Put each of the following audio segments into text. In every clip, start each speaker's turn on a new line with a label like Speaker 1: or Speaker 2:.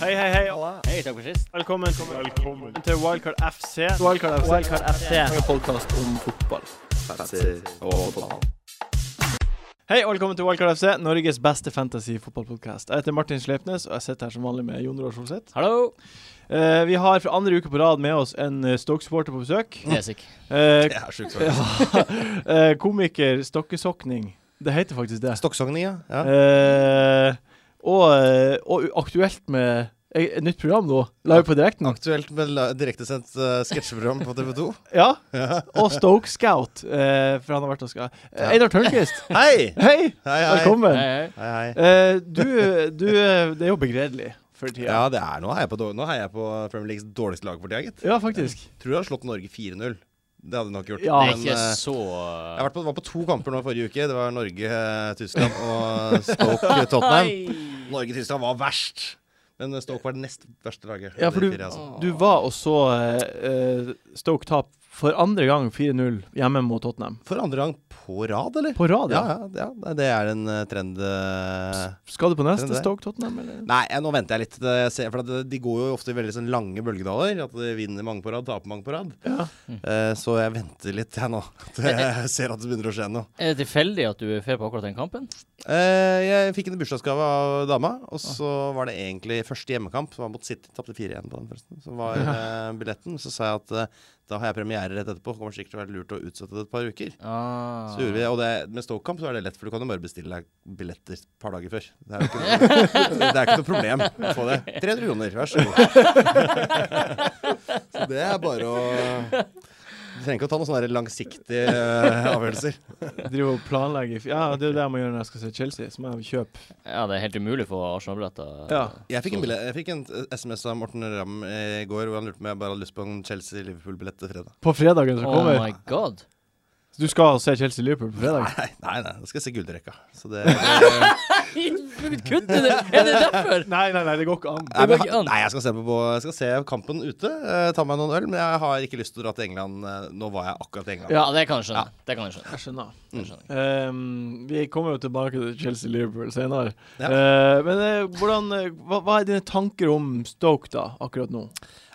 Speaker 1: Hei, hei, hei.
Speaker 2: Hei, takk for sist.
Speaker 1: Velkommen, til Wildcard FC.
Speaker 3: Wildcard FC.
Speaker 2: Wildcard FC.
Speaker 3: En podkast om fotball.
Speaker 1: Hei og velkommen til Wildcard FC, Norges beste fantasy-fotballpodkast. Jeg heter Martin Slepnes, og jeg sitter her som vanlig med Jon Roar Solseth.
Speaker 2: Hallo.
Speaker 1: Eh, vi har for andre uke på rad med oss en eh, Stoke-supporter på besøk.
Speaker 2: Det er sikkert.
Speaker 1: Eh,
Speaker 4: Det er sjukt.
Speaker 1: eh, komiker Stokkesokning. Det heter faktisk det.
Speaker 4: Stokksogni, ja. ja.
Speaker 1: Eh, og, eh, og aktuelt med eh, et nytt program nå. Live på direkten.
Speaker 4: Aktuelt med la- direktesendt uh, sketsjeprogram på TV 2.
Speaker 1: Ja. Og Stoke Scout, eh, for han har vært og skal Eh,
Speaker 4: Ja.
Speaker 1: Einar Tørnquist,
Speaker 4: Hei!
Speaker 1: hei!
Speaker 4: Hei, hei.
Speaker 1: Velkommen.
Speaker 2: Hei, hei.
Speaker 4: Hei, hei.
Speaker 1: Eh, du, du eh, Det er jo begredelig for tida. Ja.
Speaker 4: Ja, det er nå heier jeg på, dår- nå heier jeg på Premier Leagues dårligste lag for tida, gitt.
Speaker 1: faktisk.
Speaker 4: Tror jeg har slått Norge 4-0. Det hadde jeg nok gjort.
Speaker 1: Ja.
Speaker 2: Det er
Speaker 4: Men,
Speaker 2: ikke
Speaker 4: eh,
Speaker 2: så
Speaker 4: jeg har vært på, var på to kamper nå forrige uke. Det var Norge-Tyskland og eh, Stoke-Tottenham. Norge-Tyskland var verst. Men eh, Stoke var det nest verste laget.
Speaker 1: Ja,
Speaker 4: av
Speaker 1: for
Speaker 4: de fire, altså.
Speaker 1: Du var og så eh, eh, Stoke tap for andre gang 4-0 hjemme mot Tottenham.
Speaker 4: For andre gang på rad, eller?
Speaker 1: På rad,
Speaker 4: Ja,
Speaker 1: ja.
Speaker 4: ja, ja. Nei, Det er en eh, trend eh,
Speaker 1: Skal du på
Speaker 4: Den
Speaker 1: neste
Speaker 4: der.
Speaker 1: Stoke-Tottenham, eller?
Speaker 4: Nei, jeg, nå venter jeg litt. Det- Jeg ser, for at det- de går jo ofte i veldig sånn lange bølgedaler. At de vinner mange på rad, taper mange på rad.
Speaker 1: Ja.
Speaker 4: Eh, så jeg venter litt, jeg nå. At Jeg ser at det begynner å skje noe.
Speaker 2: Er det tilfeldig at du er fair på akkurat den kampen?
Speaker 4: Eh, jeg fikk en bursdagsgave av dama, og så var det egentlig første hjemmekamp. Som var mot City. Tapte 4-1 på den, forresten. Som var eh, billetten. Så sa jeg at eh, da har jeg premiere rett etterpå. Kommer sikkert til å være lurt å utsette det et par uker.
Speaker 2: Ah.
Speaker 4: Så gjorde vi det, og det, Med Stoke-kamp så er det lett, for du kan jo bare bestille deg billetter et par dager før. Det er jo ikke, noe- det er ikke noe problem å få det. 300 kroner, vær så god. Så det er bare å Du trenger ikke å ta noen sånne langsiktige eh, avgjørelser.
Speaker 1: Driver og planlegger f- Ja, det er jo det jeg må gjøre når jeg skal se Chelsea. Så må jeg kjøpe
Speaker 2: Ja, det er helt umulig å få Arsenal-billetter.
Speaker 1: Ja.
Speaker 4: Jeg fikk en, bille- jeg fikk en SMS av Morten Ramm i går hvor han lurte på om jeg bare hadde lyst på en Chelsea-Liverpool-billett til fredag.
Speaker 1: på fredagen som
Speaker 2: Oh
Speaker 1: kommer.
Speaker 2: my god.
Speaker 1: Så Du skal se Chelsea-Liverpool på fredag?
Speaker 4: Nei, nei, nei, da skal jeg se gullrekka. Så det
Speaker 2: Kutt i det! Er det derfor?
Speaker 1: Nei, nei, nei, det går ikke an.
Speaker 4: Nei,
Speaker 2: Det
Speaker 4: men,
Speaker 2: går ikke an.
Speaker 4: nei jeg, skal se på, på- jeg skal se kampen ute, eh, ta meg noen øl, men jeg har ikke lyst til å dra til England. eh, Nå var jeg akkurat i England.
Speaker 2: Ja, det kan jeg skjønne. Det kan jeg skjønne.
Speaker 1: Jeg skjønner.
Speaker 2: Det skjønner jeg.
Speaker 1: Ehm, vi kommer jo tilbake til Chelsea-Liverpool senere.
Speaker 4: Ja.
Speaker 1: Eh, men eh, hvordan, eh, hva, hva er dine tanker om Stoke da, akkurat nå?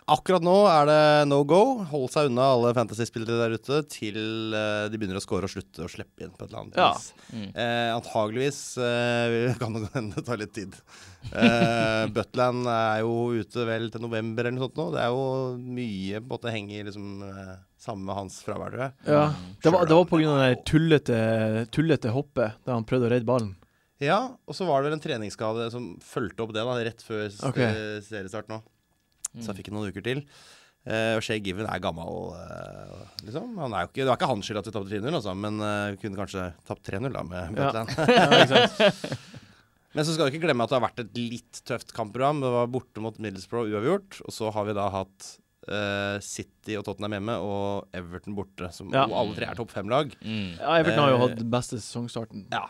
Speaker 4: Akkurat nå er det no go. Hold seg unna alle fantasy-spillere der ute til eh, de begynner å score og slutte å slippe inn på et eller annet
Speaker 1: Ja.
Speaker 4: vis.
Speaker 2: Mm.
Speaker 4: Eh, antageligvis eh, kan det hende det tar litt tid. Eh, Butland er jo ute vel til november eller noe sånt nå. Det er jo mye på en måte henger liksom eh, sammen med hans fravær, tror jeg.
Speaker 1: Ja. Det var, det var
Speaker 4: Sjøl om
Speaker 1: pga. det der tullete, tullete hoppet da han prøvde å redde ballen.
Speaker 4: Ja, og så var det vel en treningsskade som fulgte opp det da, rett før s-
Speaker 1: Ok.
Speaker 4: eh, seriestart nå. Så jeg fikk noen uker til. Eh, og Shay Given er gammel, eh, liksom. Han er jo ikke, det var ikke hans skyld at vi tapte 3-0, altså, men eh, vi kunne kanskje tapt 3-0 da
Speaker 1: Ja.
Speaker 4: med Butland.
Speaker 1: Ja, ikke sant?
Speaker 4: Men så skal vi ikke glemme at det har vært et litt tøft kampprogram. Det var borte mot Middlesbrough uavgjort, og så har vi da hatt eh, City og Tottenham hjemme og Everton borte, som
Speaker 1: Ja.
Speaker 4: og alle tre er topp fem-lag.
Speaker 2: Mm.
Speaker 1: ja, Everton har jo hatt den beste sesongstarten
Speaker 4: Ja,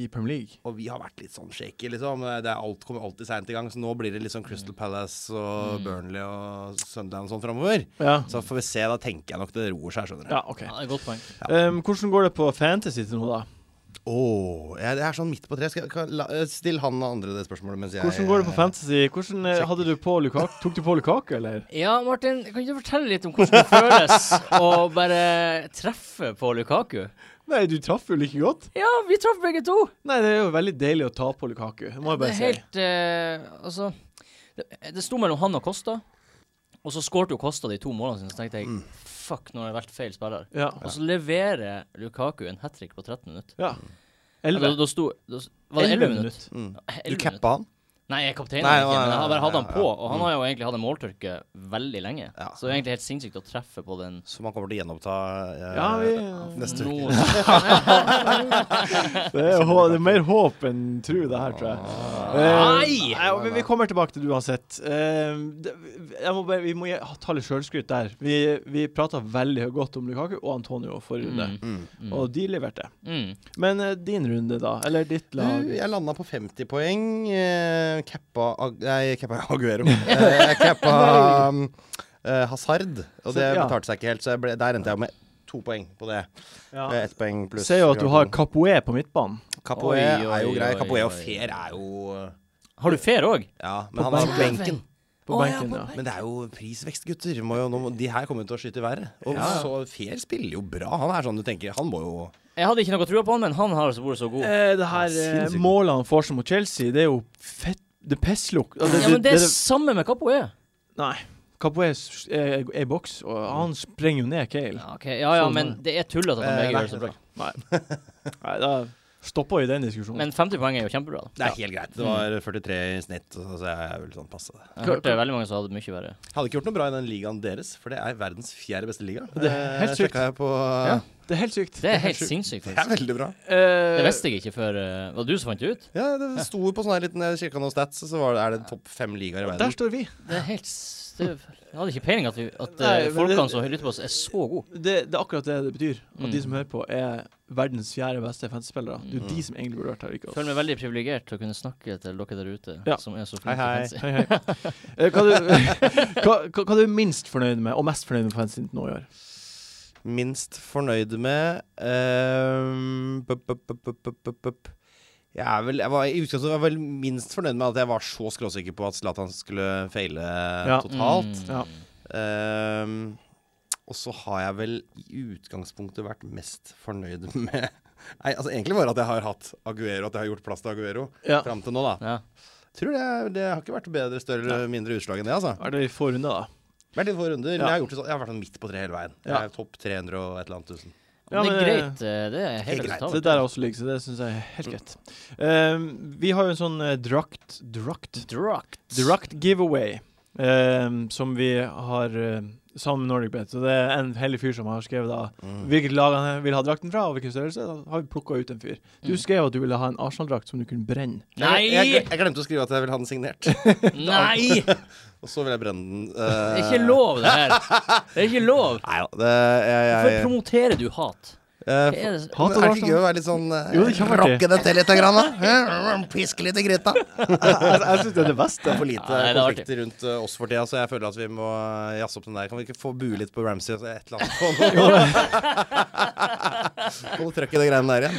Speaker 1: i Premier League.
Speaker 4: Og vi har vært litt sånn shaky, liksom. Det er alt kommer alltid seint i gang. Så nå blir det litt sånn Crystal Palace og
Speaker 1: Mm.
Speaker 4: Burnley og Sunderland og sånn framover.
Speaker 1: Ja,
Speaker 4: Så får vi se. Da tenker jeg nok det roer seg, skjønner du.
Speaker 1: ja OK.
Speaker 2: Ja, det er et godt poeng.
Speaker 1: Ehm, hvordan går det på fantasy til nå, da?
Speaker 4: Åh, jeg, jeg er sånn midt på tre. Skal, kan, la, still han andre det spørsmålet mens jeg
Speaker 1: Hvordan går det på fantasy? Hvordan eh, hadde du på Lukaku? Tok du på Lukaku, eller?
Speaker 2: Ja, Martin, kan ikke du fortelle litt om hvordan det føles å bare treffe på Lukaku?
Speaker 1: Nei, du traff jo like godt.
Speaker 2: Ja, vi traff begge to.
Speaker 1: Nei, det er jo veldig deilig å ta på Lukaku. Det må jeg
Speaker 2: Det
Speaker 1: bare
Speaker 2: er
Speaker 1: si.
Speaker 2: helt eh, Altså, det, det sto mellom han og Costa, og så skårte jo Costa de to målene sine, så tenkte jeg fuck, nå har jeg valgt feil spiller.
Speaker 1: Ja.
Speaker 2: Og så leverer Lukaku en hat trick på 13 minutter.
Speaker 1: ja.
Speaker 2: Ja, da,
Speaker 1: Elleve.
Speaker 2: da sto da, s- Var det 11
Speaker 1: Elleve
Speaker 2: minutter?
Speaker 4: Mm.
Speaker 2: Ja,
Speaker 4: Du
Speaker 2: 11 minutter.
Speaker 4: cappa han?
Speaker 2: Nei, jeg er kaptein,
Speaker 4: Nei,
Speaker 2: ikke,
Speaker 4: nei,
Speaker 2: men
Speaker 4: nei,
Speaker 2: jeg har bare hatt han
Speaker 4: nei,
Speaker 2: på.
Speaker 4: ja,
Speaker 2: Og han har jo egentlig hatt en måltørke veldig lenge,
Speaker 4: Ja.
Speaker 2: så det er egentlig helt sinnssykt å treffe på den
Speaker 4: Som han kommer til å gjenoppta eh,
Speaker 1: Ja, vi
Speaker 4: neste
Speaker 2: nå.
Speaker 4: uke.
Speaker 1: Det er, hå, det er mer håp enn tro, det her, tror jeg.
Speaker 2: Ah, Nei!
Speaker 1: Eh, ja, men vi kommer tilbake til det uansett. Eh, det, jeg må bare, vi må gi- ta litt sjølskryt der. Vi, vi prata veldig godt om Lukaku og Antonio forrige runde,
Speaker 2: Mm.
Speaker 4: Mm.
Speaker 2: Mm.
Speaker 1: og de leverte.
Speaker 2: Mm.
Speaker 1: Men eh, din runde, da? Eller ditt lag?
Speaker 4: Du, jeg landa på 50 poeng. Eh, cappa Ag Nei, cappa Aguero. Eh, jeg cappa um, eh, Hazard, og
Speaker 1: Så,
Speaker 4: det
Speaker 1: ja.
Speaker 4: betalte seg ikke helt, så jeg ble, der endte jeg med to poeng på det.
Speaker 1: Ja.
Speaker 4: Eh, Ett poeng pluss
Speaker 1: Ser jo at du har Capoe på midtbanen.
Speaker 4: Capoe
Speaker 2: Oi, oi,
Speaker 4: er jo grei.
Speaker 2: oi,
Speaker 4: Capoe og
Speaker 2: oi.
Speaker 4: Fair er jo
Speaker 2: Har du fer òg?
Speaker 4: Ja,
Speaker 1: På
Speaker 4: men han er på
Speaker 1: benken.
Speaker 4: benken.
Speaker 1: På
Speaker 2: Å, ja,
Speaker 1: benken,
Speaker 2: på
Speaker 1: ja.
Speaker 2: benken.
Speaker 4: Men det er jo prisvekst, gutter. Må jo, nå, må- de her kommer jo til å skyte i været. Og
Speaker 1: Ja.
Speaker 4: så Fer spiller jo bra. Han er sånn du tenker Han må jo
Speaker 2: Jeg hadde ikke noe trua på han, men han har altså vært så god.
Speaker 1: Eh, det her
Speaker 4: Ja,
Speaker 1: eh,
Speaker 4: sinnssykt.
Speaker 1: målet han får seg mot Chelsea, det er jo fett Det er pestlukt. Altså,
Speaker 2: Ja, men det er
Speaker 1: det-
Speaker 2: samme med Capoe.
Speaker 1: Nei. Capoe er er i boks, og han sprenger jo ned Kale.
Speaker 2: Ja, ok. ja, ja,
Speaker 1: Sånn
Speaker 2: men
Speaker 1: er
Speaker 2: det er tullete at han
Speaker 4: Eh,
Speaker 2: begge
Speaker 4: nei,
Speaker 2: gjør det så bra.
Speaker 1: Nei. Nei, da stopper vi den diskusjonen.
Speaker 2: Men 50 poeng er jo kjempebra. da.
Speaker 4: Det er helt greit. Det var 43 i snitt, så så jeg er vel sånn passe det.
Speaker 2: Jeg hørte veldig mange som hadde mye verre.
Speaker 4: Jeg hadde ikke gjort noe bra i den ligaen deres, for det er verdens fjerde beste liga.
Speaker 1: Det er helt
Speaker 4: Eh,
Speaker 1: sykt.
Speaker 4: sjekket Jeg på,
Speaker 1: det er helt sykt.
Speaker 2: Det er helt sinnssykt,
Speaker 4: Det er
Speaker 2: faktisk.
Speaker 4: veldig bra.
Speaker 2: Det visste jeg ikke før eh, Var det du som fant det ut?
Speaker 4: Ja, det sto på sånn her liten jeg kikket noen stats, så var det, er det topp fem ligaer i
Speaker 1: Der
Speaker 4: verden.
Speaker 1: står vi.
Speaker 2: Det er helt støv. Jeg hadde ikke peiling at, vi, at
Speaker 1: Nei,
Speaker 2: eh,
Speaker 1: men
Speaker 2: folkene
Speaker 1: det-
Speaker 2: som lytter på oss, er så gode.
Speaker 1: Det, det er akkurat det det betyr. At de
Speaker 2: Mm.
Speaker 1: som hører på, er verdens fjerde beste fantasy-spillere. Det er jo de som egentlig burde vært her, ikke
Speaker 2: Føler
Speaker 1: oss.
Speaker 2: meg veldig privilegert til å kunne snakke til dere der ute
Speaker 1: Ja.
Speaker 2: som er så
Speaker 4: Hei,
Speaker 2: flinke til fancy.
Speaker 4: hei.
Speaker 1: Hei, hei. Eh, Hva, du, hva, hva, hva er du minst fornøyd med, og mest fornøyd med på fantasy nå i år?
Speaker 4: Minst fornøyd med ehm, bup, bup, bup, bup, bup, bup, bup. Jeg er vel, jeg var, I utgangspunktet var jeg vel minst fornøyd med at jeg var så skråsikker på at Zlatan skulle feile
Speaker 1: Ja.
Speaker 4: totalt.
Speaker 2: Mm.
Speaker 1: Ja.
Speaker 4: Ehm, og så har jeg vel i utgangspunktet vært mest fornøyd med Nei, altså Egentlig bare at jeg har hatt Aguero, at jeg har gjort plass til Aguero
Speaker 1: Ja.
Speaker 4: fram til nå, da.
Speaker 2: Ja.
Speaker 4: Tror det, det har ikke vært bedre, større eller mindre utslag enn det, altså.
Speaker 1: Er det vi får unna, da?
Speaker 4: Vært litt få runder.
Speaker 1: Ja.
Speaker 4: men Jeg har, gjort det sånn, jeg har vært sånn midt på tre hele veien. Jeg
Speaker 1: Ja.
Speaker 4: er topp 300 og et eller annet tusen.
Speaker 1: Ja,
Speaker 2: det er
Speaker 1: men-
Speaker 2: greit. eh, Det er
Speaker 4: Helt
Speaker 2: helt
Speaker 4: greit.
Speaker 1: Det
Speaker 2: respektabelt.
Speaker 1: der er også ligg, så det syns jeg er helt greit. Eh, vi har jo en sånn eh, drakt Drakt?
Speaker 2: Drucked.
Speaker 1: Druct giveaway ehm, som vi har eh, sammen med Nordic Bet. Så det er en heldig fyr som har skrevet da hvilket lag han vil ha drakten fra, og hvilken størrelse. Da har vi plukka ut en fyr. Du
Speaker 2: Mm.
Speaker 1: skrev at du ville ha en Arsenal-drakt som du kunne brenne.
Speaker 2: Nei!
Speaker 4: Jeg, jeg, jeg glemte å skrive at jeg vil ha den signert.
Speaker 2: Nei! Det
Speaker 4: Og så vil jeg brenne den.
Speaker 2: er
Speaker 4: eh,
Speaker 2: ikke lov, det her. Det er ikke lov.
Speaker 4: Nei da. Det, jeg,
Speaker 2: Hvorfor
Speaker 4: jeg,
Speaker 2: promoterer du hat?
Speaker 4: eh,
Speaker 2: Hva er det?
Speaker 1: Hat
Speaker 4: Men
Speaker 1: og
Speaker 4: er det
Speaker 1: Arsenal.
Speaker 4: ikke gøy å være litt sånn eh,
Speaker 1: Jo, det kan være
Speaker 4: Rocke det til litt, grann, da. Piske litt i gryta.
Speaker 1: jeg jeg syns det er det
Speaker 4: Det
Speaker 1: beste.
Speaker 4: er for lite
Speaker 2: Ja, nei, det er artig.
Speaker 4: konflikter rundt eh, oss for tida, så jeg føler at vi må eh, jazze opp den der. Kan vi ikke få bue litt på Ramsey og så et eller annet? Få noe- Få noe trøkk i de greiene der igjen.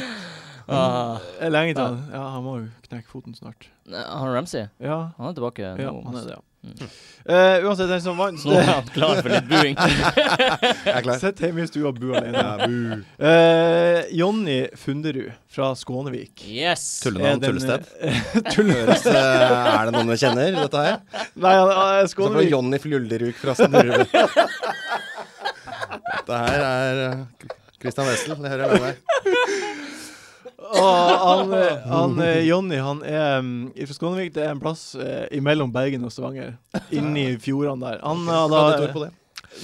Speaker 2: Ah,
Speaker 1: Lenge til han. Ja, han må jo knekke foten snart.
Speaker 2: han Ramsey,
Speaker 1: Ja,
Speaker 2: han er tilbake
Speaker 1: ja
Speaker 2: nå.
Speaker 1: han er det, ja. Eh, uansett, den som vant, eh,
Speaker 2: Så nå er han klar for litt buing.
Speaker 4: Jeg er klar.
Speaker 1: sitter hjemme i stua og buer alene.
Speaker 4: Ja, bu.
Speaker 1: Eh, Jonny Funderud fra Skånevik.
Speaker 2: Yes.
Speaker 1: Er
Speaker 4: Tullenavn,
Speaker 1: den,
Speaker 4: tullested.
Speaker 1: eh, Tulle...
Speaker 4: Høres, eh, er det noen vi kjenner, dette her?
Speaker 1: eh, Nei, han er
Speaker 4: Så var det
Speaker 1: Skånevik.
Speaker 4: Jonny Fjulderuk fra Snurre. Dette her er eh, Christian Wessel, det hører jeg med meg.
Speaker 1: Og han, eh, han eh, Jonny han er um, fra Skånevik. Det er en plass eh, imellom Bergen og Stavanger. Inni fjordene der. Han har
Speaker 4: Kan du et ord
Speaker 1: da
Speaker 4: på det?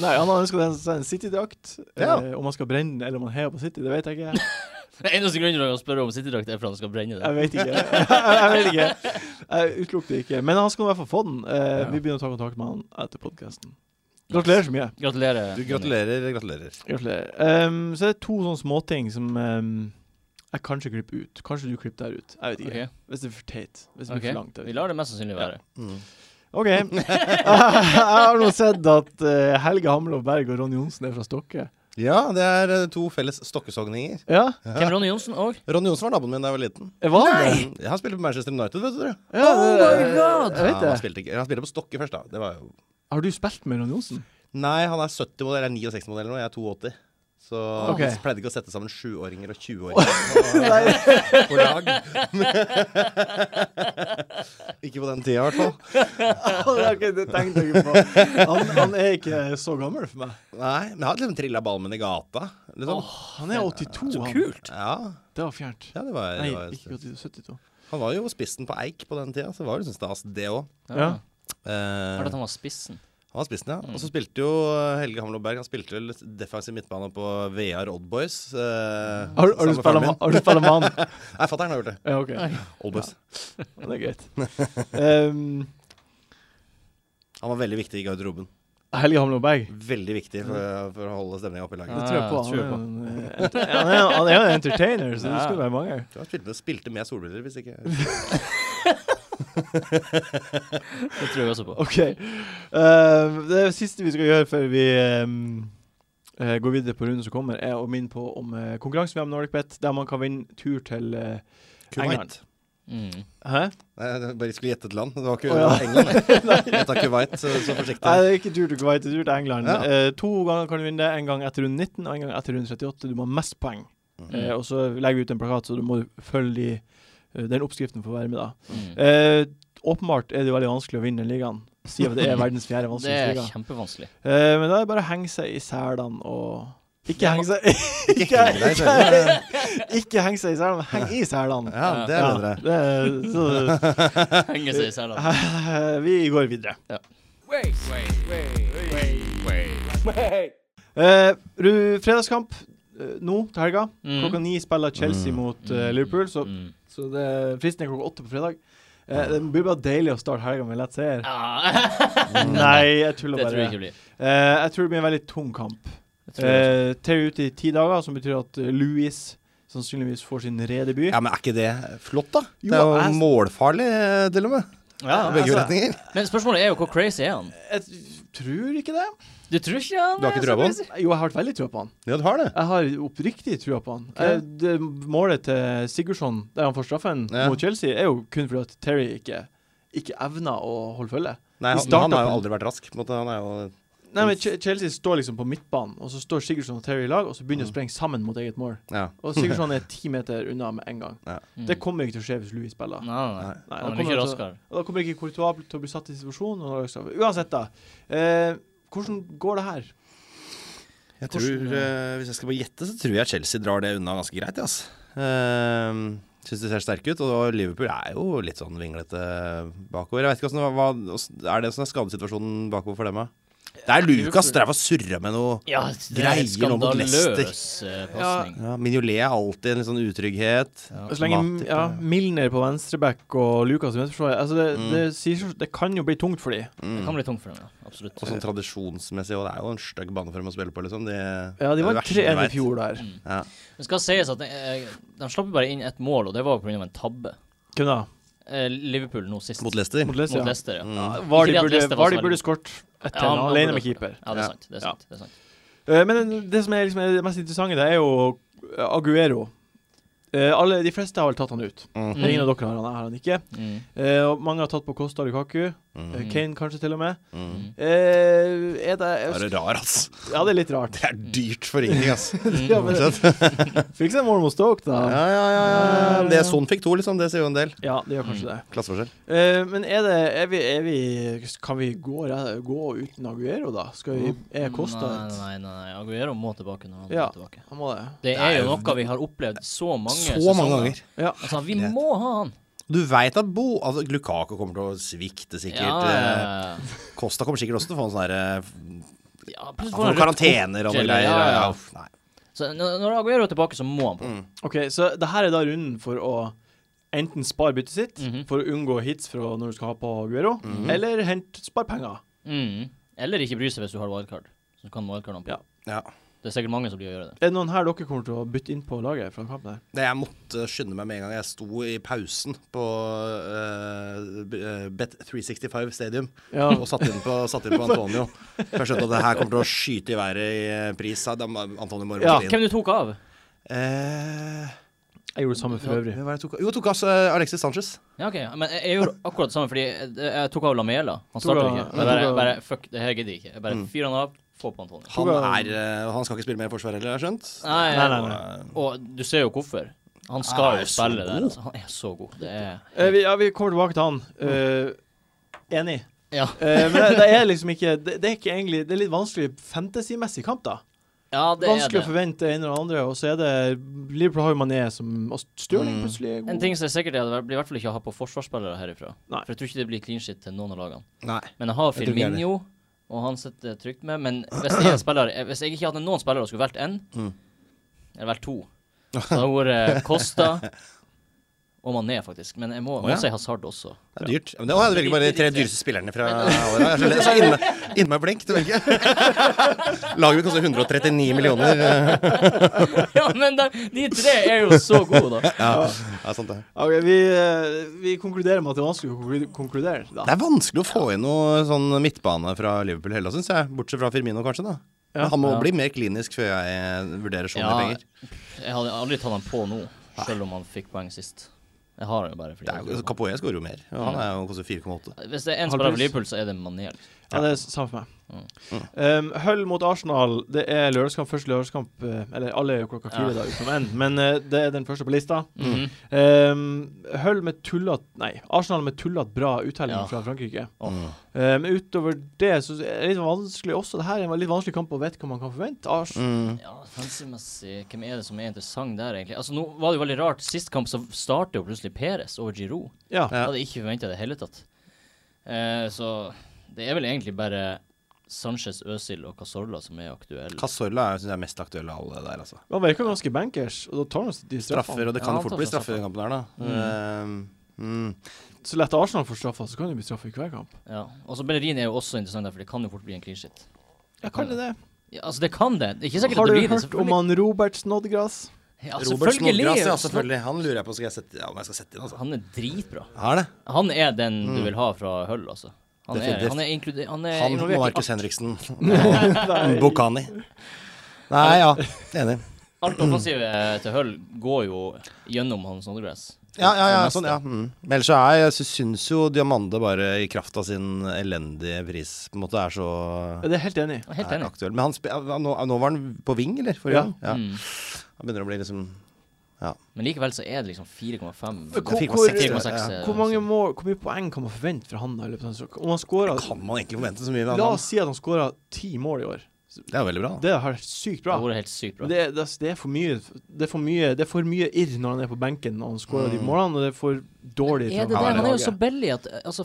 Speaker 1: Nei, han har ønska seg en City-drakt.
Speaker 4: Ja.
Speaker 1: Eh, om han skal brenne den, eller om han heier på City, det vet jeg ikke.
Speaker 2: Den eneste grunnen til å spørre om City-drakt er for at han skal brenne det.
Speaker 1: Jeg vet ikke. jeg, jeg vet ikke. Jeg utelukker det ikke. Men han skal i hvert fall få den. Eh, Vi begynner å ta kontakt med han etter podkasten. Gratulerer så mye.
Speaker 2: Gratulerer.
Speaker 4: Du gratulerer, gratulerer.
Speaker 1: Gratulerer. Ehm, så det er to sånne småting som ehm, jeg kanskje klipper ut. Kanskje du klipper der ut. Jeg vet ikke.
Speaker 2: Ok,
Speaker 1: Hvis det blir for teit. Hvis det blir
Speaker 2: ok.
Speaker 1: for langt. jeg vet
Speaker 2: Vi lar det mest sannsynlig være.
Speaker 4: Mm.
Speaker 1: OK. jeg har nå sett at eh, Helge Hamlov Berg og Ronny Johnsen er fra Stokke.
Speaker 4: Ja, det er eh, to felles stokkesogninger.
Speaker 1: Ja,
Speaker 2: Hvem Ronny Johnsen og
Speaker 4: Ronny Johnsen var naboen min da jeg var liten.
Speaker 1: jeg var det.
Speaker 4: Mm, Jeg har spilt på Manchester United, vet du.
Speaker 1: Ja,
Speaker 2: Oh
Speaker 1: det-
Speaker 2: my god!
Speaker 1: Jeg
Speaker 4: Ja,
Speaker 1: vet
Speaker 4: han,
Speaker 1: det.
Speaker 4: spilte ikke. han spilte på Stokke først, da. Det var jo
Speaker 1: Har du spilt med Ronny Johnsen?
Speaker 4: Nei, han er 70-modell, eller 69-modell nå. Jeg er 82. Så
Speaker 1: Ok.
Speaker 4: han pleide ikke å sette sammen sjuåringer og 20-åringer på, på lag. ikke på den tida, i hvert fall.
Speaker 1: okay, det tenkte jeg ikke på. Han, han er ikke så gammel for meg.
Speaker 4: Nei, men jeg har liksom trilla ballen min i gata. Liksom.
Speaker 1: Han er 82, han.
Speaker 2: Kult.
Speaker 4: Ja,
Speaker 1: Det var fjernt.
Speaker 4: ja, det var, det
Speaker 1: Nei,
Speaker 4: var
Speaker 1: ikke 82, 72.
Speaker 4: Han var jo spissen på Eik på den tida, så det var jo liksom stas, det òg.
Speaker 1: Ja.
Speaker 2: Hørte at han var sånn? spissen.
Speaker 4: Han var spissen, ja. Og så spilte jo Helge Hamlo Berg Han spilte vel defensiv midtbane på VR Odd Boys. Eh,
Speaker 1: Har, du- har, du
Speaker 4: sammen med faren
Speaker 1: spillet med-
Speaker 4: min.
Speaker 1: har du spilt med han?
Speaker 4: Nei, fatter'n har gjort det.
Speaker 1: Ja, OK.
Speaker 4: Old Boys.
Speaker 1: Ja, Det er greit. Ehm,
Speaker 4: Han var veldig viktig i garderoben.
Speaker 1: Helge Hamlund Berg.
Speaker 4: Veldig viktig for, for å holde stemninga oppe i
Speaker 1: Det
Speaker 4: laget.
Speaker 2: Ja.
Speaker 1: tror jeg på.
Speaker 2: tror jeg på.
Speaker 1: Han, er en- ent- han, er, han er jo en entertainer, så det
Speaker 2: Ja.
Speaker 1: skulle være mange.
Speaker 4: Jeg tror han spilte, spilte med solbriller, hvis ikke
Speaker 2: Det tror jeg også på.
Speaker 1: OK. Ehm, det siste vi skal gjøre før vi ehm, eh, går videre på runden som kommer, er å minne på om eh, konkurransen vi har med NordicBet, der man kan vinne tur til eh, England.
Speaker 2: Mm.
Speaker 1: Hæ?
Speaker 4: Nei, jeg bare skulle gjette et land. Det var ikke
Speaker 1: Å, ja.
Speaker 4: England. Jeg tar Kuwait, så, så
Speaker 1: Nei,
Speaker 4: forsiktig.
Speaker 1: det er ikke tur til Kuwait, det er tur til England.
Speaker 4: Ja.
Speaker 1: Eh, to ganger kan du vinne det. En gang etter runde 19 og en gang etter runde 38. Du må ha mest poeng.
Speaker 4: Mm.
Speaker 1: Eh, og så legger vi ut en plakat, så du må følge de, eh, den oppskriften for å være med, da.
Speaker 2: Mm.
Speaker 1: Eh, åpenbart er det jo veldig vanskelig å vinne den ligaen. Si at det er verdens fjerde
Speaker 2: Det
Speaker 1: vanskeligste
Speaker 2: er
Speaker 1: liga.
Speaker 2: kjempevanskelig.
Speaker 1: Eh, men da er det bare å henge seg i selene og Ikke henge seg
Speaker 4: Ikke heng deg i
Speaker 1: ikke,
Speaker 4: selene.
Speaker 1: ikke heng seg i selene, men heng i selene.
Speaker 4: Ja, det er bedre.
Speaker 1: det er- så,
Speaker 2: Henge seg i selen.
Speaker 1: Eh, vi går videre.
Speaker 3: Wait, wait, wait, wait, wait, wait.
Speaker 1: Eh, Ru- fredagskamp eh, nå til helga.
Speaker 2: Mm.
Speaker 1: Klokka ni spiller Chelsea
Speaker 4: Mm.
Speaker 1: mot eh, Liverpool, så,
Speaker 2: Mm.
Speaker 1: så det, fristen er klokka åtte på fredag. Eh, det blir bare deilig å starte helga med lett seier.
Speaker 2: Ah.
Speaker 1: Nei, jeg tuller Mm.
Speaker 2: Det
Speaker 1: bare.
Speaker 2: tror jeg ikke blir.
Speaker 1: Eh, jeg tror det blir en veldig tung kamp.
Speaker 2: Jeg tror det.
Speaker 1: Eh, Ter ut i ti dager, som betyr at eh, Louis sannsynligvis får sin redebut.
Speaker 4: Ja, men er ikke det flott, da?
Speaker 1: Jo,
Speaker 4: Det er jo
Speaker 1: jeg-
Speaker 4: målfarlig, eh, til og med.
Speaker 2: altså- Ja,
Speaker 4: I begge
Speaker 1: altså-
Speaker 4: retninger.
Speaker 2: Men spørsmålet er jo hvor crazy er han?
Speaker 1: Jeg tror ikke det.
Speaker 2: Du tror ikke han
Speaker 4: Du har ikke
Speaker 2: er
Speaker 4: trua
Speaker 2: så
Speaker 4: på han?
Speaker 2: crazy?
Speaker 1: Jo, jeg har veldig trua på han.
Speaker 4: Ja, du har det.
Speaker 1: Jeg har oppriktig trua på han.
Speaker 4: Ja.
Speaker 1: Eh, det målet til Sigurdsson, der han får straffen
Speaker 4: Ja.
Speaker 1: mot Chelsea, er jo kun fordi at Terry ikke, ikke evner å holde følge.
Speaker 4: Nei,
Speaker 1: I
Speaker 4: han, men han har jo
Speaker 1: startupen.
Speaker 4: aldri vært rask. På en måte. Han er jo
Speaker 1: Nei, men Che- Chelsea står liksom på midtbanen, og så står Sigurdsson og Terry i lag, og så begynner de å sprenge sammen mot eget mål.
Speaker 4: Ja.
Speaker 1: Og Sigurdsson er ti meter unna med en gang.
Speaker 4: Ja.
Speaker 1: Det kommer ikke til å skje hvis Louis spiller.
Speaker 2: Mm. Nei, nei, nei.
Speaker 1: Nei, da
Speaker 2: Han er
Speaker 1: kommer
Speaker 2: mye
Speaker 1: det til å-
Speaker 2: raskere.
Speaker 1: Og da kommer ikke Courtois til å bli satt i situasjonen. Og så- uansett, da. Eh, hvordan går det her?
Speaker 4: Jeg tror,
Speaker 2: Hvordan,
Speaker 4: eh, Hvis jeg skal bare gjette, så tror jeg Chelsea drar det unna ganske greit. jeg, Altså. Uh, Syns de ser sterke ut. Og Liverpool er jo litt sånn vinglete bakover. Jeg vet ikke hvordan, hva, hva, Er det sånn skadesituasjonen bakover for dem, da? Det er Lucas
Speaker 2: Liverpool-
Speaker 4: drev og surra med noe
Speaker 2: Ja, det er en
Speaker 4: Greier nå mot Leicester.
Speaker 2: skandaløs eh, pasning.
Speaker 4: ja, Mignolet er alltid en litt sånn utrygghet.
Speaker 2: Ja.
Speaker 1: Så lenge
Speaker 4: Matip,
Speaker 1: ja,
Speaker 2: eh.
Speaker 1: Milner på venstreback og Lucas i venstreforsvaret altså det, det, sier så- det kan jo bli tungt for dem.
Speaker 4: Mm.
Speaker 2: Det kan bli tungt for dem, ja. Absolutt.
Speaker 4: Og sånn tradisjonsmessig, og det er jo en stygg bane for dem å spille på, liksom. De,
Speaker 1: Ja, de
Speaker 4: det er
Speaker 1: var
Speaker 4: det verste du
Speaker 1: 3-1 i
Speaker 4: vet.
Speaker 1: fjor der.
Speaker 4: Ja.
Speaker 2: Det Mm. skal sies at eh, de slapp jo bare inn ett mål, og det var pga. en tabbe.
Speaker 1: Hvem da?
Speaker 2: Eh, Liverpool nå sist.
Speaker 4: Mot Leicester.
Speaker 1: Mot Leicester?
Speaker 2: Mot
Speaker 1: Ja.
Speaker 2: Leicester, ja.
Speaker 4: Mm.
Speaker 1: Ja, Var de
Speaker 2: Ikke det at
Speaker 1: burde, var
Speaker 2: Leicester var
Speaker 1: de
Speaker 2: så
Speaker 1: burde
Speaker 2: veldig-
Speaker 1: skåret etter
Speaker 2: Ja,
Speaker 1: ja,
Speaker 2: man
Speaker 1: alene
Speaker 2: burde-
Speaker 1: med keeper.
Speaker 2: Ja, det er
Speaker 4: Ja.
Speaker 2: sant. Det er
Speaker 1: Ja.
Speaker 2: sant, det er sant.
Speaker 1: Eh, men det som er, liksom, er det mest interessante, det er jo Aguero. Eh, alle, de fleste har vel tatt han ut.
Speaker 4: Mm.
Speaker 2: Mm.
Speaker 1: Ingen av dere har han, jeg har han ikke.
Speaker 2: Mm.
Speaker 1: Eh, og mange har tatt på Costa Lukaku.
Speaker 4: Mm.
Speaker 1: Eh, Kane kanskje til og med.
Speaker 4: Mm.
Speaker 1: Eh, er det,
Speaker 4: Det er rar, altså.
Speaker 1: ja, det er litt rart.
Speaker 4: Det er dyrt for ingenting, altså.
Speaker 2: Mm.
Speaker 1: ja, men, fikk seg en mål mot Stoke,
Speaker 4: Ja,
Speaker 1: da.
Speaker 4: ja, ja. ja, ja. Det Son fikk to, liksom. Det sier jo en del.
Speaker 1: Ja, det gjør kanskje
Speaker 2: Mm.
Speaker 1: det.
Speaker 4: Klasseforskjell.
Speaker 1: Eh, men er det er vi, er vi, Kan vi gå, re- gå uten Aguero, da? Skal vi Er Costa et
Speaker 2: Nei, nei, nei. Aguero må tilbake når han
Speaker 1: Ja.
Speaker 2: er tilbake.
Speaker 1: Han må det.
Speaker 2: Det er jo noe vi har opplevd så mange
Speaker 4: Så mange ganger.
Speaker 2: Altså, vi må ha han.
Speaker 4: Du veit at Bo altså, Lukako kommer til å svikte, sikkert.
Speaker 2: Ja, ja,
Speaker 4: Eh, Costa kommer sikkert også til å få en sånn herre
Speaker 2: ja. ja, plutselig får
Speaker 4: Han
Speaker 2: han
Speaker 4: får
Speaker 2: rødt
Speaker 4: karantener og
Speaker 2: kort,
Speaker 4: noe greier.
Speaker 2: eller- ja,
Speaker 4: Ja,
Speaker 2: ja.
Speaker 4: uff, nei.
Speaker 2: Så når når Aguero er tilbake, så må han på.
Speaker 1: OK, så det her er da runden for å enten spare byttet sitt
Speaker 2: Mhm.
Speaker 1: for å unngå hits fra når du skal ha på Aguero, eller hente spare penger.
Speaker 2: Mm. Eller ikke bry seg hvis du har wildcard. Så kan wildcard han på.
Speaker 1: Ja.
Speaker 4: Ja.
Speaker 2: Det er sikkert mange som blir å gjøre det.
Speaker 1: Er det noen her dere kommer til å bytte inn på laget fra kampen her?
Speaker 4: Nei, Jeg måtte skynde meg med en gang jeg sto i pausen på eh, Bet365 Stadium
Speaker 1: Ja.
Speaker 4: og satte inn, på, satt inn på Antonio. For jeg skjønte at det her kommer til å skyte i været i eh, pris. sa de- Antonio Morgen
Speaker 1: Ja,
Speaker 4: inn.
Speaker 2: Hvem du tok av?
Speaker 4: Eh,
Speaker 1: Jeg gjorde det samme for øvrig.
Speaker 4: hvem var det jeg tok av? Jo, jeg tok av eh, Alexis Sanchez.
Speaker 2: Ja, ok. Men jeg, jeg gjorde akkurat det samme, fordi jeg, jeg tok av Lamela. Han
Speaker 1: Tok
Speaker 2: starter
Speaker 1: av- jeg
Speaker 2: ikke. Jeg
Speaker 1: tok
Speaker 2: bare,
Speaker 1: av-
Speaker 2: bare fuck, det her gidder jeg ikke. Jeg
Speaker 1: Mm.
Speaker 2: bare fyrer han av, få på Antonio.
Speaker 4: Han,
Speaker 1: Tok av-
Speaker 4: er, eh, han skal ikke spille mer forsvar heller, har jeg skjønt.
Speaker 2: Nei,
Speaker 1: Nei, nei, nei.
Speaker 4: Eh,
Speaker 2: Og du ser jo hvorfor.
Speaker 1: Ah,
Speaker 2: Han
Speaker 4: Han
Speaker 2: skal
Speaker 4: er
Speaker 2: jo
Speaker 4: så
Speaker 2: spille der.
Speaker 4: god.
Speaker 2: Altså. Han er så god. Det er
Speaker 1: Eh, vi, ja, vi kommer tilbake til han. Eh, enig.
Speaker 2: Ja,
Speaker 1: Eh, men det, det er liksom ikke det, det er ikke egentlig Det er litt vanskelig fantasymessig kamp, da.
Speaker 2: ja det er
Speaker 1: vanskelig å
Speaker 2: det.
Speaker 1: forvente det ene og det andre, og så er det Liverpool har jo Mané som Og Stirling
Speaker 4: Mm.
Speaker 1: plutselig er god.
Speaker 2: En ting som er sikkert, er at det blir i hvert fall ikke å ha på forsvarsspillere herifra.
Speaker 1: Nei.
Speaker 2: For jeg tror ikke det blir clean shit til noen av lagene.
Speaker 4: Nei.
Speaker 2: Men jeg har
Speaker 4: Jeg tror ikke jeg
Speaker 2: Firmino, og han sitter jeg trygt med. Men hvis jeg, er en spiller, eh, hvis jeg ikke hadde noen spillere og skulle valgt én,
Speaker 4: Mm.
Speaker 2: eller valgt to, så hadde det vært eh, Costa og Mané, faktisk. Men jeg må,
Speaker 4: Å,
Speaker 2: må
Speaker 4: ja.
Speaker 2: si Hazard også.
Speaker 4: Det er dyrt. Ja, Men det, å, jeg velger bare de tre dyreste spillerne fra året. Jeg er så- så innmari inn blink til å velge. Laget mitt koster 139 millioner.
Speaker 2: ja, men de, de tre er jo så gode, da.
Speaker 4: Ja, ja sant det.
Speaker 1: Ok, vi, eh, vi konkluderer med at det er vanskelig å konklu- konkludere. Da.
Speaker 4: Det er vanskelig å få inn noe sånn midtbane fra Liverpool heller, syns jeg. Bortsett fra Firmino, kanskje. da
Speaker 1: Ja.
Speaker 4: Men Han må
Speaker 2: Ja.
Speaker 4: bli mer klinisk før jeg vurderer så mye
Speaker 2: Ja,
Speaker 4: penger.
Speaker 2: jeg hadde aldri tatt han på nå, selv om han fikk poeng sist. Jeg har den jo bare fordi
Speaker 4: Det er, jo-
Speaker 2: jeg tror på
Speaker 4: Capoe skårer jo mer. og Han er jo koster 4,8.
Speaker 2: han. Hvis det er
Speaker 1: Halv
Speaker 2: én spiller
Speaker 1: pris.
Speaker 2: for Liverpool, så er det Mané. liksom.
Speaker 1: Ja, det er s- samme for meg.
Speaker 2: Mm.
Speaker 1: Um, Hull mot Arsenal. Det er lørdagskamp, første lørdagskamp eh, Eller alle er jo klokka fire i
Speaker 2: Ja.
Speaker 1: dag, utenom én, men eh, det er den første på lista.
Speaker 4: Mm.
Speaker 2: Mhm.
Speaker 1: Um, Hull med tullet Nei, Arsenal med tullet bra uttelling
Speaker 2: Ja.
Speaker 1: fra Frankrike.
Speaker 2: Åh.
Speaker 4: Mm.
Speaker 1: Eh, Men utover det så er det litt vanskelig også. Det her er en litt vanskelig kamp å vite hva man kan forvente. Ars
Speaker 4: Mm.
Speaker 2: Ja, fancy-messig, hvem er det som er interessant der, egentlig? Altså, nå var det jo veldig rart. Sist kamp så starter jo plutselig Peres over Giroud.
Speaker 1: ja.
Speaker 4: Ja.
Speaker 2: Jeg hadde ikke forventa det i det hele tatt. Eh, så det er vel egentlig bare Sanchez, Øzil og Casorla som er aktuelle.
Speaker 4: Casorla er, synes jeg, er mest aktuell av alle der, altså.
Speaker 1: Man virker ganske bankers, og da tar man de
Speaker 4: Straffer,
Speaker 1: straffene.
Speaker 4: og det kan
Speaker 2: Ja,
Speaker 4: jo fort bli
Speaker 2: straffer,
Speaker 4: straffer i den kampen her, da.
Speaker 2: Mm.
Speaker 4: Eh, mm.
Speaker 1: Så lett Arsenal får straffer, så kan det bli straffer i hver kamp.
Speaker 2: Ja. Og så Bellerin er jo også interessant der, for det kan jo fort bli en clean shit.
Speaker 1: Ja, kan det det?
Speaker 2: Ja, altså, det kan det. Det er ikke sikkert
Speaker 1: Har
Speaker 2: det
Speaker 1: du
Speaker 2: blir det.
Speaker 1: hørt om han Robert Snodgrass?
Speaker 2: Ja,
Speaker 4: Robert
Speaker 2: selvfølgelig,
Speaker 4: Snodgrass, ja,
Speaker 2: Snodgrass.
Speaker 4: selvfølgelig. Han lurer jeg på skal jeg sette, ja, om jeg skal sette inn, altså.
Speaker 2: Han er dritbra.
Speaker 4: Har det.
Speaker 2: Han er den du vil ha fra Hull, altså. Han er,
Speaker 4: Definitivt.
Speaker 2: han er inkludert Han er
Speaker 4: Han og
Speaker 2: Eh, involvert i
Speaker 4: Markus
Speaker 2: alt.
Speaker 4: Henriksen.
Speaker 1: Nei.
Speaker 4: Bokhani. Nei, ja. Enig.
Speaker 2: Alt offensivet til Hull går jo gjennom hans Snodgrass.
Speaker 4: Ja, ja,
Speaker 2: Det
Speaker 4: ja,
Speaker 2: meste.
Speaker 4: sånn, ja. Mm. Men ellers så er, jeg sy- syns jo Diamande bare i kraft av sin elendige pris på en måte er så
Speaker 1: Ja, det er jeg helt enig. i.
Speaker 2: Jeg er Helt
Speaker 4: er
Speaker 2: enig.
Speaker 4: aktuell. Men han spe, ja, nå, nå var han på ving, eller? Forrige
Speaker 1: Ja.
Speaker 4: gang? Ja.
Speaker 2: Mm.
Speaker 4: Han begynner å bli liksom
Speaker 2: Men likevel så er det liksom 4,5
Speaker 1: Hvor-
Speaker 4: 4,6,
Speaker 1: hvor-
Speaker 4: tror jeg. Ja.
Speaker 1: Hvor
Speaker 2: eh,
Speaker 1: mange mål, hvor mye poeng kan man forvente fra han? da i løpet av en sesong? Om han scorer,
Speaker 4: Kan man egentlig forvente så mye? av
Speaker 1: La
Speaker 4: han?
Speaker 1: oss si at han skåra ti mål i år.
Speaker 4: Det er jo veldig bra. Da.
Speaker 1: Det har vært sykt
Speaker 2: Det
Speaker 1: bra.
Speaker 2: har vært helt sykt bra.
Speaker 1: Men Det, er- det, er- det, er for mye, det, er for mye, det er for mye irr når han er på benken og han scorer de målene, og det er for dårlig
Speaker 2: Mm. Er det det?
Speaker 1: fra
Speaker 2: Han er jo
Speaker 1: laget.
Speaker 2: så billig at eh, altså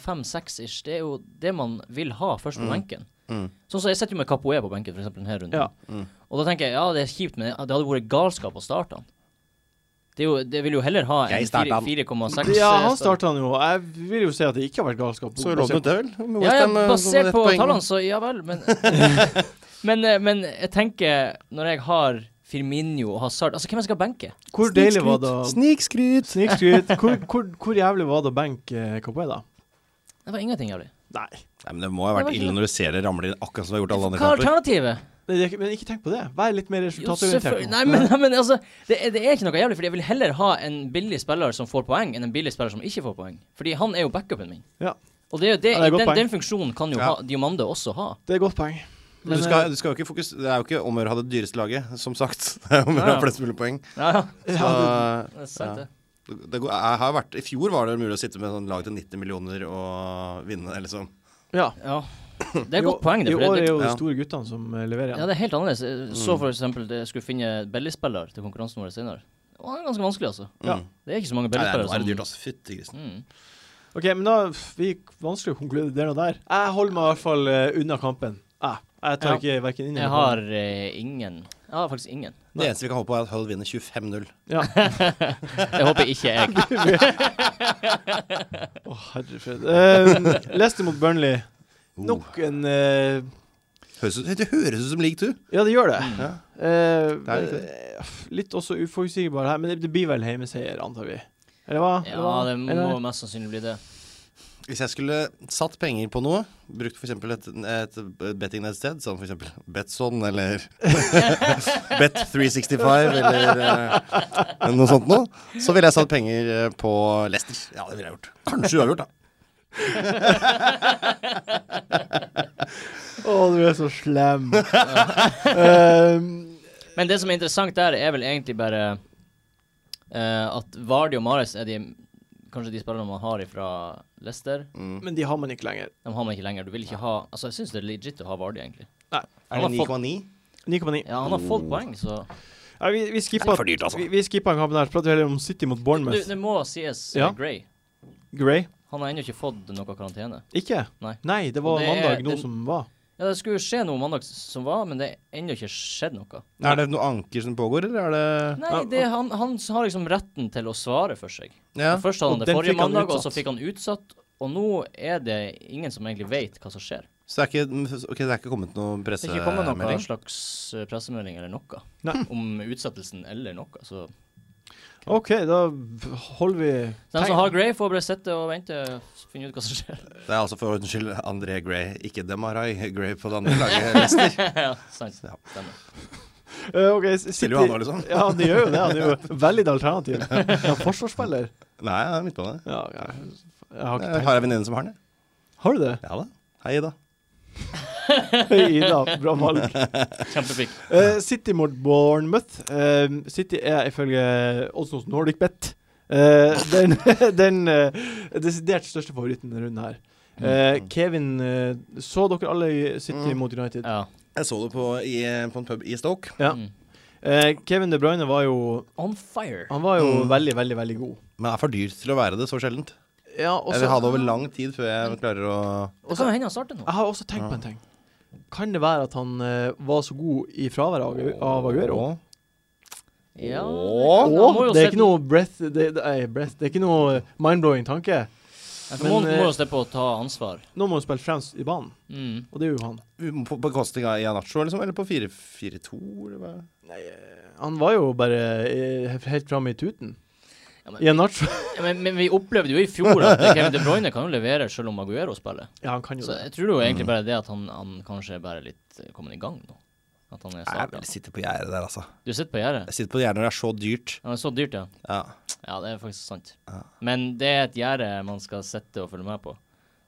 Speaker 2: 4,5-6 ish, det er jo det man vil ha først på benken.
Speaker 4: Mm.
Speaker 2: Sånn som jeg sitter jo med Capoe på benken, for eksempel denne runden.
Speaker 1: Ja.
Speaker 2: Og da tenker jeg ja, det er kjipt, men det hadde vært galskap å starte han. Det, er jo, det vil jo heller ha en
Speaker 4: Jeg starter han.
Speaker 2: 4,6
Speaker 1: Ja, han
Speaker 2: eh,
Speaker 1: starta han jo. Jeg vil jo si at det ikke har vært galskap.
Speaker 4: Så rådde det vel? med
Speaker 2: Ja, ja,
Speaker 4: Westham, eh, sånn
Speaker 2: basert
Speaker 4: ett
Speaker 2: på
Speaker 4: poeng.
Speaker 2: tallene, så ja vel, men men, eh, men jeg tenker, når jeg har Firmino og Hazard Altså, hvem jeg skal benke?
Speaker 1: Hvor deilig var det å-
Speaker 4: Snikskryt!
Speaker 1: Snikskryt. Hvor, hvor, hvor jævlig var det å benke Cowboy, da?
Speaker 2: Det var ingenting jævlig.
Speaker 1: Nei.
Speaker 4: Nei, men Det må ha vært
Speaker 2: Det var
Speaker 4: ille når du ser det ramle inn, akkurat som du har gjort alle
Speaker 2: Hva
Speaker 4: andre
Speaker 2: er
Speaker 4: kamper.
Speaker 2: alternativet?
Speaker 1: Nei, det er ikke- Men ikke tenk på det. Vær litt mer
Speaker 2: Jo, selvfølgelig.
Speaker 1: resultatorientert.
Speaker 2: Nei,
Speaker 1: nå.
Speaker 2: men, nei, men altså, det, er- det er ikke noe jævlig, Fordi jeg vil heller ha en billig spiller som får poeng, enn en billig spiller som ikke får poeng. Fordi han er jo backupen min.
Speaker 1: Ja.
Speaker 2: Og det er jo det,
Speaker 1: Ja, det er et godt
Speaker 2: den,
Speaker 1: poeng.
Speaker 2: den funksjonen kan jo
Speaker 4: Ja.
Speaker 2: ha Diomande også ha.
Speaker 1: Det er et godt poeng. eh,
Speaker 4: Men du skal, du skal jo ikke fokus, det er jo ikke om å gjøre å ha det dyreste laget, som sagt. Det er om å gjøre å
Speaker 2: Ja, ja.
Speaker 4: ha flest mulig poeng.
Speaker 2: Ja, ja.
Speaker 1: eh,
Speaker 4: Så,
Speaker 1: ja,
Speaker 2: Det er sant,
Speaker 4: Ja.
Speaker 2: det.
Speaker 4: det går, jeg har jo vært, I fjor var det mulig å sitte med sånn lag til 90 millioner og vinne, eller sånn.
Speaker 1: det- ja.
Speaker 2: Ja. Det er et
Speaker 1: I
Speaker 2: godt poeng, det.
Speaker 1: I
Speaker 2: For
Speaker 1: år er Mm.
Speaker 2: det, det
Speaker 1: jo de
Speaker 4: Ja.
Speaker 1: store guttene som eh, leverer
Speaker 2: ja,
Speaker 1: igjen.
Speaker 2: det er helt annerledes. Jeg Så for eksempel at jeg skulle finne billigspiller til konkurransen vår senere. Og det er ganske vanskelig, altså.
Speaker 1: Ja.
Speaker 4: Mm.
Speaker 2: Det er ikke så mange
Speaker 4: Nei, nei,
Speaker 2: billigspillere
Speaker 4: nå er det
Speaker 2: som
Speaker 4: dyrt, altså. Fytti grisen.
Speaker 2: mm.
Speaker 1: Ok, men da pff, vi gikk vanskelig å konkludere der og der. Jeg holder meg i hvert fall eh, unna kampen. Jeg, jeg tar
Speaker 2: Ja.
Speaker 1: ikke hverken inn
Speaker 2: Jeg
Speaker 1: eller
Speaker 2: har eh, ingen Jeg har faktisk ingen.
Speaker 1: Nei.
Speaker 4: Det eneste vi kan håpe på, er at Hull vinner 25-0.
Speaker 1: Ja.
Speaker 2: Jeg håper ikke jeg.
Speaker 1: Å, herre fred. Eh, Leicester mot Burnley.
Speaker 4: Oh.
Speaker 1: Nok en eh,
Speaker 4: Høres ut- Det høres ut som league two.
Speaker 1: Ja, det gjør det.
Speaker 2: Mm.
Speaker 4: Ja.
Speaker 1: Eh,
Speaker 4: Det er ikke det.
Speaker 1: eh, litt også uforutsigbar her, men det, det blir vel heimeseier, antar vi. Eller hva? Eller
Speaker 2: Ja,
Speaker 1: hva?
Speaker 2: det
Speaker 1: Eller?
Speaker 2: må mest sannsynlig bli det.
Speaker 4: Hvis jeg skulle satt penger på noe, brukt f.eks. et, et betting-nettsted, som f.eks. Betson eller Bet365 eller eh, noe sånt noe, så ville jeg satt penger eh, på Leicester. Ja, det ville jeg gjort. Kanskje uavgjort, da.
Speaker 1: Å, du er så slem. Eh,
Speaker 2: Men det som er interessant der, er vel egentlig bare eh, at Vardi og Mares er de kanskje de spillerne man har fra Leicester.
Speaker 4: Mm.
Speaker 1: men de har man ikke lenger.
Speaker 2: De har man ikke lenger. Du vil ikke ha Altså, jeg syns det er legit å ha Vardi, egentlig.
Speaker 1: Nei.
Speaker 2: Han
Speaker 4: Er
Speaker 2: har
Speaker 4: det
Speaker 2: fått,
Speaker 1: 9,9.
Speaker 4: 9,9?
Speaker 2: ja, han har fått poeng, så
Speaker 1: Ja, vi, vi
Speaker 4: Det
Speaker 1: skippa
Speaker 4: er for dyrt, altså.
Speaker 1: vi, vi skippa en kamp der. Så prater vi heller om City mot
Speaker 2: du,
Speaker 1: Bournemouth.
Speaker 2: Det må sies eh,
Speaker 1: Ja.
Speaker 2: Gray.
Speaker 1: Gray?
Speaker 2: Han har ennå ikke fått noe karantene.
Speaker 1: Ikke?
Speaker 2: Nei.
Speaker 1: det var
Speaker 2: Og det er
Speaker 1: mandag nå
Speaker 2: den-
Speaker 1: som var.
Speaker 2: Ja, Det skulle jo skje noe mandag s- som var, men det er ennå ikke skjedd noe.
Speaker 4: Er det noe anker som pågår, eller er det
Speaker 2: Nei, det, han, han har liksom retten til å svare for seg.
Speaker 4: Ja.
Speaker 2: Først hadde
Speaker 1: Og
Speaker 2: han det
Speaker 1: den
Speaker 2: forrige
Speaker 1: fikk han
Speaker 2: mandag, og så
Speaker 1: utsatt.
Speaker 2: fikk han utsatt. Og nå er det ingen som egentlig vet hva som skjer.
Speaker 4: Så det er ikke, ok, det er ikke kommet noen
Speaker 2: Det er ikke kommet noen
Speaker 4: pressemelding?
Speaker 2: slags eh, pressemelding eller noe
Speaker 1: Nei.
Speaker 2: om utsettelsen eller noe. altså. Så
Speaker 1: OK, da holder vi
Speaker 2: den som har Gray, får bare sitte og vente og finne ut hva som skjer.
Speaker 4: Det er altså for ordens skyld André Gray, ikke Demarai Gray på det andre laget. Leicester.
Speaker 2: ja, sant.
Speaker 4: Ja.
Speaker 2: Stemmer.
Speaker 1: Eh, ok, s-
Speaker 4: Stiller
Speaker 1: City-
Speaker 4: jo han nå, liksom.
Speaker 1: Ja, de gjør jo det. Han er jo veldig alternativ. Ja, forsvarsspiller.
Speaker 4: Nei, jeg er midtbane.
Speaker 1: Ja, jeg, jeg har ikke
Speaker 4: Jeg
Speaker 1: tenkt
Speaker 4: har ei venninne som har den. jeg.
Speaker 1: Har du det?
Speaker 4: Ja da. Hei, Ida.
Speaker 1: Ida, bra valg.
Speaker 2: Kjempepick.
Speaker 1: Eh, City mot Bournemouth. Eh, City er ifølge odds hos Nordic Bet eh, den, den eh, desidert største favoritten denne runden her.
Speaker 2: Mm.
Speaker 1: Eh, Kevin, eh, så dere alle City
Speaker 4: Mm.
Speaker 1: mot United?
Speaker 2: Ja.
Speaker 4: Jeg så det på, i, på en pub i Stoke.
Speaker 1: Ja.
Speaker 2: Mm.
Speaker 1: Eh, Kevin De Bruyne var jo
Speaker 2: On fire.
Speaker 1: Han var jo
Speaker 4: Mm.
Speaker 1: veldig, veldig veldig god.
Speaker 4: Men det er for dyrt til å være det så sjeldent.
Speaker 1: Ja, også,
Speaker 4: Jeg vil ha det over lang tid før jeg klarer å
Speaker 2: Det kan jo hende han starter nå.
Speaker 1: Jeg har også tenkt på en ting. Kan det være at han eh, var så god i fraværet av Agu- av Aguero?
Speaker 2: Ja,
Speaker 4: Åh,
Speaker 2: han
Speaker 1: Og
Speaker 2: må jo
Speaker 1: det er
Speaker 2: sette-
Speaker 1: ikke noe breath, det, det, nei, breath, det er ikke noe mind-blowing tanke.
Speaker 2: Ja, for Må
Speaker 1: Men,
Speaker 2: må
Speaker 1: eh,
Speaker 2: jo slippe å ta ansvar.
Speaker 1: Nå må han spille fremst i banen,
Speaker 2: Mm.
Speaker 1: og det er jo han.
Speaker 4: På bekostning av Ianacho, liksom? Eller på 4-4-2? eller hva?
Speaker 1: Han var jo bare eh, helt framme i tuten. I
Speaker 2: Ja, men,
Speaker 1: en nacho.
Speaker 2: ja, men, men vi opplevde jo i fjor at Kevin De Bruyne kan jo levere selv om Aguero spiller.
Speaker 1: Ja, han kan jo
Speaker 2: Så
Speaker 1: det.
Speaker 2: jeg tror det jo
Speaker 4: Mm.
Speaker 2: egentlig bare det at han, han kanskje er bare litt eh, kommet i gang nå. At han er
Speaker 4: Nei, Jeg
Speaker 2: starta.
Speaker 4: vil sitte på gjerdet der, altså.
Speaker 2: Du sitter på gjerdet?
Speaker 4: Jeg sitter på gjerdet når det er så dyrt.
Speaker 2: Ja, det er så dyrt, ja.
Speaker 4: Ja.
Speaker 2: Ja, det er faktisk sant.
Speaker 4: Ja.
Speaker 2: Men det er et gjerde man skal sitte og følge med på,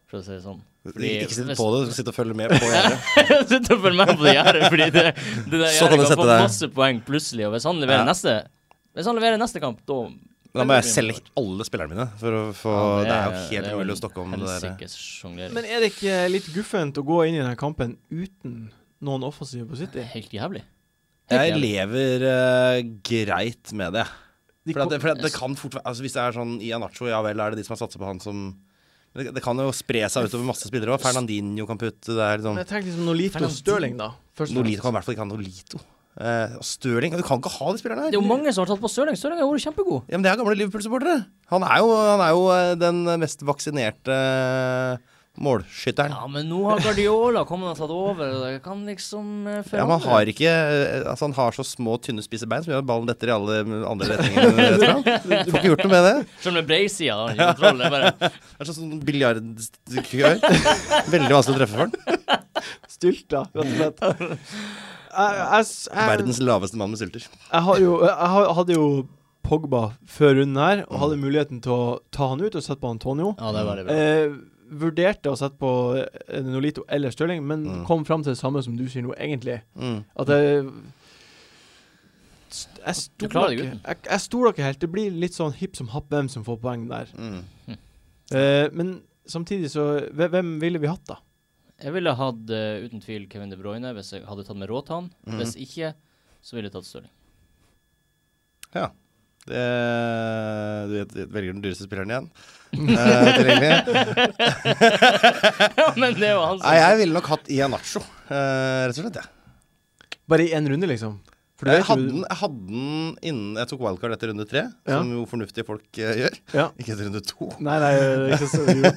Speaker 2: for å si det sånn. Fordi-
Speaker 4: ikke sitt
Speaker 2: hvis-
Speaker 4: på det, sitt og følge med på gjerdet.
Speaker 2: Sitte og følge med på det gjerdet, fordi det, det der
Speaker 4: Så kan du
Speaker 2: gjerdet kan
Speaker 4: sette
Speaker 2: få
Speaker 4: deg.
Speaker 2: masse poeng plutselig, og hvis han leverer
Speaker 4: Ja.
Speaker 2: neste Hvis han leverer neste kamp, da
Speaker 4: Da må jeg selge alle spillerne mine. For å få
Speaker 2: Ja,
Speaker 4: Det er jo helt umulig å stokke om det der.
Speaker 2: helsikes sjonglering.
Speaker 1: Men er det ikke litt guffent å gå inn i denne kampen uten noen offensive på City?
Speaker 2: Helt jævlig. Helt
Speaker 4: Jeg
Speaker 2: jævlig.
Speaker 4: lever eh, greit med det.
Speaker 1: De
Speaker 4: For, at,
Speaker 1: kom-
Speaker 4: det- for at det kan fort være altså Hvis det er sånn Ianacho, ja vel, er det de som har satset på han som Men det, det kan jo spre seg utover masse spillere òg. Fernandinho kan putte det er liksom
Speaker 1: Men jeg tenker liksom Nolito og
Speaker 2: Fernandinho.
Speaker 1: Stirling, da. Først og fremst.
Speaker 4: Nolito kan i hvert fall ikke ha Nolito. Eh, og Stirling Du kan ikke ha de spillerne
Speaker 2: Det er
Speaker 4: her.
Speaker 2: jo mange som har tatt på Stirling. Stirling har vært kjempegod.
Speaker 4: Ja, men det er gamle Liverpool-supportere. Han, er jo- han er jo eh, den mest vaksinerte eh, målskytteren.
Speaker 2: Ja, men nå har Guardiola kommet og tatt over, og det kan liksom eh,
Speaker 4: Ja,
Speaker 2: forandre
Speaker 4: man har ikke eh, Altså, han har så små, tynne, spisse bein som gjør at ballen detter i alle andre retninger. rett fram. Får ikke gjort noe med det.
Speaker 2: Selv om det er breisida, har han ikke kontroll. Det er bare
Speaker 4: Det er sånn sånn biljardkøer. Veldig vanskelig å treffe for den.
Speaker 1: Stylta, rett og slett. Jeg, jeg, jeg,
Speaker 4: Verdens laveste mann med sylter.
Speaker 1: Jeg, har jo, jeg har- hadde jo Pogba før runden her, og hadde muligheten til å ta han ut og sette på Antonio.
Speaker 2: Ja, det er veldig bra.
Speaker 1: Eh, vurderte å sette på eh, Nolito eller Stirling, men
Speaker 4: Mm.
Speaker 1: kom fram til det samme som du sier nå, egentlig.
Speaker 4: Mm.
Speaker 1: At jeg st- jeg
Speaker 2: Du
Speaker 1: stoler
Speaker 2: klarer deg
Speaker 1: ikke
Speaker 2: uten.
Speaker 1: jeg, jeg stoler ikke helt. Det blir litt sånn hipp som happ hvem som får poeng der.
Speaker 4: Mm.
Speaker 1: Eh, men samtidig så hve- Hvem ville vi hatt, da?
Speaker 2: Jeg ville hatt eh, uten tvil Kevin De Bruyne hvis jeg hadde tatt med råd til han.
Speaker 4: Mhm.
Speaker 2: Hvis ikke, så ville jeg tatt Stirling.
Speaker 4: Ja. Det, du vet, du velger den dyreste spilleren igjen. Eh, tilgjengelig.
Speaker 2: ja, men det er jo han som
Speaker 4: Nei, jeg ville nok hatt Ianacho, eh, rett og slett. Ja.
Speaker 1: Bare i én runde, liksom? For du
Speaker 4: Jeg
Speaker 1: vet
Speaker 4: hadde
Speaker 1: jo
Speaker 4: den jeg hadde den innen jeg tok wildcard etter runde tre,
Speaker 1: Ja.
Speaker 4: som jo fornuftige folk eh, gjør.
Speaker 1: Ja.
Speaker 4: Ikke etter runde to.
Speaker 1: Nei, nei, det er ikke så det.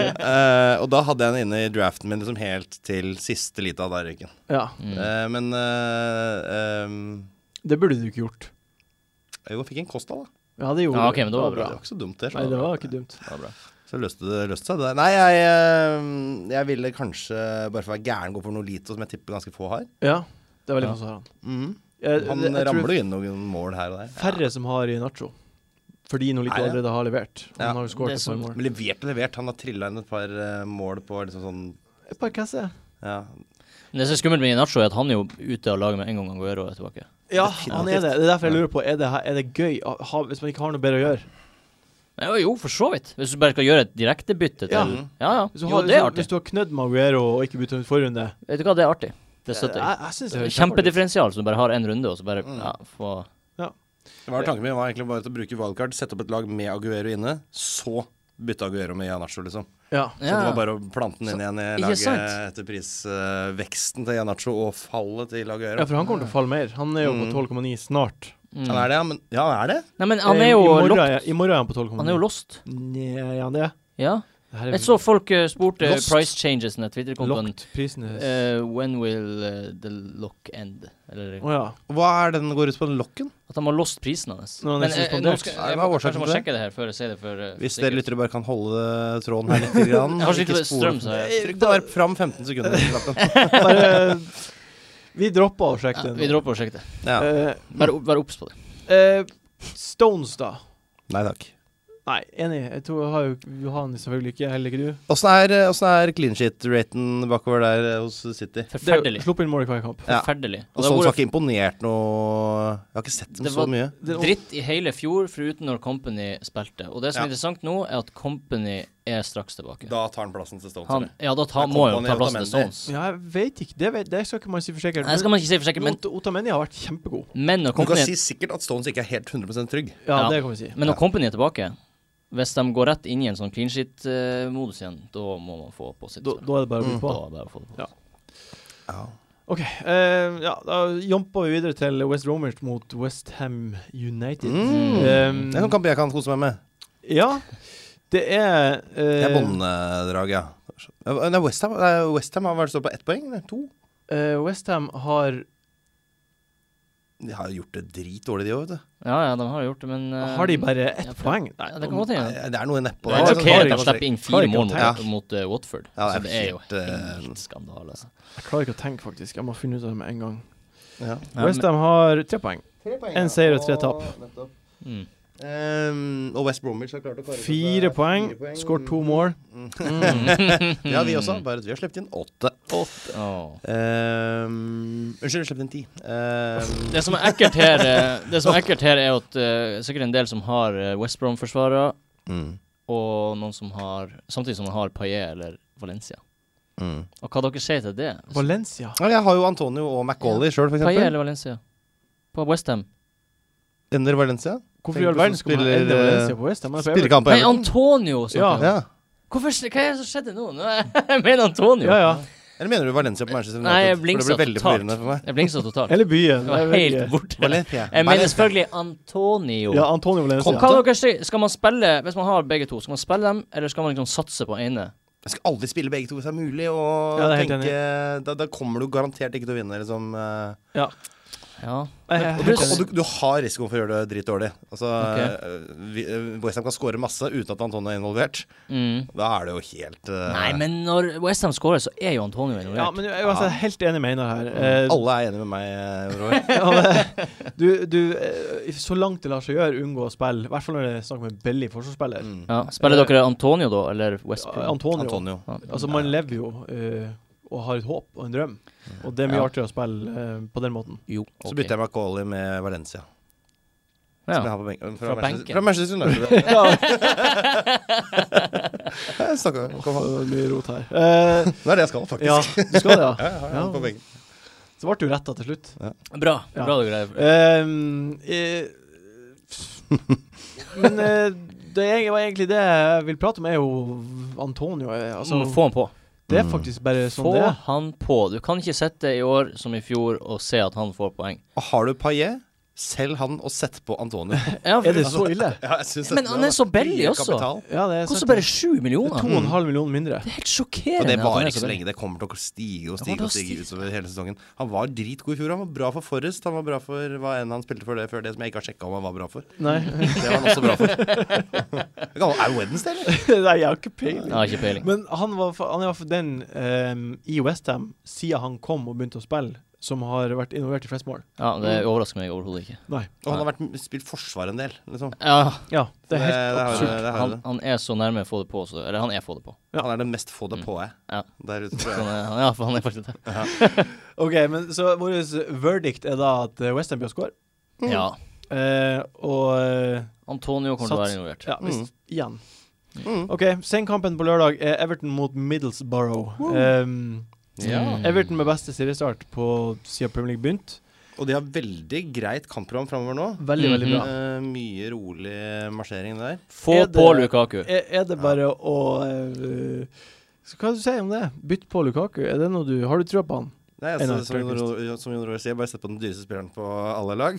Speaker 4: Eh, og da hadde jeg den inne i draften min liksom helt til siste lite av der røyken.
Speaker 1: Ja.
Speaker 2: Mm.
Speaker 4: Eh, men eh, ehm,
Speaker 1: Det burde du ikke gjort.
Speaker 4: jo, jeg fikk en Costa, da.
Speaker 1: Ja, det gjorde
Speaker 2: Ja,
Speaker 1: du.
Speaker 2: ok, men det var
Speaker 4: Det
Speaker 2: bra.
Speaker 4: var ikke så dumt, det.
Speaker 1: Nei, det var ikke dumt.
Speaker 2: Ja, bra.
Speaker 4: Så løste det løste seg. Det. der. Nei, jeg, eh, jeg ville kanskje bare for å være gæren gå for Nolito, som jeg tipper ganske få har. Mhm.
Speaker 1: Ja, det er veldig
Speaker 2: Ja.
Speaker 1: masse han. Eh,
Speaker 4: Han ramler jo inn noen mål her og der.
Speaker 1: Færre som har i Nacho. Fordi Nolito
Speaker 4: Nei, ja.
Speaker 1: allerede har levert. Han
Speaker 4: Ja.
Speaker 1: har jo skåret et
Speaker 2: Det er
Speaker 1: par
Speaker 2: sånn-
Speaker 1: mål.
Speaker 4: Men levert og levert. Han har trilla inn et par eh, mål på liksom sånn
Speaker 1: Et par kasser.
Speaker 4: ja.
Speaker 2: Men det som er skummelt med Inacho, er at han er jo ute av laget med en gang Aguero er tilbake.
Speaker 1: Ja,
Speaker 4: Definitivt.
Speaker 1: han er det. Det er derfor jeg lurer på Er det, her- er det gøy å ha, hvis man ikke har noe bedre å gjøre.
Speaker 2: Men jo, jo, for så vidt. Hvis du bare skal gjøre et direktebytte til
Speaker 1: Ja.
Speaker 2: Ja, ja.
Speaker 1: Hvis du,
Speaker 2: Jo,
Speaker 1: har,
Speaker 2: det er
Speaker 1: hvis, du, hvis
Speaker 2: artig.
Speaker 1: du har knødd med Aguero og ikke byttet ut forrunde
Speaker 2: Vet du hva, det er artig. Det
Speaker 1: Jeg,
Speaker 2: støtter jeg.
Speaker 1: jeg, jeg synes det høres kjempeartig ut.
Speaker 2: Kjempedifferensial, så du bare har én runde, og så bare
Speaker 4: Mm.
Speaker 2: ja, få
Speaker 4: Hva var Tanken min var egentlig bare til å bruke wildcard, sette opp et lag med Aguero inne, så bytte Aguero med Janacho, liksom.
Speaker 1: Ja.
Speaker 4: Så det var bare å plante den inn igjen i
Speaker 2: Ikke
Speaker 4: laget
Speaker 2: sant?
Speaker 4: etter prisveksten til Janacho og fallet til Aguero.
Speaker 1: ja, for han kommer til å falle mer. Han er jo på
Speaker 4: Mm.
Speaker 1: 12,9 snart.
Speaker 2: Mm.
Speaker 4: Han er det, ja, men Ja, han er det?
Speaker 2: Nei, men han
Speaker 1: Eh,
Speaker 2: er jo
Speaker 1: I morgen,
Speaker 2: locked.
Speaker 1: er- i morgen er han på 12,9.
Speaker 2: Han er jo lost.
Speaker 1: Nja, ja, det er
Speaker 2: Ja.
Speaker 1: det her er
Speaker 2: Jeg så folk eh, spurte
Speaker 4: Lost.
Speaker 2: price changes i Twitter-kontoen.
Speaker 1: Locked prisene Å
Speaker 2: Eh, when will eh, the lock end? Eller
Speaker 1: ja.
Speaker 4: Hva er den går ut på, den lokken?
Speaker 2: at de har lost prisen hans.
Speaker 1: Når han er
Speaker 2: Men, eh,
Speaker 1: suspendert.
Speaker 2: nå skal-
Speaker 4: Nei,
Speaker 2: jeg
Speaker 4: hva er
Speaker 2: må-
Speaker 4: årsaken
Speaker 2: kanskje jeg må
Speaker 4: til
Speaker 2: sjekke
Speaker 4: det?
Speaker 2: det her før jeg sier det. For, eh,
Speaker 4: Hvis
Speaker 2: sikkerhet.
Speaker 4: dere lyttere bare kan holde tråden her litt. Grann.
Speaker 2: Kanskje litt
Speaker 4: Ikke
Speaker 2: strøm,
Speaker 4: spole-
Speaker 2: så jeg-
Speaker 4: Trykk da fram 15 sekunder. på knappen.
Speaker 1: Eh, Bare Vi droppa å sjekke
Speaker 2: Ja,
Speaker 1: den.
Speaker 2: vi dropper å sjekke det.
Speaker 4: Ja.
Speaker 1: Eh,
Speaker 2: Vær, vær obs på det.
Speaker 1: eh, Stones, da.
Speaker 4: Nei takk.
Speaker 1: Nei, enig. Jeg tror jeg har jo du har den selvfølgelig ikke, heller ikke du.
Speaker 4: Åssen er, åssen er clean shit-raten bakover der eh, hos City?
Speaker 1: Det er jo-
Speaker 2: Forferdelig.
Speaker 1: Slupp inn mål i hver kamp.
Speaker 4: Ja.
Speaker 2: Forferdelig. Og
Speaker 4: Og
Speaker 2: det har
Speaker 4: sånn har
Speaker 2: vært
Speaker 4: ikke imponert noe Jeg har ikke sett dem
Speaker 2: Det
Speaker 4: så
Speaker 2: var-
Speaker 4: mye.
Speaker 1: Det-
Speaker 2: dritt i hele fjor, foruten når Company spilte. Og det som
Speaker 4: Ja.
Speaker 2: er interessant nå, er at Company er straks tilbake.
Speaker 4: Da tar han plassen til Stones.
Speaker 2: Han,
Speaker 4: eller?
Speaker 2: ja, da ta,
Speaker 4: Da
Speaker 2: må jo
Speaker 4: Company
Speaker 2: ta
Speaker 4: og
Speaker 2: plassen til
Speaker 4: Otamendi.
Speaker 2: Stones.
Speaker 1: Ja, jeg vet ikke. Det, vet, det skal ikke man si for sikkert.
Speaker 2: Nei, det skal man ikke si for sikkert,
Speaker 1: Men
Speaker 2: men,
Speaker 1: Ot- Otamendi har vært kjempegod.
Speaker 2: men når
Speaker 4: Du kan
Speaker 2: Company
Speaker 4: si sikkert at Stones ikke er helt 100 trygg.
Speaker 1: Ja,
Speaker 2: Ja.
Speaker 1: det kan vi si.
Speaker 2: Men når
Speaker 4: Ja.
Speaker 2: Company er tilbake, hvis de går rett inn i en sånn clean shit-modus igjen, da må man få på sitt
Speaker 1: Da,
Speaker 2: spill.
Speaker 1: da er det bare å bli
Speaker 4: Mm.
Speaker 1: på.
Speaker 2: Da er det bare å få det på.
Speaker 1: OK. eh, ja, da jumper vi videre til West Romers mot West Ham United.
Speaker 4: Mm.
Speaker 2: Ehm,
Speaker 1: Um,
Speaker 4: Det er en kamp jeg kan kose meg med.
Speaker 1: Ja, det er
Speaker 4: Det
Speaker 1: eh,
Speaker 4: er bånddrag, ja. Eh, Nei, Westham West Ham har vært stått på ett poeng? Nei, to?
Speaker 1: eh, West Ham har
Speaker 4: De har gjort det dritdårlig, de òg, vet du.
Speaker 2: Ja, ja, de har gjort det, men eh,
Speaker 1: Har de bare
Speaker 2: ja,
Speaker 1: ett
Speaker 2: for-
Speaker 1: poeng? Nei,
Speaker 2: Ja, det kan godt
Speaker 4: Nei,
Speaker 2: hende.
Speaker 4: Det er noe nedpå
Speaker 2: Det
Speaker 1: Nei,
Speaker 2: er
Speaker 1: det
Speaker 2: ok at de
Speaker 1: klarer
Speaker 2: slipper inn
Speaker 1: klarer
Speaker 2: fire
Speaker 1: ikke å
Speaker 2: mål mot,
Speaker 4: tenke.
Speaker 2: mot eh, Watford.
Speaker 4: sånn. Ja,
Speaker 2: så
Speaker 4: det
Speaker 2: det
Speaker 4: er
Speaker 2: er jo
Speaker 4: helt, eh,
Speaker 2: helt skandale. Altså.
Speaker 1: jeg klarer ikke å tenke, faktisk. Jeg må finne ut av det med en gang.
Speaker 4: Ja.
Speaker 2: Ja,
Speaker 1: West Ham har tre poeng. En seier og tre tap.
Speaker 2: Mm.
Speaker 4: Ehm, og West Bromwich har klart å kare
Speaker 1: Fire poeng, skåret to mål.
Speaker 4: Mm. ja, vi også. Bare at vi har sluppet inn åtte.
Speaker 2: Åh.
Speaker 4: Ehm, unnskyld, vi har sluppet inn ti. Ehm,
Speaker 2: Det som er ekkelt her, eh, Det som er ekkelt her er at eh, sikkert en del som har eh, West Brom-forsvarere,
Speaker 4: mm,
Speaker 2: og noen som har Samtidig som man har Paillet eller Valencia.
Speaker 4: mm.
Speaker 2: Og hva dere sier til det?
Speaker 1: Valencia.
Speaker 4: Ja, jeg har jo Antonio og McAuley sjøl, for
Speaker 2: Paillet
Speaker 4: eksempel.
Speaker 2: eller Valencia? På Westham.
Speaker 4: Ender Valencia.
Speaker 1: Hvorfor i
Speaker 4: Tenk
Speaker 1: all
Speaker 4: på
Speaker 1: verden
Speaker 4: som
Speaker 1: skulle man
Speaker 4: spiller,
Speaker 1: endre
Speaker 4: eh,
Speaker 1: Valencia på West Ham? Han er på
Speaker 4: Spiller kamp på
Speaker 2: Nei,
Speaker 4: Everton.
Speaker 2: Antonio!
Speaker 1: Ja.
Speaker 2: snakker jeg om.
Speaker 4: Ja.
Speaker 2: Hvorfor, s- hva er det som skjedde nå? nå er- jeg mener Antonio.
Speaker 1: Ja, ja.
Speaker 4: Eller mener du Valencia på Manchester United?
Speaker 2: Nei, jeg
Speaker 4: for det
Speaker 2: blingsa
Speaker 4: blir veldig
Speaker 2: totalt.
Speaker 4: forvirrende for meg.
Speaker 2: Jeg blingsa totalt.
Speaker 1: Eller byen.
Speaker 2: Jeg var
Speaker 1: jeg vet
Speaker 2: helt
Speaker 1: ikke.
Speaker 2: borte.
Speaker 4: Valencia.
Speaker 2: Jeg mener selvfølgelig Antonio.
Speaker 1: Ja, Antonio
Speaker 2: Hva
Speaker 1: Valencia.
Speaker 2: hva dere sier? Skal man spille, hvis man har begge to, skal man spille dem, eller skal man liksom satse på ene?
Speaker 4: Jeg skal aldri spille begge to hvis det er mulig, og
Speaker 1: Ja, det er helt
Speaker 4: tenke da, da kommer du garantert ikke til å vinne, liksom. eh.
Speaker 2: Ja.
Speaker 1: Jeg er helt
Speaker 4: Og du,
Speaker 1: enig.
Speaker 4: og du, du har risikoen for å gjøre det dritdårlig. Altså,
Speaker 2: Ok.
Speaker 4: eh, vi- eh, West Ham kan score masse uten at Antonio er involvert.
Speaker 2: Mm.
Speaker 4: Da er det jo helt eh,
Speaker 2: Nei, men når Westham scorer, så er jo Antonio involvert.
Speaker 1: Ja, men jeg er altså helt enig med Einar her. Eh,
Speaker 4: Alle er enige med meg, eh, Roy.
Speaker 1: Ja, men, du, du, eh, så langt det lar seg gjøre, unngå å spille. I hvert fall når det er snakk om en billig forsvarsspiller.
Speaker 4: Mm.
Speaker 2: Ja, Spiller dere Antonio, da, eller West
Speaker 1: Eh. Ja,
Speaker 2: Brom?
Speaker 1: Antonio.
Speaker 4: Antonio.
Speaker 1: Altså, man lever jo eh, og har et håp og en drøm, og det er mye
Speaker 2: Ja.
Speaker 1: artigere å spille eh, på den måten.
Speaker 2: Jo,
Speaker 4: Så bytter jeg McCauley med Valencia. Som jeg
Speaker 2: Ja.
Speaker 4: har på benken.
Speaker 2: Fra
Speaker 4: Manchester-
Speaker 2: benken.
Speaker 4: Fra Manchester United.
Speaker 1: Ja,
Speaker 4: Jeg snakker- kom an.
Speaker 1: mye rot her. Eh,
Speaker 4: Det er det jeg skal, faktisk.
Speaker 1: ja, du skal det, ja.
Speaker 4: Ja, jeg har han på benken.
Speaker 1: Så ble du retta til slutt.
Speaker 2: Bra.
Speaker 1: Ja.
Speaker 2: Bra du greier.
Speaker 1: Ehm, eh, men eh, det er- var egentlig det jeg vil prate om, er jo Antonio. eh,
Speaker 2: Så
Speaker 1: Altså,
Speaker 2: må Mm, få han på.
Speaker 1: det er faktisk bare sånn
Speaker 2: Få
Speaker 1: det er.
Speaker 2: han på. Du kan ikke sitte i år som i fjor og se at han får poeng.
Speaker 4: Og har du Paillet, selg han og sett på Antonio.
Speaker 2: Ja,
Speaker 1: Er det sånn
Speaker 4: Altså,
Speaker 1: så ille?
Speaker 4: Ja, jeg synes
Speaker 2: Men
Speaker 4: dette
Speaker 2: han
Speaker 4: var
Speaker 2: er så billig
Speaker 4: mye
Speaker 2: også.
Speaker 4: kapital.
Speaker 1: Ja, det er
Speaker 2: Koster
Speaker 1: sant.
Speaker 2: bare sju millioner.
Speaker 1: To og en halv million mindre.
Speaker 2: Det er helt
Speaker 4: Og
Speaker 2: sjokkerende.
Speaker 4: det
Speaker 2: at han
Speaker 4: varer
Speaker 2: er
Speaker 4: ikke så
Speaker 2: billig.
Speaker 4: lenge. Det kommer til å stige og
Speaker 2: Det kommer
Speaker 4: stige og
Speaker 2: til å
Speaker 4: stige
Speaker 2: stige.
Speaker 4: utover hele sesongen. Han var dritgod i fjor. Han var bra for Forrest. Han var bra for hva enn han spilte for det før det, som jeg ikke har sjekka om han var bra for.
Speaker 1: Nei.
Speaker 4: Det var han også bra for. Jeg kan- Er det Wednesday, eller?
Speaker 1: Nei, jeg har ikke peiling.
Speaker 2: Ja, ikke peiling.
Speaker 1: Men han var, fa- han er i hvert fall den ehm, i Westham siden han kom og begynte å spille, som har vært involvert i flest mål.
Speaker 2: Ja, Det overrasker meg overhodet ikke.
Speaker 1: Nei.
Speaker 4: Og han har vært, spilt forsvar en del, liksom.
Speaker 2: Ja,
Speaker 1: Ja, det er helt
Speaker 4: det, har-
Speaker 1: absurd.
Speaker 4: det har
Speaker 2: han,
Speaker 4: det.
Speaker 2: han er så nærme å få det på, så, eller han er få det på.
Speaker 4: Han er det mest få det på jeg
Speaker 2: Mm. Ja.
Speaker 4: der ute, tror
Speaker 2: Han er,
Speaker 4: jeg.
Speaker 2: han, ja, for han er faktisk det.
Speaker 1: OK, men så vår verdict er da at Westham bør score.
Speaker 2: Ja.
Speaker 1: Eh, og eh,
Speaker 2: Antonio kommer til å være involvert.
Speaker 1: ja, hvis,
Speaker 4: Mm.
Speaker 1: igjen.
Speaker 4: Mm.
Speaker 1: OK, senkampen på lørdag er Everton mot Middlesbrough. Ehm,
Speaker 4: Ja.
Speaker 1: Everton med beste seriestart på siden Premier League begynte.
Speaker 4: Og de har veldig greit kampprogram framover nå.
Speaker 1: Veldig, veldig bra.
Speaker 4: Eh, mye rolig marsjering der.
Speaker 2: Få
Speaker 1: Er det-
Speaker 2: på Lukaku.
Speaker 1: Er, er det bare å eh, så Hva du sier du om det? Bytt på Lukaku? Er det noe du, har du trua på han?
Speaker 4: Nei,
Speaker 1: En av
Speaker 4: altså, som, Jon
Speaker 1: Ferguson.
Speaker 4: Roar- som Jon Roar sier, bare sett på den dyreste spilleren på alle lag.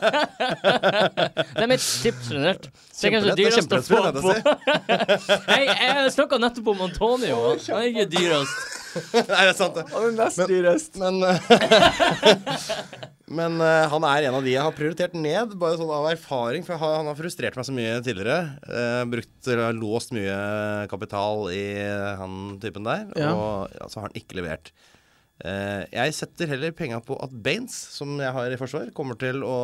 Speaker 2: Det er mitt tips generelt. Det er kanskje
Speaker 4: Kjempelett, det er
Speaker 2: dyrest å få
Speaker 4: kjempelett å
Speaker 2: på.
Speaker 4: se.
Speaker 2: Hei, jeg snakka nettopp om Antonio. Han er ikke dyrast.
Speaker 4: Nei, det er sant, det.
Speaker 1: Han er nest
Speaker 4: Men-
Speaker 1: dyrest.
Speaker 4: Men eh, Men eh, han er en av de jeg har prioritert ned, bare sånn av erfaring. For jeg har, han har frustrert meg så mye tidligere. Eh, brukt eller låst mye kapital i han typen der.
Speaker 1: Ja.
Speaker 4: Og ja, så har han ikke levert. Eh, jeg setter heller penga på at Baines, som jeg har i forsvar, kommer til å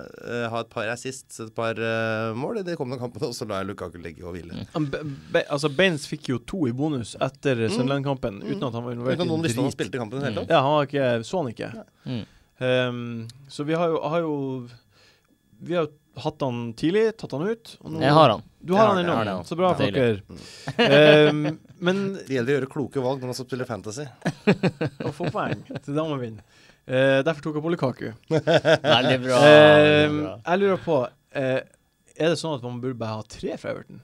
Speaker 4: eh, ha et par assists, et par eh, mål i de kommende kampene, og så lar jeg Lukaku ligge og hvile.
Speaker 1: Han Be Be altså Baines fikk jo to i bonus etter Sunderland-kampen, uten at han var
Speaker 4: Uten
Speaker 1: involvert
Speaker 4: at noen visste
Speaker 1: i
Speaker 4: han
Speaker 1: drit. Mm.
Speaker 4: spilte kampen i det hele tatt.
Speaker 1: Ja, han var ikke, så han ikke.
Speaker 2: Mm.
Speaker 1: Ehm, så vi har jo, har jo Vi har jo hatt han tidlig, tatt han ut. og nå-
Speaker 2: Jeg har han.
Speaker 1: Du har
Speaker 4: Jeg har
Speaker 1: han
Speaker 4: det, jeg har det,
Speaker 1: ennå.
Speaker 4: ja.
Speaker 1: Så bra,
Speaker 2: Ja.
Speaker 1: folkere. Ehm, men
Speaker 4: Det gjelder å gjøre kloke valg når man skal spille fantasy.
Speaker 1: å få poeng, så da må vi vinne. Eh, derfor tok jeg på Lukaku.
Speaker 2: Veldig bra.
Speaker 1: Ehm,
Speaker 2: veldig bra.
Speaker 1: jeg lurer på eh, Er det sånn at man burde bare ha tre fra Everton?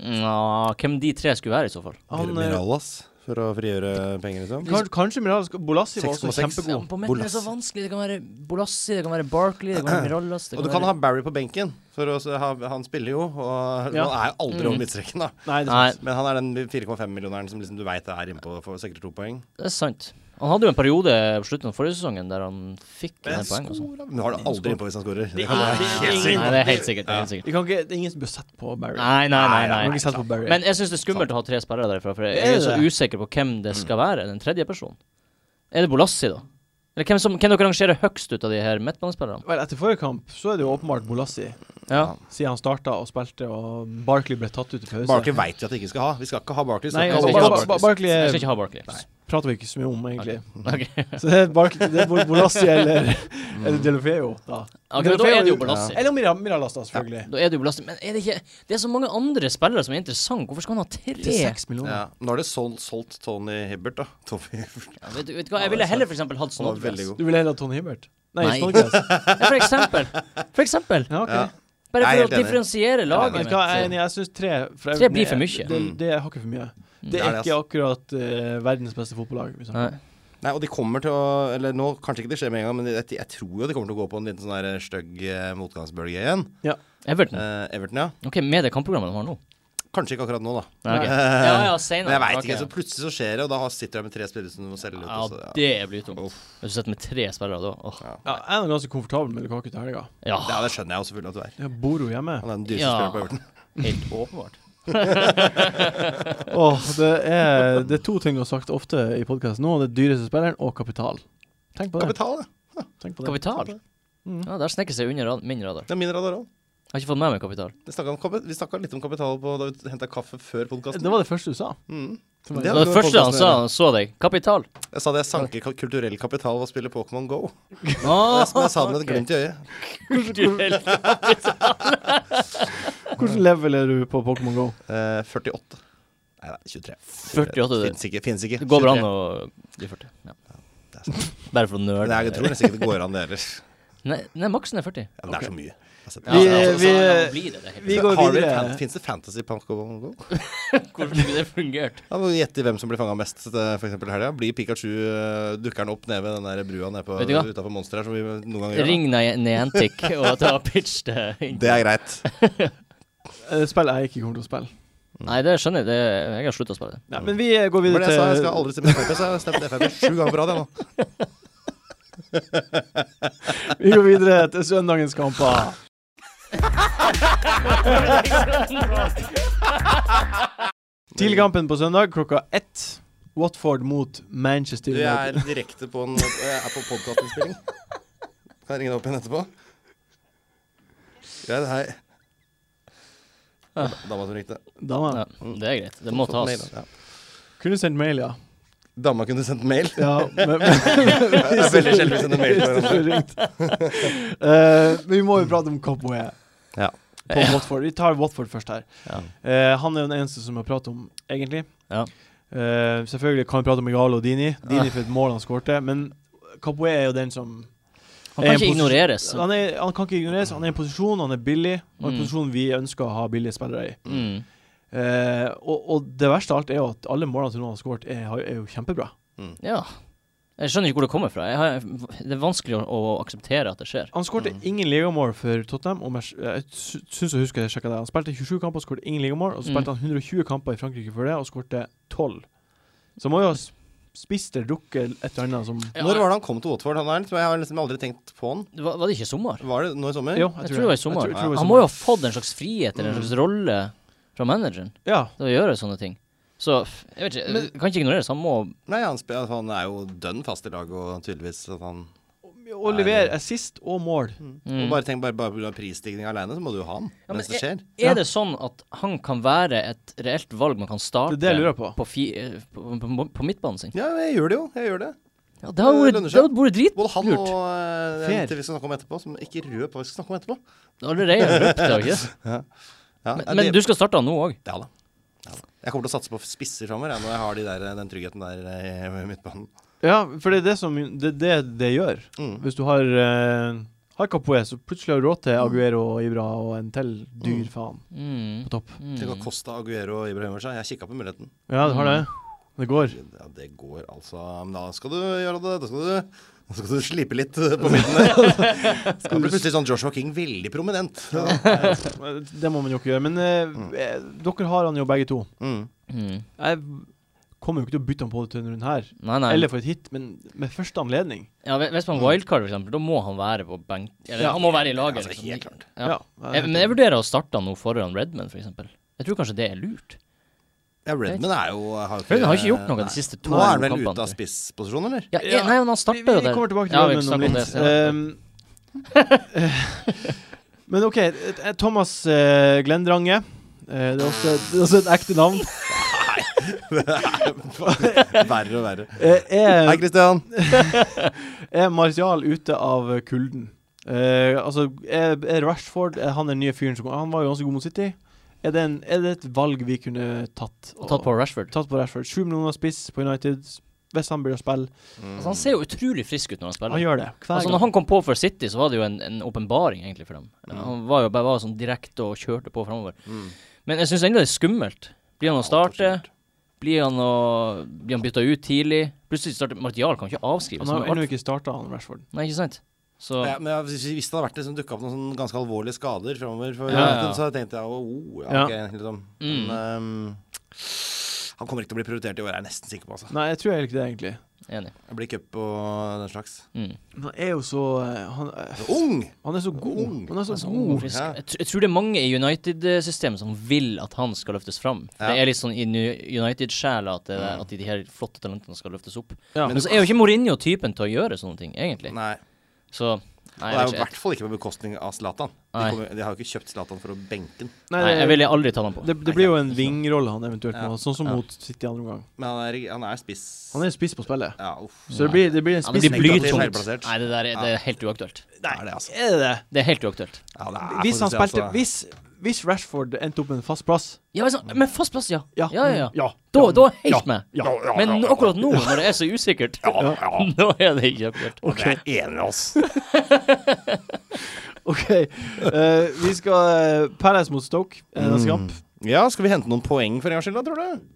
Speaker 2: Nå, hvem de tre skulle være i så fall?
Speaker 1: Han, eh,
Speaker 4: Miralas for å frigjøre penger, liksom.
Speaker 1: kan, kanskje Miral Bolassi var også
Speaker 4: 6,6.
Speaker 2: Ja,
Speaker 1: kjempegod.
Speaker 2: men på midten er det så
Speaker 4: Bolassi.
Speaker 2: vanskelig. Det kan være Bolassi, det kan være Barkley, det kan være Mirallas det
Speaker 4: Og du
Speaker 2: kan
Speaker 4: kan
Speaker 2: være-
Speaker 4: ha Barry på benken, for å, så ha, han spiller jo. Og
Speaker 1: Ja.
Speaker 4: Han er jo aldri over
Speaker 2: Mm.
Speaker 4: midtstreken, da.
Speaker 1: Nei, det er
Speaker 2: Nei.
Speaker 1: sant.
Speaker 4: Men han er den 4,5-millionæren som liksom du veit er innpå for sikkert to poeng.
Speaker 2: Det er sant. Han hadde jo en periode på slutten av forrige sesongen der han fikk en del poeng. og sånn.
Speaker 4: Men du har det aldri innpå hvis han scorer. Det kan
Speaker 2: Nei,
Speaker 4: være helt sykt.
Speaker 2: nei, det er helt sikkert. Det er helt sikkert.
Speaker 1: Vi kan ikke, det er ingen som bør sette på Barry.
Speaker 2: Nei, nei, nei.
Speaker 1: Vi kan
Speaker 2: nei.
Speaker 1: ikke sette på Barry.
Speaker 2: Men jeg syns det er skummelt å ha tre sperrer derfra, for jeg
Speaker 1: Det er
Speaker 2: er så
Speaker 1: det.
Speaker 2: usikker på hvem det skal være. Den tredje personen. Er det Bolassi, da? Eller hvem, som, hvem dere rangerer høgst ut av de her midtbanespillerne?
Speaker 1: Vel, etter forrige kamp så er det jo åpenbart Bolassi,
Speaker 2: Ja.
Speaker 1: siden han starta og spilte, og Barkley ble tatt ut i pause.
Speaker 4: Barkley veit vi at vi ikke skal ha. Vi skal ikke ha Barkley.
Speaker 1: Nei,
Speaker 4: vi
Speaker 1: altså,
Speaker 4: skal
Speaker 2: ikke
Speaker 4: ikke
Speaker 1: Bar
Speaker 2: ha
Speaker 4: ha
Speaker 1: Bar- Bar-
Speaker 4: Barkley.
Speaker 1: Barkley
Speaker 2: Jeg
Speaker 1: eh,
Speaker 2: skal ikke ha Barkley.
Speaker 1: prater vi ikke så mye om, egentlig.
Speaker 2: Ok.
Speaker 1: Så det er, Barkley, det er Bol- Bolassi eller, eller
Speaker 4: Mm.
Speaker 1: Delofeo, da.
Speaker 2: Ok, men da er det jo Bolassi.
Speaker 1: Eller Mira- Miralas, da, selvfølgelig.
Speaker 2: Da er det jo Bolassi. Men er det ikke Det er så mange andre spillere som er interessante. Hvorfor skal han ha
Speaker 1: Til
Speaker 2: tre?
Speaker 1: seks millioner.
Speaker 4: Ja. Nå har de solgt, solgt Tony Hibbert, da. Tony Hibbert.
Speaker 2: Ja, vet, du- vet du hva, jeg ville heller for eksempel hatt
Speaker 4: Han var veldig
Speaker 2: Snodgrass.
Speaker 4: god.
Speaker 1: Du vil heller ha Tony Hibbert? Nei,
Speaker 2: Nei.
Speaker 1: Snodgrass.
Speaker 2: Ja, for eksempel. For eksempel.
Speaker 1: Ja, ok.
Speaker 4: Ja.
Speaker 2: Bare for å
Speaker 4: Jeg er helt enig.
Speaker 2: differensiere
Speaker 1: Men
Speaker 2: laget
Speaker 1: hva, jeg er enig,
Speaker 2: mitt.
Speaker 1: jeg syns tre fra
Speaker 2: Tre
Speaker 1: Everton
Speaker 2: blir
Speaker 1: er-
Speaker 2: for
Speaker 1: Det,
Speaker 2: mye.
Speaker 4: Mm.
Speaker 1: det er hakket for mye. Det
Speaker 4: Det
Speaker 1: er
Speaker 4: er det, altså.
Speaker 1: ikke akkurat eh, verdens beste fotballag. Liksom.
Speaker 2: Nei.
Speaker 4: Nei, og de kommer til å Eller nå, kanskje ikke det skjer med en gang, men jeg, jeg tror jo de kommer til å gå på en liten sånn der stygg eh, motgangsbølge igjen.
Speaker 2: Everton.
Speaker 4: Eh, Everton, ja.
Speaker 2: Ok, med det kampprogrammet de har nå.
Speaker 4: Kanskje ikke akkurat nå, da.
Speaker 2: Nei, ok.
Speaker 4: Eh,
Speaker 2: Ja, ja, senere.
Speaker 4: Men jeg veit
Speaker 2: Ok.
Speaker 4: ikke. Så plutselig så skjer det, og da har- sitter jeg med tre spillere som du må selge ut.
Speaker 2: Ja,
Speaker 4: og så- ja.
Speaker 2: det blir tungt. Hvis du sitter med tre spillere da. Åh.
Speaker 1: Ja, jeg er nå ganske komfortabel med Lukaku til helga.
Speaker 2: Ja,
Speaker 4: ja, det skjønner jeg jo selvfølgelig at du er.
Speaker 1: Jeg bor jo hjemme.
Speaker 4: Han er den dyreste
Speaker 2: Ja.
Speaker 4: spilleren på Everton.
Speaker 2: helt åpenbart.
Speaker 1: Åh, det, er, det er to ting jeg har sagt ofte i podkasten nå. Det er dyreste spilleren og kapital. Tenk på det.
Speaker 4: Kapital, ja.
Speaker 1: Tenk på det.
Speaker 2: Kapital.
Speaker 1: Mm.
Speaker 2: Ja, der snekker seg under rad- min radar.
Speaker 4: Det er min radar òg.
Speaker 2: Jeg har ikke fått med meg kapital.
Speaker 4: Vi snakket om kapi- vi snakka litt om kapital på, da vi henta kaffe før podkasten.
Speaker 1: Det var det første du sa.
Speaker 4: Mm.
Speaker 1: Som var-
Speaker 4: Det
Speaker 2: Det
Speaker 4: er
Speaker 2: var
Speaker 4: noe
Speaker 2: det første han
Speaker 4: podcasten
Speaker 2: sa,
Speaker 4: gjør.
Speaker 2: han så deg. Kapital.
Speaker 4: Jeg sa det jeg sanker ka- kulturell kapital ved å spille Pokémon Go.
Speaker 2: Ah,
Speaker 4: Det er som jeg sa det med et glimt i øyet.
Speaker 2: kulturell.
Speaker 1: Hvordan level er du på Pokémon Go?
Speaker 4: Eh, 48. Nei, nei, 23.
Speaker 2: 48, du.
Speaker 4: Fins ikke. Finnes ikke.
Speaker 2: Det går bra nå,
Speaker 4: 23.
Speaker 2: de 40. Ja.
Speaker 4: Det er sant.
Speaker 2: Bare for å
Speaker 4: Men
Speaker 2: nøle.
Speaker 4: jeg tror nesten ikke det går an, det heller.
Speaker 2: Nei, nei, maksen er 40.
Speaker 4: Ja, men det er så mye. Altså,
Speaker 1: Vi-
Speaker 4: det er-
Speaker 2: altså,
Speaker 1: vi-
Speaker 2: sånn blir det, det er helt-
Speaker 1: vi går
Speaker 4: Har du
Speaker 1: videre.
Speaker 4: fan- Finnes det fantasy på Pokémon Go?
Speaker 2: Hvorfor skulle det fungert?
Speaker 4: Ja, må du Gjette hvem som blir fanga mest eh, for eksempel i helga. Blir Pikachu eh, dukker han opp nede ved den der brua nede på-
Speaker 2: Vet du hva?
Speaker 4: utenfor monsteret her, som vi noen ganger gjør? da?
Speaker 2: Ring Ni- Niantic og ta pitch det inn.
Speaker 4: Det er greit.
Speaker 1: Eh, Spill jeg ikke kommer til å spille.
Speaker 2: Nei, det skjønner jeg. Det, jeg har slutta å spille det.
Speaker 1: Nei, men vi eh, går
Speaker 4: Det var
Speaker 1: videre
Speaker 4: det jeg sa. Jeg
Speaker 1: til
Speaker 4: skal aldri stemme Frp, så jeg har stemt Frp sju ganger på rad. jeg nå.
Speaker 1: Vi går videre til søndagens kamper. Tidligkampen på søndag klokka ett. Watford mot Manchester
Speaker 4: Du
Speaker 1: United.
Speaker 4: er direkte på en Jeg er på podkastinnspilling. Kan jeg ringe deg opp igjen etterpå? Greit, hei. Dama som ringte.
Speaker 1: Dama.
Speaker 2: Ja, det er greit. Ah. Det må
Speaker 4: Fått mail,
Speaker 2: tas.
Speaker 4: ja.
Speaker 1: Kunne sendt mail, ja.
Speaker 4: Dama kunne sendt mail.
Speaker 1: ja men, men,
Speaker 4: Det er veldig sjelden vi sender mail på hverandre.
Speaker 1: Eh, men vi må jo prate om Copway
Speaker 4: Ja.
Speaker 1: på Watford. Vi tar Watford først her.
Speaker 2: Ja.
Speaker 1: Eh, han er jo den eneste som har pratet om, egentlig.
Speaker 2: Ja. Ah.
Speaker 1: Eh, selvfølgelig kan vi prate om Igalo og Dini. Dini for et mål han skårte. Men Copway er jo den som
Speaker 2: Han kan
Speaker 1: En
Speaker 2: ikke
Speaker 1: posi-
Speaker 2: ignoreres.
Speaker 1: han, er, han kan ikke ignoreres. Han er i en posisjon, han er billig, og en
Speaker 2: Mm.
Speaker 1: posisjon vi ønsker å ha billige spillere i.
Speaker 2: Mm.
Speaker 1: Eh, og, og det verste av alt er jo at alle målene som han har skåret, er, har- er jo kjempebra.
Speaker 2: Ja. Jeg skjønner ikke hvor det kommer fra. Jeg har, det er vanskelig å, å akseptere at det skjer.
Speaker 1: Han skårte ingen ligamål for Tottenham. Og Mers- jeg sy- syns jeg husker jeg sjekket det. Han spilte 27 kamper og skårte ingen ligamål. Og så
Speaker 2: Mm.
Speaker 1: spilte han 120 kamper i Frankrike før det og skårte 12. Så han må jo ha s- spist eller drukket et eller annet som
Speaker 2: Ja,
Speaker 4: Når var det han kom til Watford? Han er, litt- jeg har liksom aldri tenkt på han.
Speaker 2: Var, var det ikke i sommer?
Speaker 4: Var det nå i sommer?
Speaker 1: Jo,
Speaker 2: Jeg tror det var i sommer.
Speaker 1: Jeg tror- jeg tror det var i
Speaker 2: han
Speaker 1: sommer. Mm.
Speaker 2: må jo ha fått en slags frihet eller en slags rolle fra manageren
Speaker 1: Ja.
Speaker 2: til å gjøre sånne ting. Så f- jeg vet ikke, du kan ikke ignorere det. så Han må
Speaker 4: Nei, han, spe- altså, han er jo dønn fast i laget, og tydeligvis at han
Speaker 1: Å levere assist og mål.
Speaker 2: mm.
Speaker 4: og Bare tenk bare, bare på prisstigning alene, så må du jo ha han
Speaker 2: Ja, men
Speaker 4: mens det skjer.
Speaker 1: Ja.
Speaker 2: Er det sånn at han kan være et reelt valg man kan starte
Speaker 1: Det er det jeg lurer på.
Speaker 2: fi, eh, på, på, på midtbanen sin?
Speaker 4: Ja, jeg gjør det jo. Jeg gjør det.
Speaker 2: Ja, det har
Speaker 4: det
Speaker 2: vært
Speaker 4: lønner
Speaker 2: det har
Speaker 4: seg.
Speaker 2: vært
Speaker 4: Både han
Speaker 2: dritlurt.
Speaker 4: og eh,
Speaker 1: Fair.
Speaker 4: en til vi skal snakke om etterpå, som ikke rød på hva vi skal snakke om etterpå.
Speaker 2: Det har Allerede røpt det, har ikke det?
Speaker 4: Ja,
Speaker 2: Men,
Speaker 4: ja,
Speaker 2: men
Speaker 4: det-
Speaker 2: du skal starte han nå òg?
Speaker 4: Ja da. Ja, da. Jeg kommer til å satse på spisser framover når jeg har de der, den tryggheten der eh, i midtbanen.
Speaker 1: Ja, for det er det som Det er det det gjør.
Speaker 4: Mm.
Speaker 1: Hvis du har uh, Har Capoe, så plutselig har du råd til Aguero og Ibra og en til dyr faen
Speaker 2: Mm.
Speaker 1: på topp.
Speaker 4: Tenk å Costa Aguero og Ibrahimovic. ja. Jeg kikka på muligheten.
Speaker 1: Ja, du har det.
Speaker 2: Mm.
Speaker 1: Det går.
Speaker 4: Ja, det går altså Men da skal du gjøre det. Da skal du, da skal du slipe litt eh, på midten der. Da blir plutselig sånn Joshua King veldig prominent.
Speaker 1: Det må man jo ikke gjøre. Men eh, eh, dere har han jo begge to.
Speaker 4: Mm.
Speaker 2: Mm.
Speaker 1: Jeg kommer jo ikke til å bytte han på til denne runden her.
Speaker 2: Nei, nei.
Speaker 1: Eller for et hit, men med første anledning.
Speaker 2: ja, hvis- hvis man wildcard, for eksempel, da må han være på benk... Eller
Speaker 1: Ja.
Speaker 2: han må være i laget.
Speaker 4: Altså,
Speaker 2: liksom.
Speaker 4: helt klart.
Speaker 2: Ja.
Speaker 1: jeg
Speaker 2: Jeg,
Speaker 1: vet
Speaker 2: men jeg vurderer å starte han nå foran Redman, for eksempel. Jeg tror kanskje det er lurt.
Speaker 4: Ja, Redman er jo har
Speaker 2: Redman har ikke gjort noe
Speaker 4: Nei.
Speaker 2: de siste to
Speaker 4: Nå er han vel
Speaker 2: kampene,
Speaker 4: ute
Speaker 2: tror
Speaker 4: av
Speaker 2: jeg.
Speaker 4: spissposisjon, eller?
Speaker 1: Ja.
Speaker 2: Ja, jeg, nei, men han
Speaker 1: Vi,
Speaker 2: starta
Speaker 1: vi
Speaker 2: jo der.
Speaker 1: kommer tilbake til
Speaker 2: ja,
Speaker 1: det
Speaker 2: vi
Speaker 1: om
Speaker 2: snakker om det
Speaker 1: litt.
Speaker 2: senere.
Speaker 1: Ehm, men OK, eh, Thomas eh, Glendrange. Eh, det, er også, det er også et ekte navn.
Speaker 4: verre og verre.
Speaker 1: Eh, er,
Speaker 4: Hei, Christian.
Speaker 1: er Martial ute av eh, kulden? Eh, altså, er, er Rashford er han den nye fyren som kom? Han var jo ganske god mot City. Er det, en, er det et valg vi kunne tatt?
Speaker 2: Og tatt på Rashford.
Speaker 1: Tatt på Rashford. Sju millioner spiss på United. Hvis han blir å spille.
Speaker 2: Altså, han ser jo utrolig frisk ut når han spiller.
Speaker 1: Han gjør det. Hver
Speaker 2: Altså,
Speaker 1: gang.
Speaker 2: når han kom på for City, så var det jo en en åpenbaring egentlig for dem. Han var jo bare var sånn direkte og kjørte på framover.
Speaker 4: Mm.
Speaker 2: Men jeg syns ennå det er skummelt. Blir han å starte?
Speaker 4: Alt
Speaker 2: Blir han, å, blir han bytta ut tidlig? Plutselig starter Martial kan jo ikke avskrives.
Speaker 1: Han har
Speaker 2: Han
Speaker 1: ennå
Speaker 2: er alt-
Speaker 1: ikke starta, han Rashford.
Speaker 2: Nei, ikke sant? Så
Speaker 4: Ja, men jeg- hvis hvis det hadde vært liksom, dukka opp noen sånn ganske alvorlige skader framover, for,
Speaker 2: Ja, ja, ja.
Speaker 4: så hadde jeg tenkt jeg oh,
Speaker 1: Ja.
Speaker 4: ja, ok, liksom.
Speaker 2: Mm.
Speaker 4: Men ehm, han kommer ikke til å bli prioritert i år, jeg er nesten sikker på. Altså.
Speaker 1: Nei, jeg tror egentlig det, egentlig.
Speaker 2: enig.
Speaker 4: Det blir cup og den slags.
Speaker 2: Mm.
Speaker 1: Men han er jo så eh, Han, eh,
Speaker 4: Ung!
Speaker 1: han er så god.
Speaker 4: Ung.
Speaker 1: Han er så
Speaker 2: Han er så ung og
Speaker 1: god.
Speaker 2: frisk.
Speaker 4: Ja.
Speaker 2: Jeg, tr jeg tror det er mange i United-systemet som vil at han skal løftes fram.
Speaker 4: Ja.
Speaker 2: Det er litt sånn i Nu- United-sjela at, det- at de her flotte talentene skal løftes opp.
Speaker 1: Ja.
Speaker 2: Men så er jo ikke Mourinho typen til å gjøre sånne ting, egentlig.
Speaker 4: Nei.
Speaker 2: Så
Speaker 4: Og
Speaker 2: Nei,
Speaker 4: det
Speaker 2: jeg,
Speaker 4: er jo i
Speaker 2: vet ikke.
Speaker 4: hvert fall ikke på bekostning av Zlatan. De,
Speaker 2: Nei.
Speaker 4: kommer, de har jo ikke kjøpt Zlatan for å benke den.
Speaker 1: Nei,
Speaker 2: Nei, jeg
Speaker 1: det,
Speaker 2: ville aldri tatt han på.
Speaker 1: det, det blir jo en vingrolle han eventuelt
Speaker 4: Ja.
Speaker 1: må ha, sånn som
Speaker 2: Ja.
Speaker 1: mot City andre omgang.
Speaker 4: Men han er, han er spiss.
Speaker 1: Han er en spiss på spillet,
Speaker 4: Ja, uff.
Speaker 1: så det blir, det blir en
Speaker 2: Ja, men
Speaker 1: spiss.
Speaker 2: det
Speaker 4: Negativt
Speaker 2: blir blytungt.
Speaker 4: feilplassert.
Speaker 2: Nei, det der er, det er helt uaktuelt.
Speaker 4: Nei, det er altså.
Speaker 1: Er det det?
Speaker 2: Det er helt uaktuelt.
Speaker 4: Ja, det er
Speaker 1: Hvis han
Speaker 4: faktisk,
Speaker 1: spilte
Speaker 4: altså.
Speaker 1: Hvis, hvis Rashford endte opp med en fast plass
Speaker 2: Ja, men sånn- men fast plass, ja.
Speaker 1: Ja. Mm,
Speaker 2: ja, ja.
Speaker 1: Ja.
Speaker 2: Da, da er jeg helt
Speaker 1: Ja.
Speaker 2: med.
Speaker 1: Ja.
Speaker 2: Men nå- akkurat nå, når det er så usikkert,
Speaker 1: Ja.
Speaker 2: nå er det ikke aktuelt.
Speaker 4: Jeg er enig med oss.
Speaker 1: OK. Eh, vi skal eh, Palace mot Stoke eh, neste
Speaker 4: Mm.
Speaker 1: kamp.
Speaker 4: Ja, skal vi hente noen poeng for en gangs skyld, da, tror du?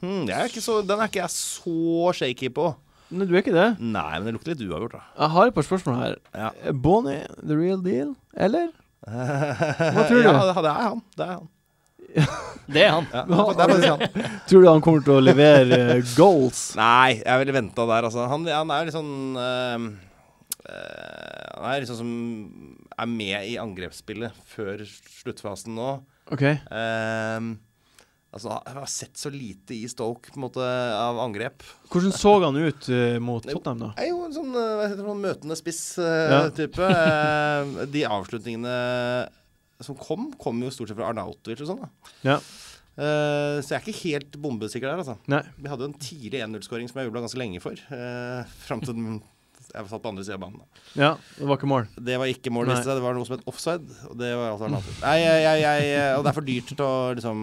Speaker 4: Hmm, jeg er ikke så, den er ikke jeg så shaky på.
Speaker 1: Nei, du er ikke det?
Speaker 4: Nei, men det lukter litt uavgjort, da.
Speaker 1: Jeg har et par spørsmål her.
Speaker 4: Ja.
Speaker 1: Eh, Bonnie, the real deal, eller? Hva tror du?
Speaker 4: Ja, det det er han. Det er han.
Speaker 2: Det er han.
Speaker 4: Ja, det er faktisk han.
Speaker 1: Tror du han kommer til å levere eh, goals?
Speaker 4: Nei, jeg ville venta der, altså. Han, han er jo litt sånn eh, eh, Han er litt sånn som er med i angrepsspillet før sluttfasen nå.
Speaker 1: OK.
Speaker 4: Eh, altså, jeg har sett så lite i Stoke på en måte, av angrep.
Speaker 1: Hvordan så han ut eh, mot Tottenham, da?
Speaker 4: er jo en sånn, eh, hva heter det, sånn møtende
Speaker 1: Ja.
Speaker 4: spiss-type. Ehm, de avslutningene som kom, kom jo stort sett fra Arnautovic og sånn. da.
Speaker 1: Ja.
Speaker 4: Eh, så jeg er ikke helt bombesikker der, altså.
Speaker 1: Nei.
Speaker 4: Vi hadde jo en tidlig 1-0-skåring som jeg jubla ganske lenge for. Uh, fram til den, jeg satt på andre sida av banen. da.
Speaker 1: Ja, det var ikke mål.
Speaker 4: Det var ikke mål,
Speaker 1: Nei.
Speaker 4: viste seg. Det var noe som het offside. Og det var alt annet. Nei, jeg, jeg, jeg, og det er for dyrt til å liksom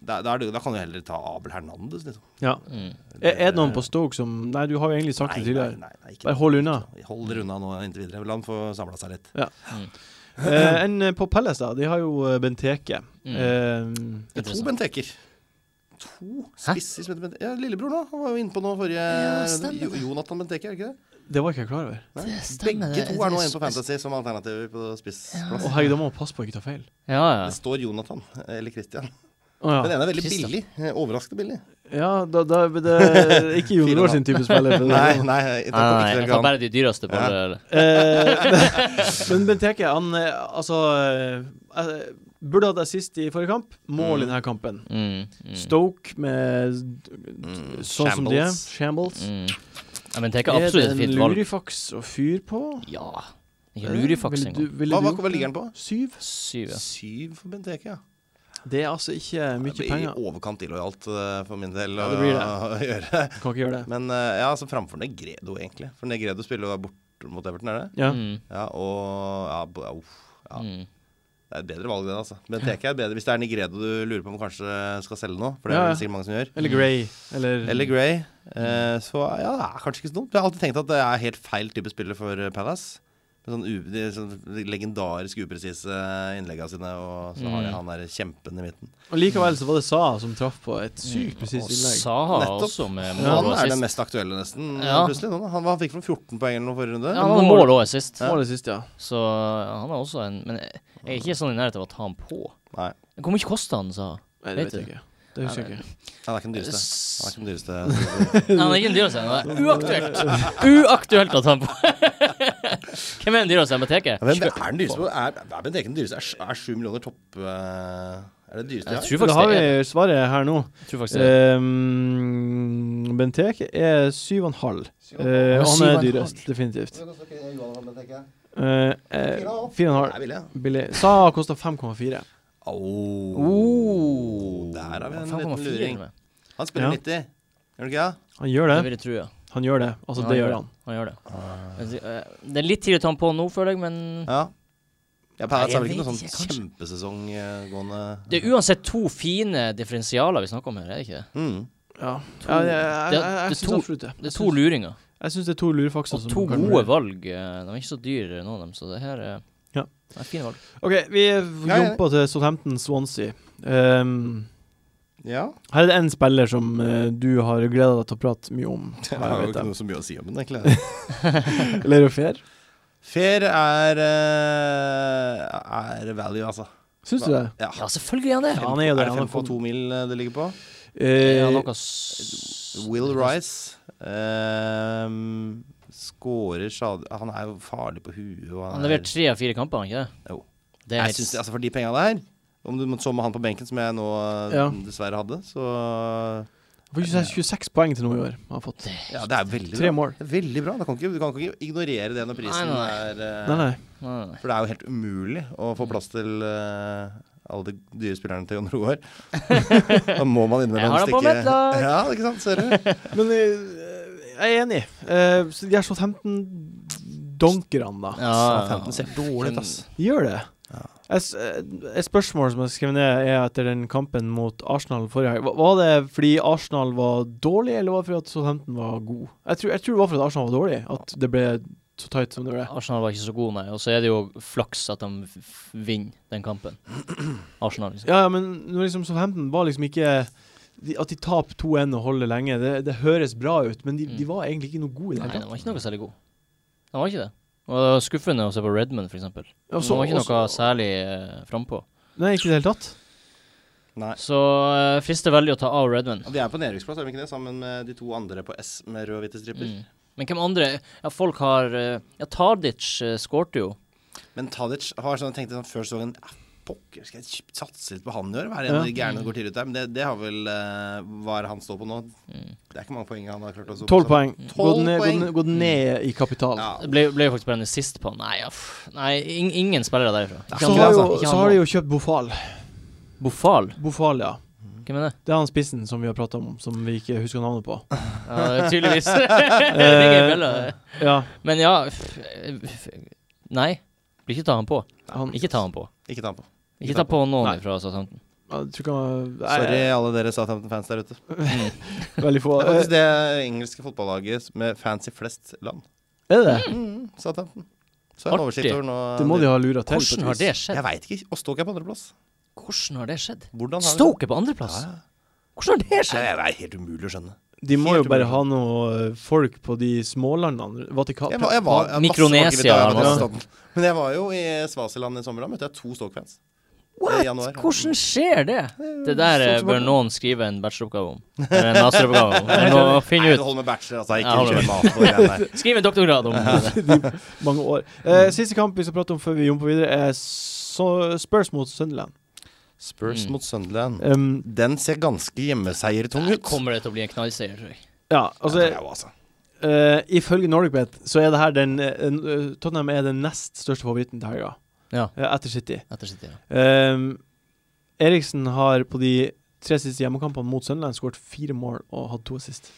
Speaker 4: da, da, er det- da kan du heller ta Abel Hernandez, liksom.
Speaker 1: Ja.
Speaker 2: Mm.
Speaker 1: Er, er det noen på Stoke som Nei, du har jo egentlig sagt
Speaker 4: Nei,
Speaker 1: det
Speaker 4: nei,
Speaker 1: tidligere.
Speaker 4: nei, nei, ikke
Speaker 1: Bare hold unna.
Speaker 4: Hold dere unna nå inntil videre. La han få samla seg litt.
Speaker 1: Eh, en eh, på Pelles, da. De har jo eh, Benteke. Eh,
Speaker 2: Mm.
Speaker 4: Det er to
Speaker 2: Interessant.
Speaker 4: Benteker. To spisser som heter Benteke. Ja, lillebror nå. Han var jo inne på nå forrige
Speaker 2: Ja,
Speaker 4: runde.
Speaker 2: stemmer
Speaker 4: Jo, Jonathan Benteke, er det ikke det?
Speaker 1: det var ikke jeg klar over.
Speaker 4: Nei.
Speaker 2: Det stemmer,
Speaker 4: Begge
Speaker 2: det-
Speaker 4: to
Speaker 2: det
Speaker 4: er nå
Speaker 2: er
Speaker 4: inne på
Speaker 2: så-
Speaker 4: Fantasy som alternativer på spissplass.
Speaker 1: Å herregud, da må man passe på å ikke ta feil.
Speaker 2: Ja, ja.
Speaker 4: Det står Jonathan eller Christian.
Speaker 1: Å
Speaker 4: Den
Speaker 1: ja.
Speaker 4: ene er veldig
Speaker 2: Christian.
Speaker 4: billig. eh, Overraskende billig.
Speaker 1: ja da, da, det, ikke Junior sin type spiller. for å si det
Speaker 4: Nei,
Speaker 1: sånn.
Speaker 4: nei,
Speaker 2: Nei,
Speaker 4: jeg
Speaker 2: nei,
Speaker 4: tar ikke
Speaker 2: jeg
Speaker 4: velge
Speaker 2: tar
Speaker 4: han.
Speaker 2: bare de dyreste. På det.
Speaker 1: Eh, men Benteke, han eh, Altså eh, eh, Burde hatt assist i forrige kamp. Mål i denne kampen.
Speaker 2: Mm, mm,
Speaker 1: Stoke med d-
Speaker 4: Mm,
Speaker 1: sånn som de er.
Speaker 4: shambles.
Speaker 1: Shambles.
Speaker 2: mm. Ja, men det er ikke
Speaker 1: Er
Speaker 2: absolutt
Speaker 1: det
Speaker 2: et
Speaker 1: en
Speaker 2: fint valg.
Speaker 1: lurifaks å fyre på?
Speaker 2: Ja. Ikke lurifaks
Speaker 1: Ville du-
Speaker 2: engang.
Speaker 1: ville
Speaker 4: Hva,
Speaker 1: du
Speaker 4: hva,
Speaker 1: gjort
Speaker 4: hva
Speaker 1: det?
Speaker 4: ligger den på?
Speaker 1: Syv.
Speaker 2: Syv, ja.
Speaker 4: Syv for Benteke, ja.
Speaker 1: Det er altså ikke mye
Speaker 4: det blir
Speaker 1: penger.
Speaker 4: i overkant illojalt eh, for min del
Speaker 1: Ja, det
Speaker 4: å-
Speaker 1: blir det.
Speaker 4: å gjøre.
Speaker 1: Kan ikke gjøre det.
Speaker 4: Men eh, ja, altså framfor Negredo, egentlig. For Negredo spiller jo da bort mot Everton, er det?
Speaker 1: Ja.
Speaker 2: Mm,
Speaker 4: Ja, og ja, bo- ja, uff. Ja.
Speaker 2: mm.
Speaker 4: Det er et bedre valg, det, altså. Benteke er bedre hvis det er Negredo du lurer på om kanskje skal selge nå. For det
Speaker 1: Ja, ja.
Speaker 4: er
Speaker 1: Mm.
Speaker 4: det sikkert mange som gjør.
Speaker 1: Eller Grey. Eller,
Speaker 4: Mm. Eller Gray. Eh, så ja, det er kanskje ikke så dumt. Jeg har alltid tenkt at det er helt feil type spiller for eh, Palace. Med sånn, u de, sånn legendarisk upresise eh, innleggene sine, og så har de
Speaker 2: Mm.
Speaker 4: han der kjempen i midten.
Speaker 1: Og likevel så var det Sa som traff på et
Speaker 2: Mm.
Speaker 1: sykt presist
Speaker 2: Og
Speaker 1: innlegg.
Speaker 2: Saha
Speaker 4: Nettopp.
Speaker 2: også med
Speaker 1: Ja,
Speaker 2: mål
Speaker 4: han
Speaker 2: og
Speaker 4: er den
Speaker 2: assist.
Speaker 4: mest aktuelle, nesten.
Speaker 2: Ja.
Speaker 4: Plutselig nå, da. Han, han fikk vel 14 poeng eller noe forrige runde.
Speaker 2: Ja, han hadde mål og assist,
Speaker 1: Målet sist, ja.
Speaker 2: så han er også en Men jeg jeg er ikke sånn i nærheten av å ta han på.
Speaker 4: Nei.
Speaker 2: Hvor mye kosta han, Saha?
Speaker 1: Nei, det
Speaker 2: Vet
Speaker 1: vet jeg
Speaker 2: du?
Speaker 1: ikke. Det husker jeg ikke.
Speaker 4: Han er ikke den dyreste. Han er
Speaker 2: S-
Speaker 4: ikke den dyreste.
Speaker 2: Nei, han er ikke en dyreste. Det er uaktuelt. Uaktuelt å ta han på. Hvem er den dyreste jeg må teke?
Speaker 4: Ja, Hvem er den dyreste? Er, er Bent Eken den dyreste? Er, er 7 millioner topp eh, Er det den
Speaker 2: Jeg
Speaker 4: dyreste? jeg har?
Speaker 2: tror
Speaker 1: Da
Speaker 2: faktisk
Speaker 1: har
Speaker 2: det er
Speaker 1: vi eh, svaret her nå.
Speaker 2: Jeg tror faktisk det. er-
Speaker 1: Um, Benteke er 7,5. Eh, og han er
Speaker 2: 7,5.
Speaker 1: dyrest, definitivt.
Speaker 4: Det
Speaker 1: Eh, eh, 4,5.
Speaker 4: er billig, ja.
Speaker 1: Billig. Sa kosta 5,4.
Speaker 4: Au.
Speaker 2: Oh.
Speaker 4: Der har vi en
Speaker 2: 5,4
Speaker 4: liten
Speaker 2: til
Speaker 4: luring.
Speaker 2: og med.
Speaker 4: Han spiller
Speaker 1: Ja.
Speaker 4: 90, gjør han ikke det?
Speaker 1: Han gjør
Speaker 2: Det
Speaker 1: det.
Speaker 2: vil jeg tro, ja.
Speaker 1: Han gjør det. Altså,
Speaker 2: Ja,
Speaker 1: det gjør han.
Speaker 2: Han gjør det. Men det- eh, Det er litt tidlig å ta han på nå, føler jeg, men
Speaker 4: Ja. Ja,
Speaker 2: Mm.
Speaker 4: Palace
Speaker 2: Nei,
Speaker 4: har vel
Speaker 2: jeg
Speaker 4: ikke noen
Speaker 2: vet
Speaker 4: sånn eh, kjempesesonggående
Speaker 2: det er uansett to fine differensialer vi snakker om her, er det ikke det?
Speaker 4: mm.
Speaker 1: Ja.
Speaker 2: To-
Speaker 1: Ja, jeg jeg,
Speaker 2: det-
Speaker 1: jeg, jeg
Speaker 2: det er
Speaker 1: syns
Speaker 2: to-
Speaker 1: absolutt det.
Speaker 2: Det er
Speaker 1: Jeg
Speaker 2: to
Speaker 1: syns-
Speaker 2: luringer.
Speaker 1: Jeg syns det er to lurefakser
Speaker 2: Og
Speaker 1: som
Speaker 2: to
Speaker 1: kan
Speaker 2: gode
Speaker 1: vurdere.
Speaker 2: valg. eh, De er ikke så dyre, noen av dem, så det her er
Speaker 1: Ja.
Speaker 2: Det er fine valg.
Speaker 1: OK, vi
Speaker 4: ja.
Speaker 1: jumper til Southampton Swansea. Um,
Speaker 4: Ja.
Speaker 1: her er det én spiller som eh, du har gleda deg til å prate mye om.
Speaker 4: Det
Speaker 1: har
Speaker 4: er jo
Speaker 1: jeg
Speaker 4: ikke
Speaker 1: vet
Speaker 4: noe så mye å si om den, egentlig.
Speaker 1: jeg. Eller er det fair?
Speaker 4: Fair er eh, er value, altså.
Speaker 1: Syns du det?
Speaker 4: Ja.
Speaker 2: Ja, selvfølgelig er han det!
Speaker 1: Ja, han er jo
Speaker 4: Er
Speaker 1: det.
Speaker 4: det
Speaker 1: Han har fått
Speaker 4: 5,2 mil eh, det ligger på?
Speaker 2: Er han
Speaker 1: eh,
Speaker 2: noe s-
Speaker 4: Will Rice um, skårer stadig Han er jo farlig på huet. Og
Speaker 2: Han
Speaker 4: han er-
Speaker 2: leverte tre av fire kamper, har han ikke det?
Speaker 4: Jo.
Speaker 2: Det er
Speaker 4: jeg synes, altså For de penga der, om du så med han på benken, som jeg nå eh,
Speaker 1: Ja.
Speaker 4: dessverre hadde, så
Speaker 1: Får ikke si 26 poeng til nå i år. Har han fått
Speaker 4: Ja, det er veldig
Speaker 1: tre
Speaker 4: bra.
Speaker 1: mål.
Speaker 4: Det er veldig bra. Da kan ikke, du kan ikke ignorere det når prisen
Speaker 2: Nei, nei.
Speaker 4: er
Speaker 1: Nei,
Speaker 4: eh,
Speaker 1: nei.
Speaker 2: Nei, nei, nei.
Speaker 4: For det er jo helt umulig å få plass til eh, alle de dyre spillerne til Jon Roar. da må man
Speaker 2: Jeg
Speaker 4: innimellom
Speaker 2: har han på mitt lag.
Speaker 4: Ja, ikke sant? Ser du?
Speaker 1: Men eh, jeg er enig. Eh, så de er Southampton donker han, da.
Speaker 2: Ja, ja, ja.
Speaker 4: Southampton ser dårlig ut, ass.
Speaker 1: De gjør det.
Speaker 4: Ja.
Speaker 1: Jeg s- eh, Et spørsmål som jeg skrev ned, er etter den kampen mot Arsenal forrige helg. Var- Var det fordi Arsenal var dårlig, eller var det fordi at Southampton var god? Jeg tror, jeg tror det var fordi at Arsenal var dårlig, at det ble så tight som det ble.
Speaker 2: Arsenal var ikke så god, nei. Og så er det jo flaks at de f- f- vinner den kampen. Arsenal, liksom.
Speaker 1: Ja, ja, men når liksom Southampton var liksom ikke de, At de taper 2-1 og holder lenge, det, det høres bra ut, men de, de var egentlig ikke noe gode i det
Speaker 2: Mm. Nei,
Speaker 1: hele
Speaker 2: den
Speaker 1: tatt.
Speaker 2: var ikke noe særlig god. Den var ikke det. Og det var skuffende å se på Redmond, for eksempel.
Speaker 1: Og så-
Speaker 2: Den var ikke
Speaker 1: og så-
Speaker 2: noe særlig eh, frampå.
Speaker 1: Nei, ikke i det hele tatt.
Speaker 4: Nei.
Speaker 2: Så eh, frister veldig å ta av Redmond.
Speaker 4: Ja, De er på nedrykksplass, er de ikke det? Sammen med de to andre på S med rød og hvite striper.
Speaker 2: Mm. Men hvem andre? Ja, folk har eh, Ja, Tadic eh, skårte jo.
Speaker 4: Men Tadic har sånn, tenkt sånn før sesongen «Ah, Pokker, skal jeg kjøp- satse litt på han i år? Hva er det
Speaker 1: Ja.
Speaker 4: ja. gærne som går tidlig ut der? Men det, det har vel eh, Hva er det han står på nå? Det er ikke mange poeng han har klart å stå på.
Speaker 1: 12 poeng. Gått
Speaker 4: Tolv
Speaker 1: ned, gått
Speaker 4: poeng.
Speaker 1: ned, gått ned i kapital.
Speaker 4: Ja.
Speaker 2: Det ble, ble jo faktisk brennende sist på. Nei, ja, pff. Nei ing, ingen spillere derifra. Ikke
Speaker 1: Så
Speaker 2: han
Speaker 1: har,
Speaker 2: nå,
Speaker 1: jo,
Speaker 2: ikke han
Speaker 1: så har
Speaker 2: nå.
Speaker 1: de jo kjøpt Bofal.
Speaker 2: Bofal?
Speaker 1: Bofal, ja.
Speaker 2: Hvem er det?
Speaker 1: Det er han spissen som vi har prata om, som vi ikke husker navnet på.
Speaker 2: Ja, det er tydeligvis. Det ringer en bjelle.
Speaker 1: Ja,
Speaker 2: Men ja f- f- Nei. Blir ikke ta han på.
Speaker 1: han
Speaker 2: Ikke ta han på.
Speaker 4: Ikke ta han på.
Speaker 2: Ikke ta på
Speaker 1: Nei.
Speaker 2: noen fra Southampton.
Speaker 1: Jeg tror ikke han
Speaker 4: Sorry,
Speaker 1: jeg
Speaker 4: alle dere Southampton-fans der ute. Det
Speaker 1: er Veldig få.
Speaker 4: er
Speaker 1: Eh,
Speaker 4: faktisk det engelske fotballaget med fans i flest land.
Speaker 1: Er det det?
Speaker 4: Mm. Southampton. Så jeg har
Speaker 2: Artig.
Speaker 4: oversikt over nå
Speaker 1: Det må de ha lura til. på et
Speaker 2: Hvordan har
Speaker 1: vis.
Speaker 2: det skjedd?
Speaker 4: Jeg veit ikke. Og Stoke er på andreplass.
Speaker 2: Hvordan har det skjedd?
Speaker 4: Hvordan har
Speaker 2: Stoke er på andreplass.
Speaker 4: Ja, ja.
Speaker 2: Hvordan har det
Speaker 4: Altså, Det
Speaker 2: skjedd?
Speaker 4: er helt umulig å skjønne.
Speaker 1: De må jo
Speaker 4: Helt
Speaker 1: bare
Speaker 4: umulig.
Speaker 1: ha noe eh, folk på de smålandene. Vatikan...
Speaker 4: Jeg var, jeg var, jeg
Speaker 2: Mikronesia,
Speaker 4: var-
Speaker 1: masse.
Speaker 4: Men jeg var jo i Svasiland i sommer. Da møtte jeg to Stoke-fans. I januar. Sånn
Speaker 2: What? Hvordan skjer det? Det der eh,
Speaker 4: som
Speaker 2: bør
Speaker 4: at-
Speaker 2: noen skrive en bacheloroppgave om. Eller en masteroppgave om. Vi må
Speaker 4: Nei,
Speaker 2: finne
Speaker 4: det
Speaker 2: ut.
Speaker 4: holder med bachelor, altså.
Speaker 2: Jeg
Speaker 4: Ikke
Speaker 2: holder
Speaker 4: kjør mat på det greiene der.
Speaker 2: Skriv en doktorgrad om det.
Speaker 1: Mange år. Eh, siste kamp vi skal prate om før vi jumper videre, er så Spurs mot Sunderland.
Speaker 4: Spurs
Speaker 2: Mm.
Speaker 4: mot Sunderland.
Speaker 1: Um,
Speaker 4: Den ser ganske hjemmeseiertung
Speaker 2: Der
Speaker 4: ut.
Speaker 2: kommer det til å bli en knallseier, tror jeg.
Speaker 1: ja,
Speaker 4: Ja, det
Speaker 1: altså
Speaker 4: er jo, altså.
Speaker 1: Eh, ifølge NordicBet så er det her den eh, en- eh, Tottenham er den nest største favoritten til helga,
Speaker 2: Ja,
Speaker 1: eh, etter City.
Speaker 2: etter sitt ja.
Speaker 1: Ehm, Eriksen har på de tre siste hjemmekampene mot Sunderland skåret fire mål og hatt to assist.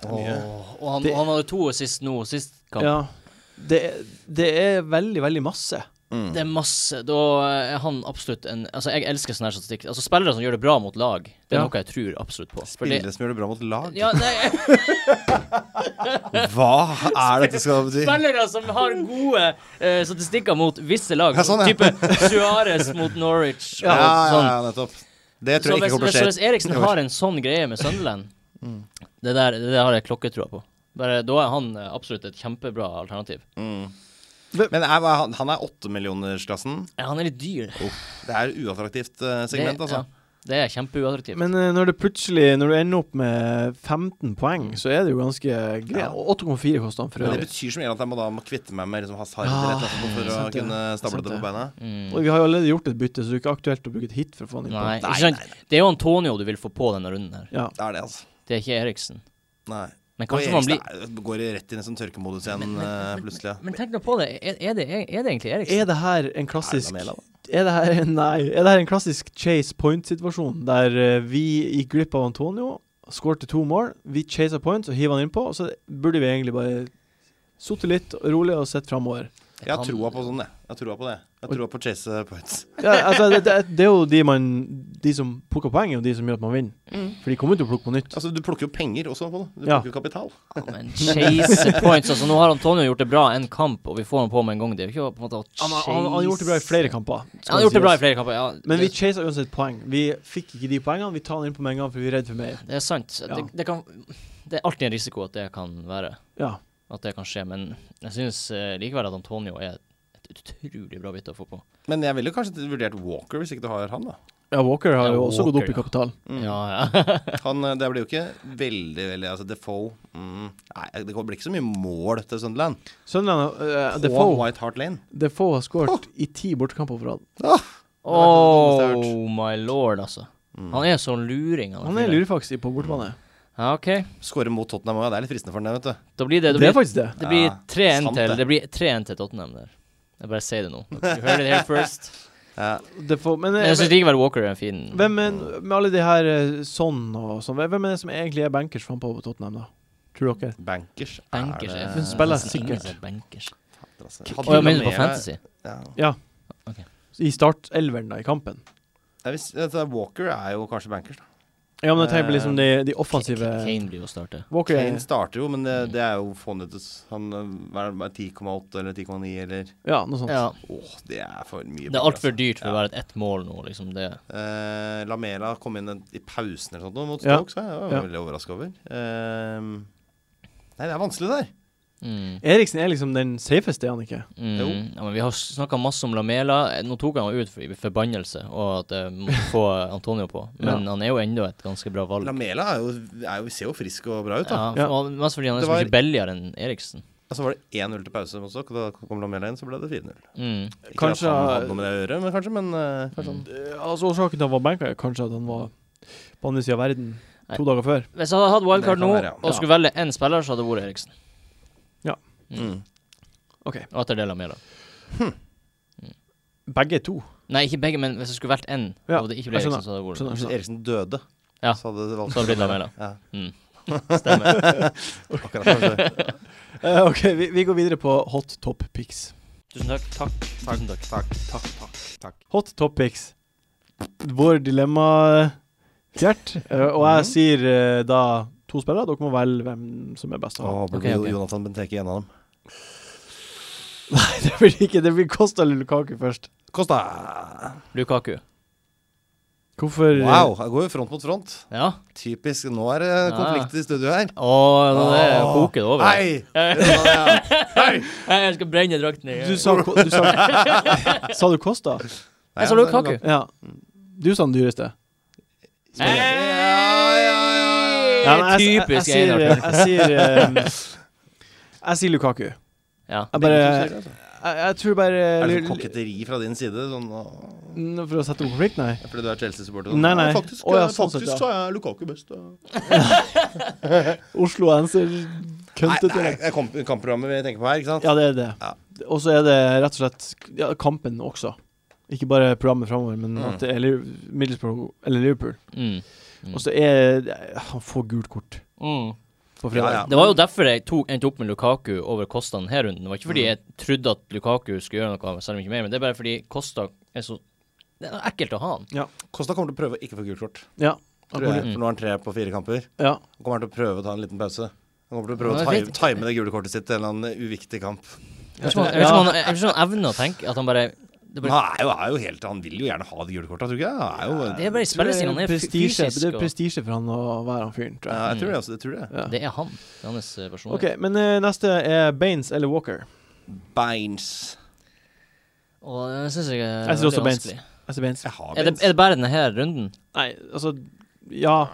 Speaker 4: Det er mye.
Speaker 2: Åh, Og han,
Speaker 1: Det-
Speaker 2: han hadde to sist nå, sist kamp.
Speaker 1: Ja, det, er- det er veldig, veldig masse.
Speaker 4: Mm.
Speaker 2: Det er masse. Da er han absolutt en Altså, jeg elsker sånn her statistikk. Altså, spillere som gjør det bra mot lag, det er
Speaker 1: Ja.
Speaker 2: noe jeg tror absolutt på. For det-
Speaker 4: Spillere som gjør det bra mot lag?
Speaker 2: Ja, nei,
Speaker 4: Hva er dette skal bety?
Speaker 2: spillere som har gode eh, statistikker mot visse lag.
Speaker 4: Ja, sånn, ja.
Speaker 2: Type Suárez mot Norwich.
Speaker 4: Ja, ja,
Speaker 2: og
Speaker 4: ja,
Speaker 2: sånn.
Speaker 4: nettopp. Det tror
Speaker 2: Så
Speaker 4: jeg ikke
Speaker 2: hvis,
Speaker 4: kommer
Speaker 2: hvis,
Speaker 4: til å Mm.
Speaker 2: hvis
Speaker 4: skje.
Speaker 2: Eriksen
Speaker 4: i år.
Speaker 2: har en sånn greie med Sunderland, det, der, det der har jeg klokketroa på. Bare, da er han eh, absolutt et kjempebra alternativ.
Speaker 4: Mm. Men er, han- han er åttemillionersklassen.
Speaker 2: Ja, han er litt dyr.
Speaker 4: Det er uattraktivt eh, segment,
Speaker 2: det,
Speaker 4: altså.
Speaker 2: ja, det er kjempeuattraktivt.
Speaker 1: Men eh, når det plutselig Når du ender opp med 15 poeng, så er det jo ganske greit.
Speaker 4: Ja.
Speaker 1: Og 8,4 koster han for
Speaker 4: Men det
Speaker 1: øvrig.
Speaker 4: betyr som regel at jeg må da må kvitte meg med liksom, Hazard
Speaker 2: Ah,
Speaker 1: Ja,
Speaker 4: rett etterpå for å
Speaker 1: sant det.
Speaker 4: kunne stable
Speaker 1: Sant
Speaker 4: det på
Speaker 1: det.
Speaker 4: beina.
Speaker 2: Mm.
Speaker 1: Og vi har jo allerede gjort et bytte, så det er ikke aktuelt å bruke et hit for å få han inn
Speaker 2: Nei,
Speaker 1: på.
Speaker 2: ikke sant? Det er jo Antonio du vil få på denne runden her.
Speaker 1: Ja.
Speaker 4: Det er det, altså.
Speaker 2: Det er ikke Eriksen.
Speaker 4: Nei.
Speaker 2: Men
Speaker 4: Og
Speaker 2: kanskje man
Speaker 4: Eriksen
Speaker 2: blir
Speaker 4: er- går rett inn i sånn tørkemodus igjen eh, plutselig.
Speaker 2: Men tenk nå på det. Er, er, det, er det egentlig Eriksen?
Speaker 1: Er det her en klassisk
Speaker 4: Lamela,
Speaker 1: er det, her, nei, er det her en klassisk Chase Point-situasjon, der eh, vi gikk glipp av Antonio, skårte to mål, vi chasa points og hiva han innpå, og så burde vi egentlig bare sittet litt og rolig og sett framover.
Speaker 4: Jeg har troa på sånn, jeg. Jeg har troa på det. Jeg har troa på chase eh, points.
Speaker 1: Ja, altså, det, det, det er jo de, man, de som plukker poeng, og de som gjør at man vinner. For de kommer jo til å plukke på nytt.
Speaker 4: Altså, du plukker jo penger også på det. Du
Speaker 1: Ja.
Speaker 4: plukker jo kapital.
Speaker 2: Men chase points, altså. Nå har Antonio gjort det bra en kamp, og vi får han på med en gang. Det er jo ikke på en måte å chase
Speaker 1: Han, har- han, han har gjort det bra i flere kamper. skal
Speaker 2: Han har gjort det bra i
Speaker 1: sies.
Speaker 2: flere kamper, ja.
Speaker 1: Men vi
Speaker 2: det,
Speaker 1: chasa uansett poeng. Vi fikk ikke de poengene. Vi tar han innpå med en gang, for vi er redd for mer.
Speaker 2: det er sant. Det, det, kan, det er alltid en risiko at det kan være.
Speaker 1: Ja.
Speaker 2: At det kan skje. Men jeg syns likevel at Antonio er et utrolig bra bytte å få på.
Speaker 4: Men jeg ville kanskje vurdert Walker hvis ikke du har han, da. Mm.
Speaker 1: ja, Walker har
Speaker 2: Ja,
Speaker 1: jo også gått
Speaker 2: Walker,
Speaker 1: opp i
Speaker 2: ja.
Speaker 1: kapital.
Speaker 2: Ja, ja.
Speaker 4: Han, eh, det blir jo ikke veldig, veldig Altså, Defoe mm, Nei, det blir ikke så mye mål til Sunderland.
Speaker 1: Sunderland uh,
Speaker 4: På
Speaker 1: Defoe
Speaker 4: White Hart Lane.
Speaker 1: Defoe har skåret i ti bortekamper på rad.
Speaker 2: Oh my lord, altså.
Speaker 4: Mm.
Speaker 2: Han er sånn luring.
Speaker 1: Han er
Speaker 2: fyren.
Speaker 1: lurefaks i- på bortbane.
Speaker 2: Ja, OK.
Speaker 4: Skåre mot Tottenham òg, det er litt fristende for ham, vet du.
Speaker 2: Da blir det,
Speaker 1: Det,
Speaker 2: da blir
Speaker 1: er faktisk det.
Speaker 2: Det blir
Speaker 4: Ja,
Speaker 2: 3-1
Speaker 4: sant
Speaker 2: til
Speaker 4: det.
Speaker 2: Det blir 3-1 til Tottenham der. Jeg bare sier det nå. Du hører det her first.
Speaker 4: Ja.
Speaker 1: det får, men
Speaker 2: Men jeg syns likevel Walker er en fin
Speaker 1: hvem er, med alle de her eh, sånn og sånn, hvem er det som egentlig er bankers frampå på Tottenham, da? Tror dere?
Speaker 4: Bankers er
Speaker 2: bankers.
Speaker 4: det-
Speaker 2: Jeg
Speaker 1: Hun
Speaker 2: finner
Speaker 1: spiller
Speaker 2: nesten ingen
Speaker 1: sikkert.
Speaker 2: som er Bankers.
Speaker 4: Fader, altså.
Speaker 2: Å, jeg mener på Fantasy.
Speaker 4: Ja.
Speaker 1: Ja.
Speaker 2: Ok.
Speaker 1: I startelveren, da, i kampen?
Speaker 4: Jeg vis- altså, Walker er jo kanskje bankers, da.
Speaker 1: Ja, men jeg tenker på liksom de, de
Speaker 2: K-
Speaker 1: offensive
Speaker 2: K- Kane blir jo startet.
Speaker 1: Walker
Speaker 4: Kane
Speaker 1: er
Speaker 4: starter jo,
Speaker 1: Mm.
Speaker 4: men det, det er jo fondetes. Han eh, hva er det, 10,8 eller 10,9 eller
Speaker 1: Ja, noe sånt.
Speaker 2: Ja.
Speaker 4: Åh, det er for mye.
Speaker 2: Det er
Speaker 4: penger,
Speaker 2: altfor
Speaker 4: altså.
Speaker 2: dyrt for å
Speaker 4: Ja.
Speaker 2: være et ett mål nå, liksom. Det.
Speaker 4: Eh, Lamela kom inn en- i pausen eller sånt nå mot
Speaker 1: Ja.
Speaker 4: Stoke, så jeg var
Speaker 1: Ja.
Speaker 4: veldig overraska over. Ehm, nei, det er vanskelig der.
Speaker 2: Mm,
Speaker 1: Eriksen er liksom den safeste, er han ikke?
Speaker 2: mm.
Speaker 4: Jo.
Speaker 2: Ja, men vi har snakka masse om Lamela. Nå tok han jo ut for- i forbannelse og at jeg måtte få Antonio på, men han er jo enda et ganske bra valg.
Speaker 4: Lamela er jo, er jo, ser jo frisk og bra ut, da.
Speaker 2: Ja,
Speaker 1: Ja.
Speaker 2: for- Mest fordi han er
Speaker 4: Det
Speaker 2: så
Speaker 4: var-
Speaker 2: mye billigere enn Eriksen.
Speaker 4: Og så var det 1-0 til pause mot Stoke, og da kom Lamela inn, så ble det 4-0.
Speaker 2: Mm.
Speaker 4: Ikke
Speaker 1: Kanskje-
Speaker 4: at han hadde noe med det å gjøre, men kanskje. Men eh, kanskje han-
Speaker 1: Eh, Altså Årsaken til at han var banker, er kanskje at han var på andre sida av verden to dager før.
Speaker 2: Hvis jeg hadde hatt wildcard
Speaker 4: Det
Speaker 2: nå
Speaker 4: kan være, ja.
Speaker 2: og skulle velge én spiller, så hadde det vært Eriksen.
Speaker 4: mm.
Speaker 1: OK.
Speaker 2: Og etter det Lamela.
Speaker 1: Begge to.
Speaker 2: Nei, ikke begge, men hvis jeg skulle valgt én,
Speaker 1: Ja,
Speaker 2: og det ikke ble
Speaker 1: jeg skjønner.
Speaker 2: Eriksen, så hadde det vært
Speaker 1: Skjønner,
Speaker 4: Hvis
Speaker 1: skjønner.
Speaker 4: Eriksen døde,
Speaker 2: Ja.
Speaker 4: så hadde det
Speaker 2: Så
Speaker 4: valgt
Speaker 2: hadde det blitt Lamela.
Speaker 4: Ja.
Speaker 2: Mm. Stemmer.
Speaker 4: Akkurat som det.
Speaker 1: Eh, OK, vi, vi går videre på hot top pics.
Speaker 2: Tusen takk. Takk. Tusen takk.
Speaker 4: Takk, takk, takk.
Speaker 1: Hot topics. Vår dilemma, Gjert. Eh, og
Speaker 4: Mhm.
Speaker 1: jeg sier eh, da to spillere. Dere må velge hvem som er best. av dem.
Speaker 4: Å, blir
Speaker 2: Ok, ok.
Speaker 4: Jonathan Benteke en av dem.
Speaker 1: Nei, det blir ikke Det blir Kosta eller Lukaku først.
Speaker 4: Kosta!
Speaker 2: Lukaku.
Speaker 1: Hvorfor eh,
Speaker 4: Wow, her går jo front mot front.
Speaker 2: Ja.
Speaker 4: Typisk. Nå er det konflikt i studio her.
Speaker 2: Å, nå er det
Speaker 4: Åh.
Speaker 2: koker det over.
Speaker 4: Hei! Det var det, ja.
Speaker 2: Jeg skal brenne drakten i
Speaker 1: Du sa, ko- du sa, sa du Kosta?
Speaker 2: Jeg sa Lukaku.
Speaker 1: Ja. Du sa den dyreste.
Speaker 2: Hei!
Speaker 1: Ja, men jeg- jeg-
Speaker 2: Typisk
Speaker 1: jeg, sier,
Speaker 2: Einar.
Speaker 1: eh, jeg, sier eh, Jeg sier Lukaku.
Speaker 2: Ja.
Speaker 1: Jeg, bare, jeg,
Speaker 4: Begge to sier det, altså.
Speaker 1: jeg tror bare
Speaker 4: Er det sånn koketteri fra din side? Sånn, å,
Speaker 1: N- For å sette opp konflikt, nei.
Speaker 4: fordi du er Chelsea-supporter?
Speaker 1: Nei, nei.
Speaker 4: Faktisk,
Speaker 1: Å, ja,
Speaker 4: eh,
Speaker 1: sånn sett,
Speaker 4: faktisk
Speaker 1: ja.
Speaker 4: så er Lukaku best. da.
Speaker 1: Oslo Answer
Speaker 4: Nei,
Speaker 1: køntete.
Speaker 4: nei, det er kamp kampprogrammet vi tenker på her, ikke sant?
Speaker 1: Ja, det er det.
Speaker 4: Ja.
Speaker 1: Og så er det rett og slett ja, kampen også. Ikke bare programmet framover, men
Speaker 4: Mm.
Speaker 1: at det er Liv- Middlesbrough eller Liverpool.
Speaker 2: Mm.
Speaker 1: Og så er Han får gult kort
Speaker 2: Mm.
Speaker 1: på fredag.
Speaker 4: Ja, ja.
Speaker 2: Det var jo derfor jeg tok, endte opp med Lukaku over Kosta denne runden. Det var
Speaker 1: Mm.
Speaker 2: ikke fordi jeg trodde at Lukaku skulle gjøre noe, selv om ikke mer, men det er bare fordi Kosta er så Det er ekkelt å ha han.
Speaker 4: Kosta kommer til å prøve å ikke få gult kort.
Speaker 1: Ja.
Speaker 4: tror
Speaker 1: Han kommer
Speaker 4: jeg,
Speaker 2: Mm.
Speaker 4: For nå er han tre på fire kamper.
Speaker 1: til- ja.
Speaker 4: Han kommer til å prøve å ta en liten pause. Han kommer til å prøve
Speaker 2: Ja,
Speaker 4: å
Speaker 2: jeg
Speaker 4: time, time det gule kortet sitt til en eller annen uviktig kamp.
Speaker 2: Jeg vet ikke om han- jeg vet ikke om han- jeg vet ikke om han evner å tenke at han bare Det er
Speaker 4: Men
Speaker 2: bare,
Speaker 4: han, er jo, er jo helt, han vil jo gjerne ha det gule kortet, tror du ikke? Han er jo,
Speaker 2: det er bare spillestilen. Han er fy-
Speaker 1: prestisje.
Speaker 2: fysisk.
Speaker 1: Det er
Speaker 2: og-
Speaker 1: prestisje for han å være han fyren, tror
Speaker 4: ja,
Speaker 1: jeg.
Speaker 4: jeg tror det. Også, jeg tror det.
Speaker 1: Ja.
Speaker 2: Det er han. Det er hans eh, personlighet.
Speaker 1: OK, men eh, neste er Baines eller Walker.
Speaker 4: Beins.
Speaker 2: Og det syns jeg er
Speaker 1: Jeg synes også
Speaker 2: veldig
Speaker 1: Baines.
Speaker 2: vanskelig.
Speaker 1: Jeg sier Baines.
Speaker 4: Jeg har
Speaker 2: Er det, er det bare denne her runden?
Speaker 1: Nei, altså Ja.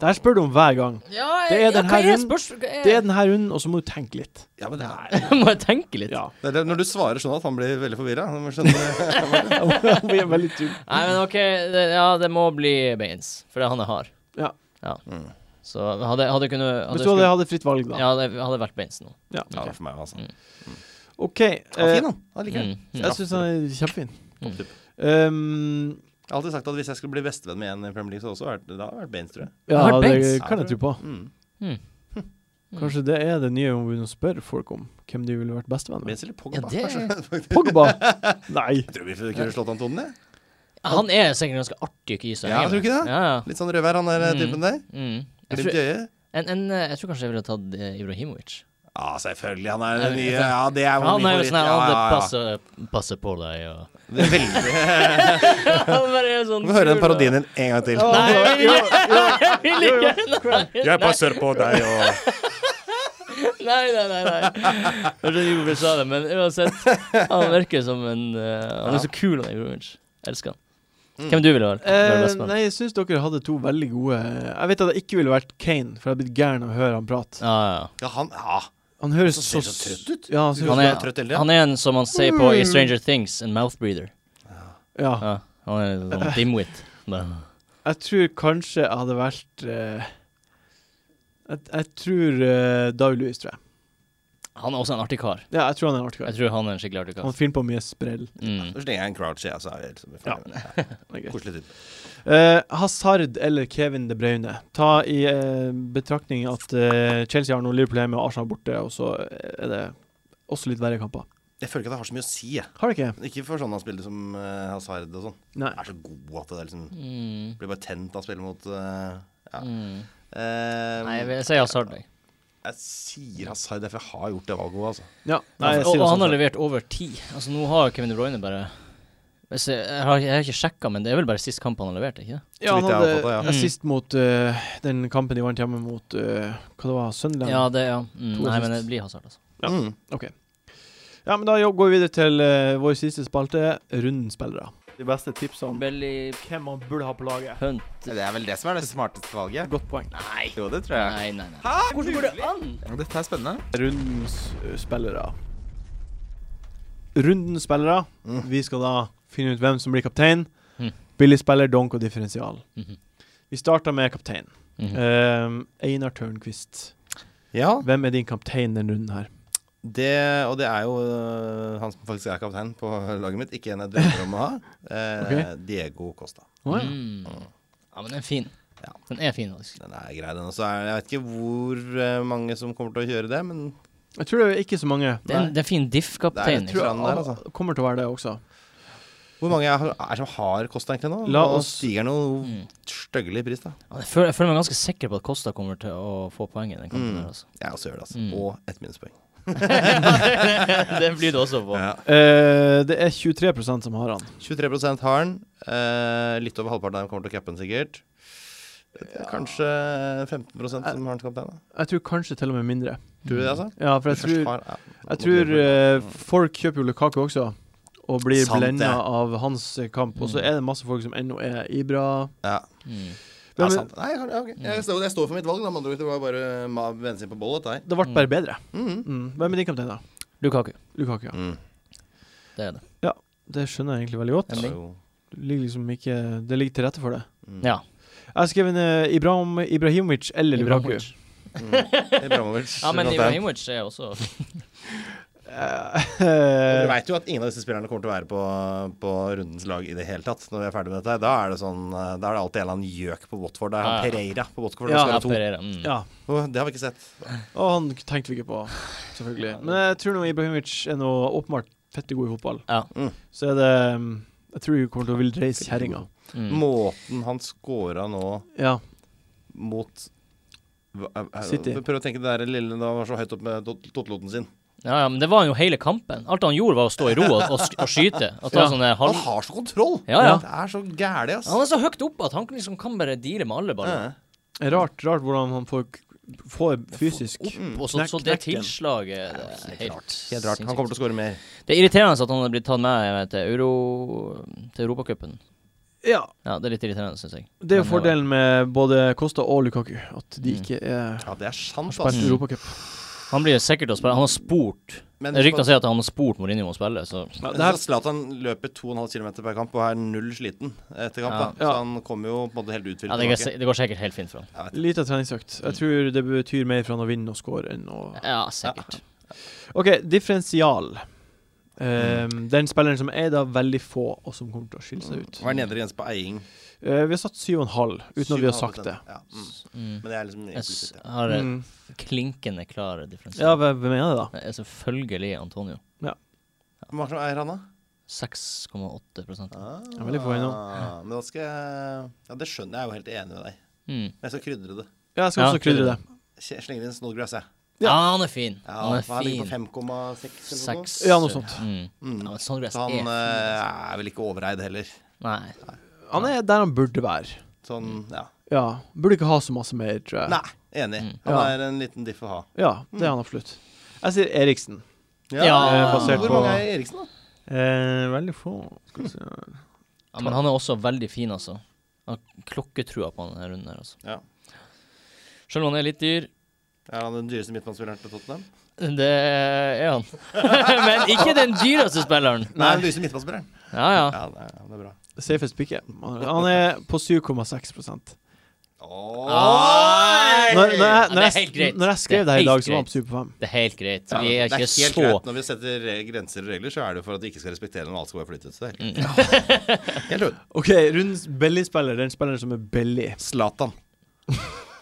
Speaker 1: Det her spør du om hver gang.
Speaker 2: Ja,
Speaker 1: Det er ja, den hva her er runden. Det er
Speaker 2: spørsmålet?
Speaker 1: den her runden, og så må du tenke litt.
Speaker 4: Ja, men det er,
Speaker 2: Må jeg tenke litt?
Speaker 1: Ja.
Speaker 4: det er det- når du svarer sånn at han blir veldig forvirra. Skjønner du?
Speaker 1: Vi er veldig tynne.
Speaker 2: Nei, men OK, det, ja, det må bli Baines, for det er han jeg har.
Speaker 1: Ja.
Speaker 4: Mm.
Speaker 2: Så hadde hadde jeg kunnet
Speaker 1: Hvis du hadde hatt fritt valg, da.
Speaker 2: Ja, det hadde vært Baines nå.
Speaker 1: Ja.
Speaker 4: Ja, det
Speaker 1: ok.
Speaker 4: er for meg, altså.
Speaker 1: OK.
Speaker 4: Han er
Speaker 1: eh,
Speaker 4: fin, han. Han liker jeg.
Speaker 2: Mm. Mm.
Speaker 1: Jeg syns han er kjempefin.
Speaker 2: Mm.
Speaker 1: Um,
Speaker 4: Jeg har alltid sagt at hvis jeg skulle bli bestevenn med en i Premier League, så også vært, det har vært Baines, tror jeg.
Speaker 1: ja,
Speaker 2: Han har
Speaker 1: det
Speaker 2: Baines.
Speaker 1: kan jeg tro på.
Speaker 4: Mm.
Speaker 2: Mm.
Speaker 1: Kanskje det er det nye om vi nå spør folk om hvem de ville vært bestevenn med.
Speaker 4: Baines eller Pogba,
Speaker 2: Ja, det
Speaker 4: kanskje.
Speaker 1: Pogba! Nei.
Speaker 4: Jeg tror vi kunne slått han tonen, jeg.
Speaker 2: Han er sikkert ganske artig å kyse.
Speaker 4: Ja, tror du ikke det?
Speaker 2: Ja, ja.
Speaker 4: Litt sånn rødvær, han der
Speaker 2: Mm.
Speaker 4: typen der.
Speaker 2: Mm. Jeg,
Speaker 4: Glimt
Speaker 2: tror,
Speaker 4: i øyet.
Speaker 2: en, en, eh, jeg tror kanskje jeg ville tatt eh, Ibrahimovic.
Speaker 4: Ja, selvfølgelig. Han er den
Speaker 2: Ja,
Speaker 4: nye
Speaker 2: ja.
Speaker 4: Ja, det er jo
Speaker 2: Han
Speaker 4: min
Speaker 2: er jo
Speaker 4: favoritt.
Speaker 2: sånn her,
Speaker 4: Ja,
Speaker 2: han
Speaker 4: ja, ja.
Speaker 2: passer, passer på deg og
Speaker 4: Det er veldig
Speaker 2: Han bare er sånn
Speaker 4: Vi må
Speaker 2: kul,
Speaker 4: høre den
Speaker 2: og-
Speaker 4: parodien din en gang
Speaker 1: altså,
Speaker 4: til.
Speaker 2: Nei, jeg vil ikke! Jeg vil ikke! Nei,
Speaker 4: Jeg passer på deg og
Speaker 2: nei, nei. nei, nei. Jeg skjønner ikke hvorfor jeg sa det, men uansett. Han virker som en eh, Han er så kul, han Ibrahimovic. Elsker han.
Speaker 4: Mm.
Speaker 2: Hvem du ville vært? være
Speaker 1: Eh,
Speaker 2: best med?
Speaker 1: nei, jeg syns dere hadde to veldig gode Jeg vet at jeg ikke ville vært Kane, for jeg har blitt gæren av å høre han prate.
Speaker 2: Ja, ja.
Speaker 4: Ja, han ja.
Speaker 1: Han høres
Speaker 4: Så
Speaker 1: så
Speaker 4: ser så trøtt ut.
Speaker 1: Ja, han ser
Speaker 4: Han
Speaker 1: ut
Speaker 4: er
Speaker 1: som-
Speaker 4: trøtt hele tiden.
Speaker 2: Han er en, som han sier på i Stranger Things, en mouth breather.
Speaker 4: Ah.
Speaker 1: ja.
Speaker 2: Ja, han er en sånn dimwit. Men-
Speaker 1: Jeg tror kanskje jeg hadde valgt eh, jeg, jeg tror uh, David Louis, tror jeg.
Speaker 2: Han er også en artig kar.
Speaker 1: Ja, jeg tror han er en artig
Speaker 2: Jeg
Speaker 1: kar.
Speaker 2: tror han er en skikkelig artig
Speaker 1: Han
Speaker 2: kar.
Speaker 1: finner på mye sprell.
Speaker 2: Mm.
Speaker 4: Så slenger jeg en crouch, jeg, så er jeg liksom
Speaker 1: Ja.
Speaker 4: ja.
Speaker 1: Det er greit.
Speaker 4: Koselig type.
Speaker 1: Eh, Hazard eller Kevin De Bruyne? Ta i eh, betraktning at eh, Chelsea har noe Liverpool hjemme og Arsenal borte, og så eh, er det også litt verre kamper.
Speaker 4: Jeg føler ikke at det har så mye å si, jeg.
Speaker 1: Har det ikke?
Speaker 4: Ikke for sånne han spiller som eh, Hazard og sånn.
Speaker 1: Nei.
Speaker 4: Han er så god at det er liksom
Speaker 2: Mm.
Speaker 4: Blir bare tent av å spille mot eh, Ja.
Speaker 2: Mm.
Speaker 4: Eh,
Speaker 2: Nei, jeg vil- jeg sier Hazard. jeg.
Speaker 4: Jeg sier Hazard, derfor jeg har gjort det valget òg, altså.
Speaker 1: Ja. Nei, jeg
Speaker 2: Og,
Speaker 1: sier
Speaker 2: og
Speaker 1: det
Speaker 2: han
Speaker 1: sånn.
Speaker 2: har levert over ti. Altså, nå har Kevin De Bruyne bare Hvis jeg, jeg, har, jeg har ikke sjekka, men det er vel bare sist kamp han har levert, ikke det?
Speaker 1: Ja, han
Speaker 4: vidt jeg har
Speaker 1: hadde
Speaker 4: oppfattet,
Speaker 2: ja.
Speaker 1: assist mot eh, den kampen de vant hjemme mot eh, Hva det var Sunderland?
Speaker 2: Ja, det, ja.
Speaker 1: To
Speaker 2: Mm. Nei,
Speaker 1: assist.
Speaker 2: men det blir Hazard, altså.
Speaker 1: Ja.
Speaker 4: Mm.
Speaker 1: Ok. Ja, men da jo- går vi videre til eh, vår siste spalte, rundens spillere. De beste tipsene
Speaker 2: Belly
Speaker 1: hvem man burde ha på laget.
Speaker 2: Hunt
Speaker 5: Det er vel det som er det smarteste valget.
Speaker 1: Godt poeng.
Speaker 5: Nei. Jo, det tror jeg.
Speaker 2: Nei, nei, nei. Hvordan går det an?
Speaker 5: Dette er spennende.
Speaker 1: Rundens eh, spillere. Rundens spillere.
Speaker 4: Mm.
Speaker 1: Vi skal da finne ut hvem som blir kaptein.
Speaker 2: Mm.
Speaker 1: Billig spiller, donk og differensial.
Speaker 2: Mhm.
Speaker 1: Vi starter med kaptein.
Speaker 2: Mhm.
Speaker 1: Ehm, Einar Tørnquist.
Speaker 4: Ja,
Speaker 1: Hvem er din kaptein denne runden her?
Speaker 4: det, og det er jo øh, han som faktisk er kaptein på laget mitt, ikke en jeg drømmer om å ha. Eh, Diego Costa.
Speaker 2: Mm. Ja, men den er fin.
Speaker 4: Ja.
Speaker 2: Den er fin, faktisk.
Speaker 4: Den er grei, den også. Er, jeg vet ikke hvor eh, mange som kommer til å kjøre det, men
Speaker 1: Jeg tror det er ikke så mange.
Speaker 2: Det er, en- det er en fin diff-kaptein.
Speaker 4: Det er- jeg
Speaker 1: tror
Speaker 4: tror
Speaker 1: jeg
Speaker 4: han der, altså.
Speaker 1: alle kommer til å være det også.
Speaker 4: hvor mange er, er som har Costa egentlig nå?
Speaker 1: La
Speaker 4: Nå
Speaker 1: oss-
Speaker 4: stiger den jo styggelig i pris, da.
Speaker 2: liksom. Mm. Jeg føler, jeg føler meg ganske sikker på at Kosta kommer til å få poeng i den kampen.
Speaker 4: Mm.
Speaker 2: der altså.
Speaker 4: Jeg også gjør det, altså.
Speaker 2: Mm.
Speaker 4: Og ett minuspoeng.
Speaker 2: det blir det også på.
Speaker 4: Ja.
Speaker 1: Eh, det er 23 som har han.
Speaker 4: 23 har den. Eh, litt over halvparten av dem kommer til å cappe den, sikkert. Eh, Kanskje 15 som har den som kaptein. da.
Speaker 1: Jeg tror kanskje til og med mindre.
Speaker 4: Tror du det, altså?
Speaker 1: Ja, for Mm. jeg
Speaker 4: Først
Speaker 1: tror,
Speaker 4: har- ja,
Speaker 1: jeg
Speaker 4: mot
Speaker 1: tror
Speaker 4: Liverpool.
Speaker 1: eh, folk kjøper jo Lukaku også, og blir
Speaker 4: Sant det.
Speaker 1: blenda av hans eh, kamp. Og så er det masse folk som ennå er Ibra.
Speaker 4: ja.
Speaker 2: Mm.
Speaker 4: Ja, Mm.
Speaker 1: Men-
Speaker 4: sant. Nei, kan- ja, ok. jeg, står, jeg står for mitt valg, da. med andre ord. Det var bare ma- bensin på bålet, dette her.
Speaker 1: Det ble bare bedre.
Speaker 4: Mhm.
Speaker 1: Mm. Hvem er din kaptein, da?
Speaker 2: Lukaku.
Speaker 1: Lukaku, ja.
Speaker 4: Mm.
Speaker 2: Det er det.
Speaker 1: Det skjønner jeg egentlig veldig godt.
Speaker 2: Emning.
Speaker 4: Jo.
Speaker 1: Det ligger liksom ikke Det ligger til rette for det.
Speaker 4: Mm.
Speaker 2: Ja.
Speaker 1: Jeg har skrevet eh, Ibrahim, Ibrahimovic eller Lukaku.
Speaker 2: Ibrahimovic.
Speaker 4: Mm. Ibrahimovic.
Speaker 2: Ja, men
Speaker 4: Zlatan.
Speaker 2: Ibrahimovic er også
Speaker 4: Du
Speaker 1: Eh,
Speaker 4: veit jo at ingen av disse spillerne kommer til å være på, på rundens lag i det hele tatt. Når vi er ferdig med dette her. Da er det sånn eh, Da er det alltid en eller annen gjøk på Watford. Det er han
Speaker 2: Ja, ja.
Speaker 4: Pereira på Watford.
Speaker 1: Ja,
Speaker 4: Ja,
Speaker 2: Ja,
Speaker 4: to.
Speaker 2: Pereira. Mm.
Speaker 1: ja.
Speaker 4: Åh, det har vi ikke sett.
Speaker 1: Og han tenkte vi ikke på, selvfølgelig. Men jeg tror nå Ibrahimovic er nå åpenbart fette god i fotball.
Speaker 2: Ja.
Speaker 4: Mm.
Speaker 1: Så er det mm, Jeg tror vi kommer til å ville reise kjerringa.
Speaker 2: Mm.
Speaker 4: Måten han scora nå
Speaker 1: Ja.
Speaker 4: mot hva- er- er-
Speaker 1: City.
Speaker 4: Prøv å tenke det der lille da han var så høyt opp med tot- totteloten sin.
Speaker 2: Ja, ja, men det var han jo hele kampen. Alt han gjorde, var å stå i ro og, og, sk- og skyte. Og ta
Speaker 1: Ja.
Speaker 2: sånne
Speaker 4: Han
Speaker 2: halv...
Speaker 4: har så kontroll!
Speaker 2: Ja, ja.
Speaker 4: Det er så gæli, ass.
Speaker 2: sånn Han er så høyt oppe at han kan liksom kan bare deale med alle baller.
Speaker 4: Ja.
Speaker 1: Rart, rart hvordan han får, får fysisk
Speaker 4: Mm.
Speaker 2: Og så, så det
Speaker 1: Knekk- knekken.
Speaker 2: tilslaget det er helt,
Speaker 4: Helt rart. Han kommer til å skåre mer.
Speaker 2: sinnssykt. Det er irriterende at han er blitt tatt med eh, til, Euro, til Europacupen.
Speaker 1: Ja.
Speaker 2: Ja, det er litt irriterende, syns jeg.
Speaker 1: Det er jo
Speaker 2: Men var-
Speaker 1: fordelen med både Kosta og Lukaku, at de
Speaker 2: Mm.
Speaker 1: ikke er
Speaker 4: Ja, det er sant,
Speaker 1: spilt
Speaker 4: ass.
Speaker 1: i Europacup.
Speaker 2: Han blir sikkert å spille. Han har spurt
Speaker 4: Men
Speaker 2: Ryktene sier at han har spurt Mourinho om å spille, så
Speaker 1: Ja, det
Speaker 4: Men
Speaker 1: her,
Speaker 4: så Zlatan løper 2,5 km per kamp og er null sliten etter kamp.
Speaker 2: Ja.
Speaker 4: Da. Så
Speaker 1: Ja.
Speaker 4: han kommer jo på en måte helt uthvilt
Speaker 2: ja, det, går,
Speaker 4: tilbake.
Speaker 2: si- det går sikkert helt fint for han.
Speaker 1: Lita treningsøkt. Jeg tror det betyr mer for han å vinne og score enn å
Speaker 2: Ja, sikkert.
Speaker 1: OK, differensial. Ehm, Den spilleren som er da veldig få, og som kommer til å skille seg ut.
Speaker 4: Hva er nedre grense på eiing?
Speaker 1: Eh, vi har satt 7,5 uten at vi har sagt
Speaker 4: 7,5%.
Speaker 1: det.
Speaker 4: Ja. Mm.
Speaker 2: Mm.
Speaker 4: Men det er liksom
Speaker 2: Jeg s-
Speaker 4: implisitt. ja.
Speaker 2: har en
Speaker 1: Mm.
Speaker 2: klinkende klar differanse.
Speaker 1: Ja, hvem hvem er det, da?
Speaker 2: Det er eh, selvfølgelig Antonio.
Speaker 4: Hvor mange som eier han, da?
Speaker 2: 6,8
Speaker 4: Ah,
Speaker 1: er veldig få i nå.
Speaker 4: Men da skal jeg Ja, det skjønner jeg, jeg er jo helt enig med deg.
Speaker 2: mm.
Speaker 4: Men jeg skal krydre det.
Speaker 1: Ja, jeg skal
Speaker 2: Ja,
Speaker 1: også krydre det.
Speaker 4: Jeg slenger inn Snodgrass, jeg.
Speaker 2: ja. han er fin.
Speaker 4: Ja,
Speaker 2: han er
Speaker 4: han ligger
Speaker 2: fin.
Speaker 4: på 5,6 eller noe. sånt.
Speaker 2: Seks
Speaker 1: Ja, noe sånt.
Speaker 2: Mm.
Speaker 4: Mm.
Speaker 2: Ja, men Sandgress
Speaker 4: Så han
Speaker 2: er fin.
Speaker 4: eh, er vel ikke overeid heller.
Speaker 2: Nei.
Speaker 1: Han er der han burde være.
Speaker 4: Sånn, ja.
Speaker 1: Ja. Burde ikke ha så masse mer, tror jeg.
Speaker 4: Nei, enig.
Speaker 2: Mm.
Speaker 4: Han
Speaker 1: Ja.
Speaker 4: er en liten diff å ha.
Speaker 1: Ja, det er han absolutt. Jeg sier Eriksen.
Speaker 2: Ja.
Speaker 1: Eh, basert
Speaker 4: Hvor
Speaker 1: på
Speaker 4: mange er Eriksen, da?
Speaker 1: eh, Veldig få. Skal vi se.
Speaker 2: Ja, men han er også veldig fin, altså. Han har klokketrua på han denne runden her, altså.
Speaker 4: Ja.
Speaker 2: Selv om han er litt dyr.
Speaker 4: Er han den dyreste midtbanespilleren til Tottenham?
Speaker 2: Det er han. men ikke den dyreste spilleren.
Speaker 4: Nei, den lyse midtbanespilleren.
Speaker 2: Ja, ja.
Speaker 4: Ja, det er, det er bra.
Speaker 1: Safest pikke. Han er på 7,6 Når,
Speaker 2: Ah, Oi!
Speaker 1: når, jeg,
Speaker 2: Ja,
Speaker 1: når,
Speaker 2: det er
Speaker 1: jeg,
Speaker 2: helt greit.
Speaker 1: når jeg skrev
Speaker 2: Det er
Speaker 1: det her i dag,
Speaker 2: helt
Speaker 1: så var han
Speaker 2: greit.
Speaker 1: på 7,5.
Speaker 2: Det er helt greit. Vi
Speaker 4: Ja,
Speaker 2: er ikke
Speaker 4: det er helt
Speaker 2: så
Speaker 4: greit. Når vi setter re- grenser og regler, så er det jo for at de ikke skal respektere når alt skal være flyttet. Så det er helt
Speaker 2: Mm.
Speaker 4: greit. Helt ut.
Speaker 1: OK, rundens billigspiller. Den spilleren som er billig.
Speaker 4: Zlatan.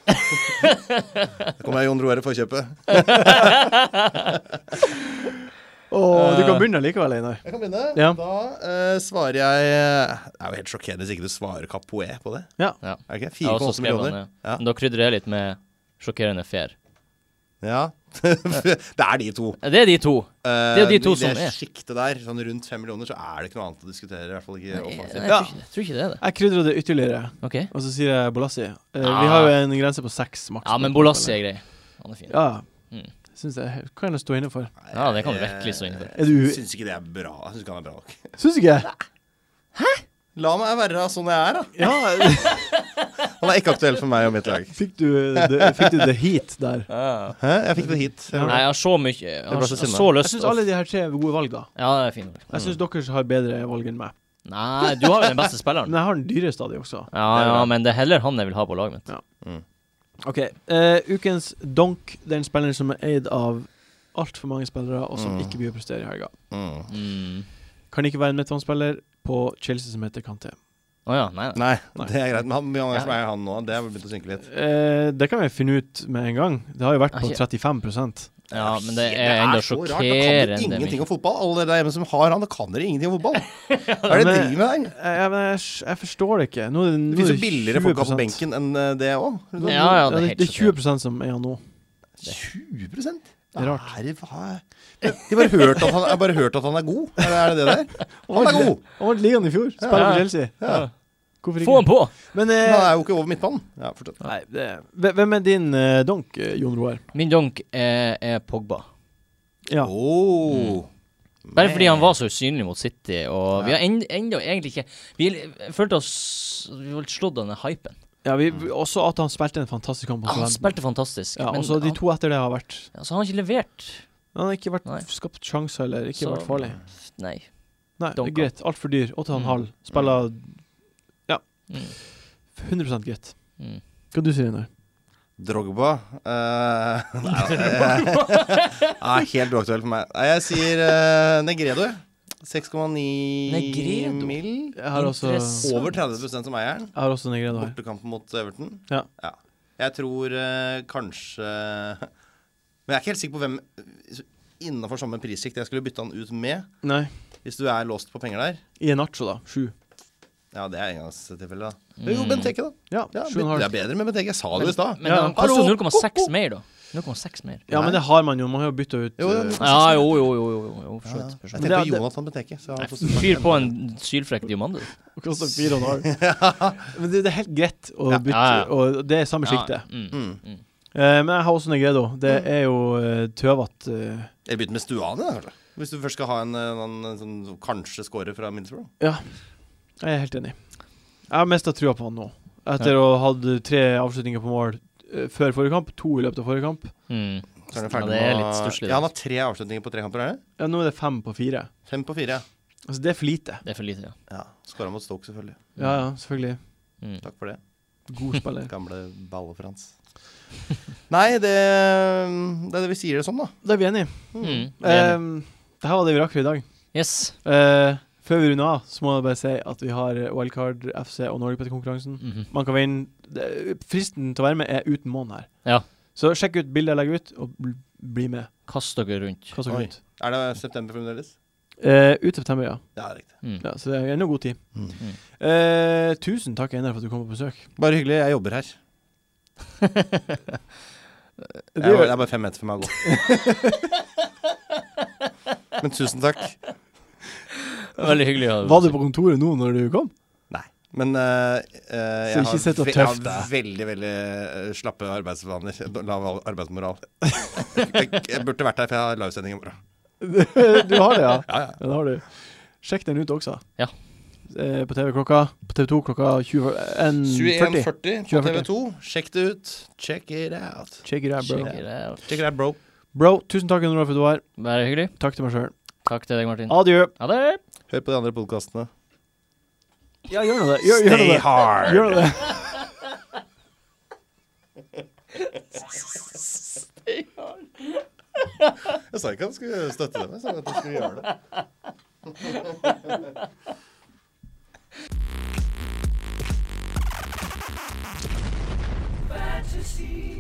Speaker 4: Der kommer Jon Roar i forkjøpet.
Speaker 1: Å, du kan begynne likevel, Einar.
Speaker 4: Jeg kan begynne.
Speaker 1: Ja.
Speaker 4: Da eh, svarer jeg Det er jo helt sjokkerende hvis ikke du svarer Capoe på det.
Speaker 1: Ja.
Speaker 2: Ja.
Speaker 4: Er det ikke?
Speaker 2: Jeg har også
Speaker 4: 4,8
Speaker 2: skrevet
Speaker 4: millioner.
Speaker 2: han,
Speaker 4: Ja.
Speaker 2: ja. Men Da krydrer jeg litt med sjokkerende fair.
Speaker 4: Ja. det er de to.
Speaker 2: Det er de to.
Speaker 4: Det
Speaker 2: er jo de to som er.
Speaker 4: I Eh, det sjiktet der, sånn rundt fem millioner, så er det ikke noe annet å diskutere. I hvert fall ikke
Speaker 2: Jeg, jeg,
Speaker 4: offensivt.
Speaker 1: Ja.
Speaker 2: tror, ikke, jeg tror ikke det er det.
Speaker 1: Jeg krydrer det ytterligere,
Speaker 2: Ok.
Speaker 1: og så sier jeg Bolassi. Eh,
Speaker 2: Ah.
Speaker 1: Vi har jo en grense på seks maks.
Speaker 2: Ja, men Bolassi er grei. Han er fin.
Speaker 1: Ja.
Speaker 2: Mm.
Speaker 1: Syns jeg kan jeg stå inne for.
Speaker 2: Ja, det kan du virkelig stå inne for.
Speaker 1: Er du
Speaker 4: Jeg Eh, syns ikke det er bra. Jeg syns ikke han er bra nok.
Speaker 1: Syns ikke?
Speaker 4: La meg være sånn jeg er, da.
Speaker 1: Ja,
Speaker 4: Han er ikke aktuell for meg og mitt lag.
Speaker 1: fikk du, det- fikk du the heat der?
Speaker 4: Hæ? Jeg fikk det hit.
Speaker 2: Nei, jeg har så mye Jeg
Speaker 4: ble
Speaker 2: har
Speaker 4: så
Speaker 2: så,
Speaker 4: sinna.
Speaker 2: så
Speaker 1: Jeg
Speaker 2: lyst
Speaker 1: syns
Speaker 2: til å
Speaker 1: alle de her tre er gode valg, da.
Speaker 2: Ja, det er fint.
Speaker 1: Jeg syns
Speaker 2: Mm.
Speaker 1: dere har bedre valg enn meg.
Speaker 2: Nei, du har jo den beste spilleren.
Speaker 1: Men jeg har den dyreste av de også.
Speaker 2: Ja, ja, men det er heller han jeg vil ha på laget mitt.
Speaker 1: Ok, eh, Ukens donk, den spilleren som er eid av altfor mange spillere, og som
Speaker 4: Mm.
Speaker 1: ikke blir å prestere i helga.
Speaker 4: Mm.
Speaker 2: Mm.
Speaker 1: Kan ikke være en midtbanespiller på Chelsea som heter Kanté.
Speaker 2: Å ja, nei, nei.
Speaker 4: Nei, det er greit. Men han, han er som er han nå. Det har begynt å synke litt.
Speaker 1: Eh, det kan vi finne ut med en gang. Det har jo vært på
Speaker 2: Ikke-
Speaker 1: 35
Speaker 2: Ja, men det
Speaker 4: Det
Speaker 2: er enda
Speaker 4: så rart. Da kan
Speaker 2: sjokkerende.
Speaker 4: dere ingenting
Speaker 2: mye.
Speaker 4: om fotball. Alle dere der hjemme som har han, da kan dere ingenting om fotball. Hva er det dere
Speaker 1: Men-
Speaker 4: driver med der?
Speaker 1: Eh, Jeg, men jeg, s- jeg forstår det ikke. Nå er det, nå
Speaker 4: Det fins
Speaker 1: er
Speaker 4: jo billigere folk på
Speaker 1: 20%.
Speaker 4: benken enn eh, det òg.
Speaker 1: Nå-
Speaker 2: Ja, ja, det er
Speaker 1: det,
Speaker 2: helt
Speaker 1: det er 20 som er han nå.
Speaker 4: 20
Speaker 1: Det er rart.
Speaker 4: Er det, hva? er- De har bare hørt at han, jeg har bare hørt at han er god. Er det- er det det der? Han er god!
Speaker 1: Han vant ligaen i fjor. Spiller
Speaker 2: Ja.
Speaker 1: for Chelsea.
Speaker 4: Ja.
Speaker 1: Hvorfor
Speaker 2: Få han
Speaker 1: ikke?
Speaker 2: på!
Speaker 1: Men
Speaker 4: Men han
Speaker 1: eh,
Speaker 4: er jo ikke over midtbanen. Ja, fortsatt.
Speaker 1: nei, det, hve- hvem er din eh, donk, eh, Jon Roar?
Speaker 2: Min donk er, er Pogba.
Speaker 1: Ja.
Speaker 4: Oh.
Speaker 2: Bare fordi han var så usynlig mot City, og vi har en- enda egentlig ikke Vi l- følte oss Vi var litt slått av den hypen.
Speaker 1: ja vi, vi- også at han spilte en fantastisk kamp. mot
Speaker 2: Mm. Han
Speaker 1: Southampton.
Speaker 2: spilte fantastisk,
Speaker 1: Ja,
Speaker 2: men
Speaker 1: og så de
Speaker 2: han,
Speaker 1: to etter det har vært
Speaker 2: altså, han har ikke levert
Speaker 1: Han har ikke vært
Speaker 2: Nei.
Speaker 1: skapt sjanser eller ikke
Speaker 2: Så-
Speaker 1: vært farlig.
Speaker 2: Nei.
Speaker 1: Nei, det er
Speaker 2: Donka.
Speaker 1: greit. Altfor dyr. 8,5.
Speaker 2: Mm.
Speaker 1: Spiller 100 greit.
Speaker 2: Mm.
Speaker 1: Hva du sier du, Einar?
Speaker 4: Drogba eh, Nei, eh, nei, helt uaktuelt for meg. Nei, jeg sier eh, Negredo. jeg. 6,9
Speaker 2: Negredo?
Speaker 4: mil.
Speaker 1: Jeg har også,
Speaker 2: Interessant.
Speaker 1: jeg
Speaker 4: Over 30 som eieren.
Speaker 1: har også Negredo her.
Speaker 4: Bortekampen mot Everton.
Speaker 1: Ja.
Speaker 4: Jeg tror eh, kanskje Men jeg er ikke helt sikker på hvem innafor samme prissjikt jeg skulle bytte han ut med.
Speaker 1: Nei.
Speaker 4: Hvis du er låst på penger der.
Speaker 1: I en nacho, da. Sju.
Speaker 4: Ja, det er engangstilfelle, da. Jo, Benteke, da.
Speaker 1: Ja,
Speaker 4: Ja,
Speaker 1: sju og en
Speaker 4: det er
Speaker 1: halv.
Speaker 4: bedre med Benteke. Jeg sa det jo i stad.
Speaker 2: Men han koster
Speaker 4: Hallo!
Speaker 2: 0,6 mer, da. 0,6 mer.
Speaker 1: Ja, men det har man jo. Man har jo bytta ut
Speaker 4: Jo, jo,
Speaker 1: eh,
Speaker 4: jo.
Speaker 2: Ja, jo, jo, jo. jo, jo, jo for så
Speaker 4: Ja, ja.
Speaker 2: vidt, for så vidt.
Speaker 4: Jeg
Speaker 1: Men det
Speaker 4: tenkte på
Speaker 1: er-
Speaker 4: Jonathan Benteke. Så han får
Speaker 2: Fyr på en sylfrekk diamant, du.
Speaker 1: Kosta fire og en halv. Men det, det er helt greit å
Speaker 2: Ja.
Speaker 1: bytte,
Speaker 2: Ja, ja.
Speaker 1: og det er samme sjiktet.
Speaker 2: Mm.
Speaker 4: mm.
Speaker 1: Eh, men jeg har også Negredo. Det er jo uh, tøvete. eh,
Speaker 4: Eller begynne med Stuane, da, kanskje. Hvis du først skal ha en, eh, en, annen, en sånn, som kanskje scorer fra Middlesbrough.
Speaker 1: jeg er helt enig. Jeg har mista trua på han nå. Etter å ha hatt tre avslutninger på mål eh, før forrige kamp, to i løpet av forrige kamp.
Speaker 2: Mm.
Speaker 4: Så er han
Speaker 2: Ja,
Speaker 4: ferdig
Speaker 2: det er
Speaker 4: med å-
Speaker 2: litt stusslig,
Speaker 4: Ja, han har tre avslutninger på tre kamper. er det?
Speaker 1: Ja, nå er det fem på fire.
Speaker 4: Fem på fire, ja.
Speaker 1: Altså, det er for lite.
Speaker 2: Det er for lite, ja.
Speaker 4: ja. Skåra mot Stoke, selvfølgelig.
Speaker 1: Ja, ja, selvfølgelig.
Speaker 2: Mm.
Speaker 4: Takk for det.
Speaker 1: God spiller.
Speaker 4: Gamle Balle-Frans. Nei, det, det er det vi sier det sånn, da.
Speaker 1: Da er vi enige.
Speaker 2: Mm. Vi er enige.
Speaker 1: Um, det her var det vi rakk for i dag.
Speaker 2: Yes.
Speaker 1: Eh, før vi runder av, så må jeg bare si at vi har eh, Wildcard FC og Norgepet-konkurransen.
Speaker 2: Mhm.
Speaker 1: Man kan vinne det- Fristen til å være med er uten måned her.
Speaker 2: Ja.
Speaker 1: Så sjekk ut bildet jeg legger ut, og bl bli med.
Speaker 2: Kast dere rundt.
Speaker 1: Hva som
Speaker 4: Oi.
Speaker 1: kommer ut.
Speaker 4: Er det september fremdeles?
Speaker 1: Eh, ut september, ja.
Speaker 4: Ja, det er riktig.
Speaker 2: Mm.
Speaker 1: ja. Så det er ennå god tid.
Speaker 4: Mm.
Speaker 1: Eh, tusen takk, Einar, for at du kom på besøk.
Speaker 4: Bare hyggelig. Jeg jobber her.
Speaker 1: Du,
Speaker 4: Jeg, er- det er bare fem meter for meg å gå. Men tusen takk.
Speaker 2: Veldig hyggelig å ha
Speaker 1: var du på kontoret nå når du kom?
Speaker 4: Men eh, eh,
Speaker 1: Så
Speaker 4: jeg,
Speaker 1: ikke
Speaker 4: har,
Speaker 1: sett opp
Speaker 4: ve- jeg
Speaker 1: tøft,
Speaker 4: har veldig veldig eh, slappe arbeidsvaner. Lav al- arbeidsmoral. jeg, jeg burde vært her, for jeg har livesending i morgen.
Speaker 1: du har det, ja?
Speaker 4: Ja, ja.
Speaker 1: Ja, det har du. Sjekk den ut også.
Speaker 2: Ja.
Speaker 1: Eh, på TV klokka På TV2 klokka 21.40.
Speaker 4: 21.40 på
Speaker 1: 21.40.
Speaker 4: TV2. Sjekk det ut. Check it out.
Speaker 1: Check it out, bro.
Speaker 2: Check it out.
Speaker 4: Check it out, bro.
Speaker 1: Bro, tusen takk Einar, for at du var her.
Speaker 2: Bare hyggelig.
Speaker 1: Takk til meg sjøl.
Speaker 2: Takk til deg, Martin.
Speaker 1: Adjø.
Speaker 2: Ha det!
Speaker 4: Hør på de andre podkastene.
Speaker 1: Ja, gjør nå det. Gjør, gjør nå
Speaker 4: Stay
Speaker 1: det.
Speaker 4: hard.
Speaker 1: Gjør nå det.
Speaker 4: Jeg sa ikke at han skulle støtte dem. Jeg sa at han skulle gjøre det.
Speaker 6: fantasy.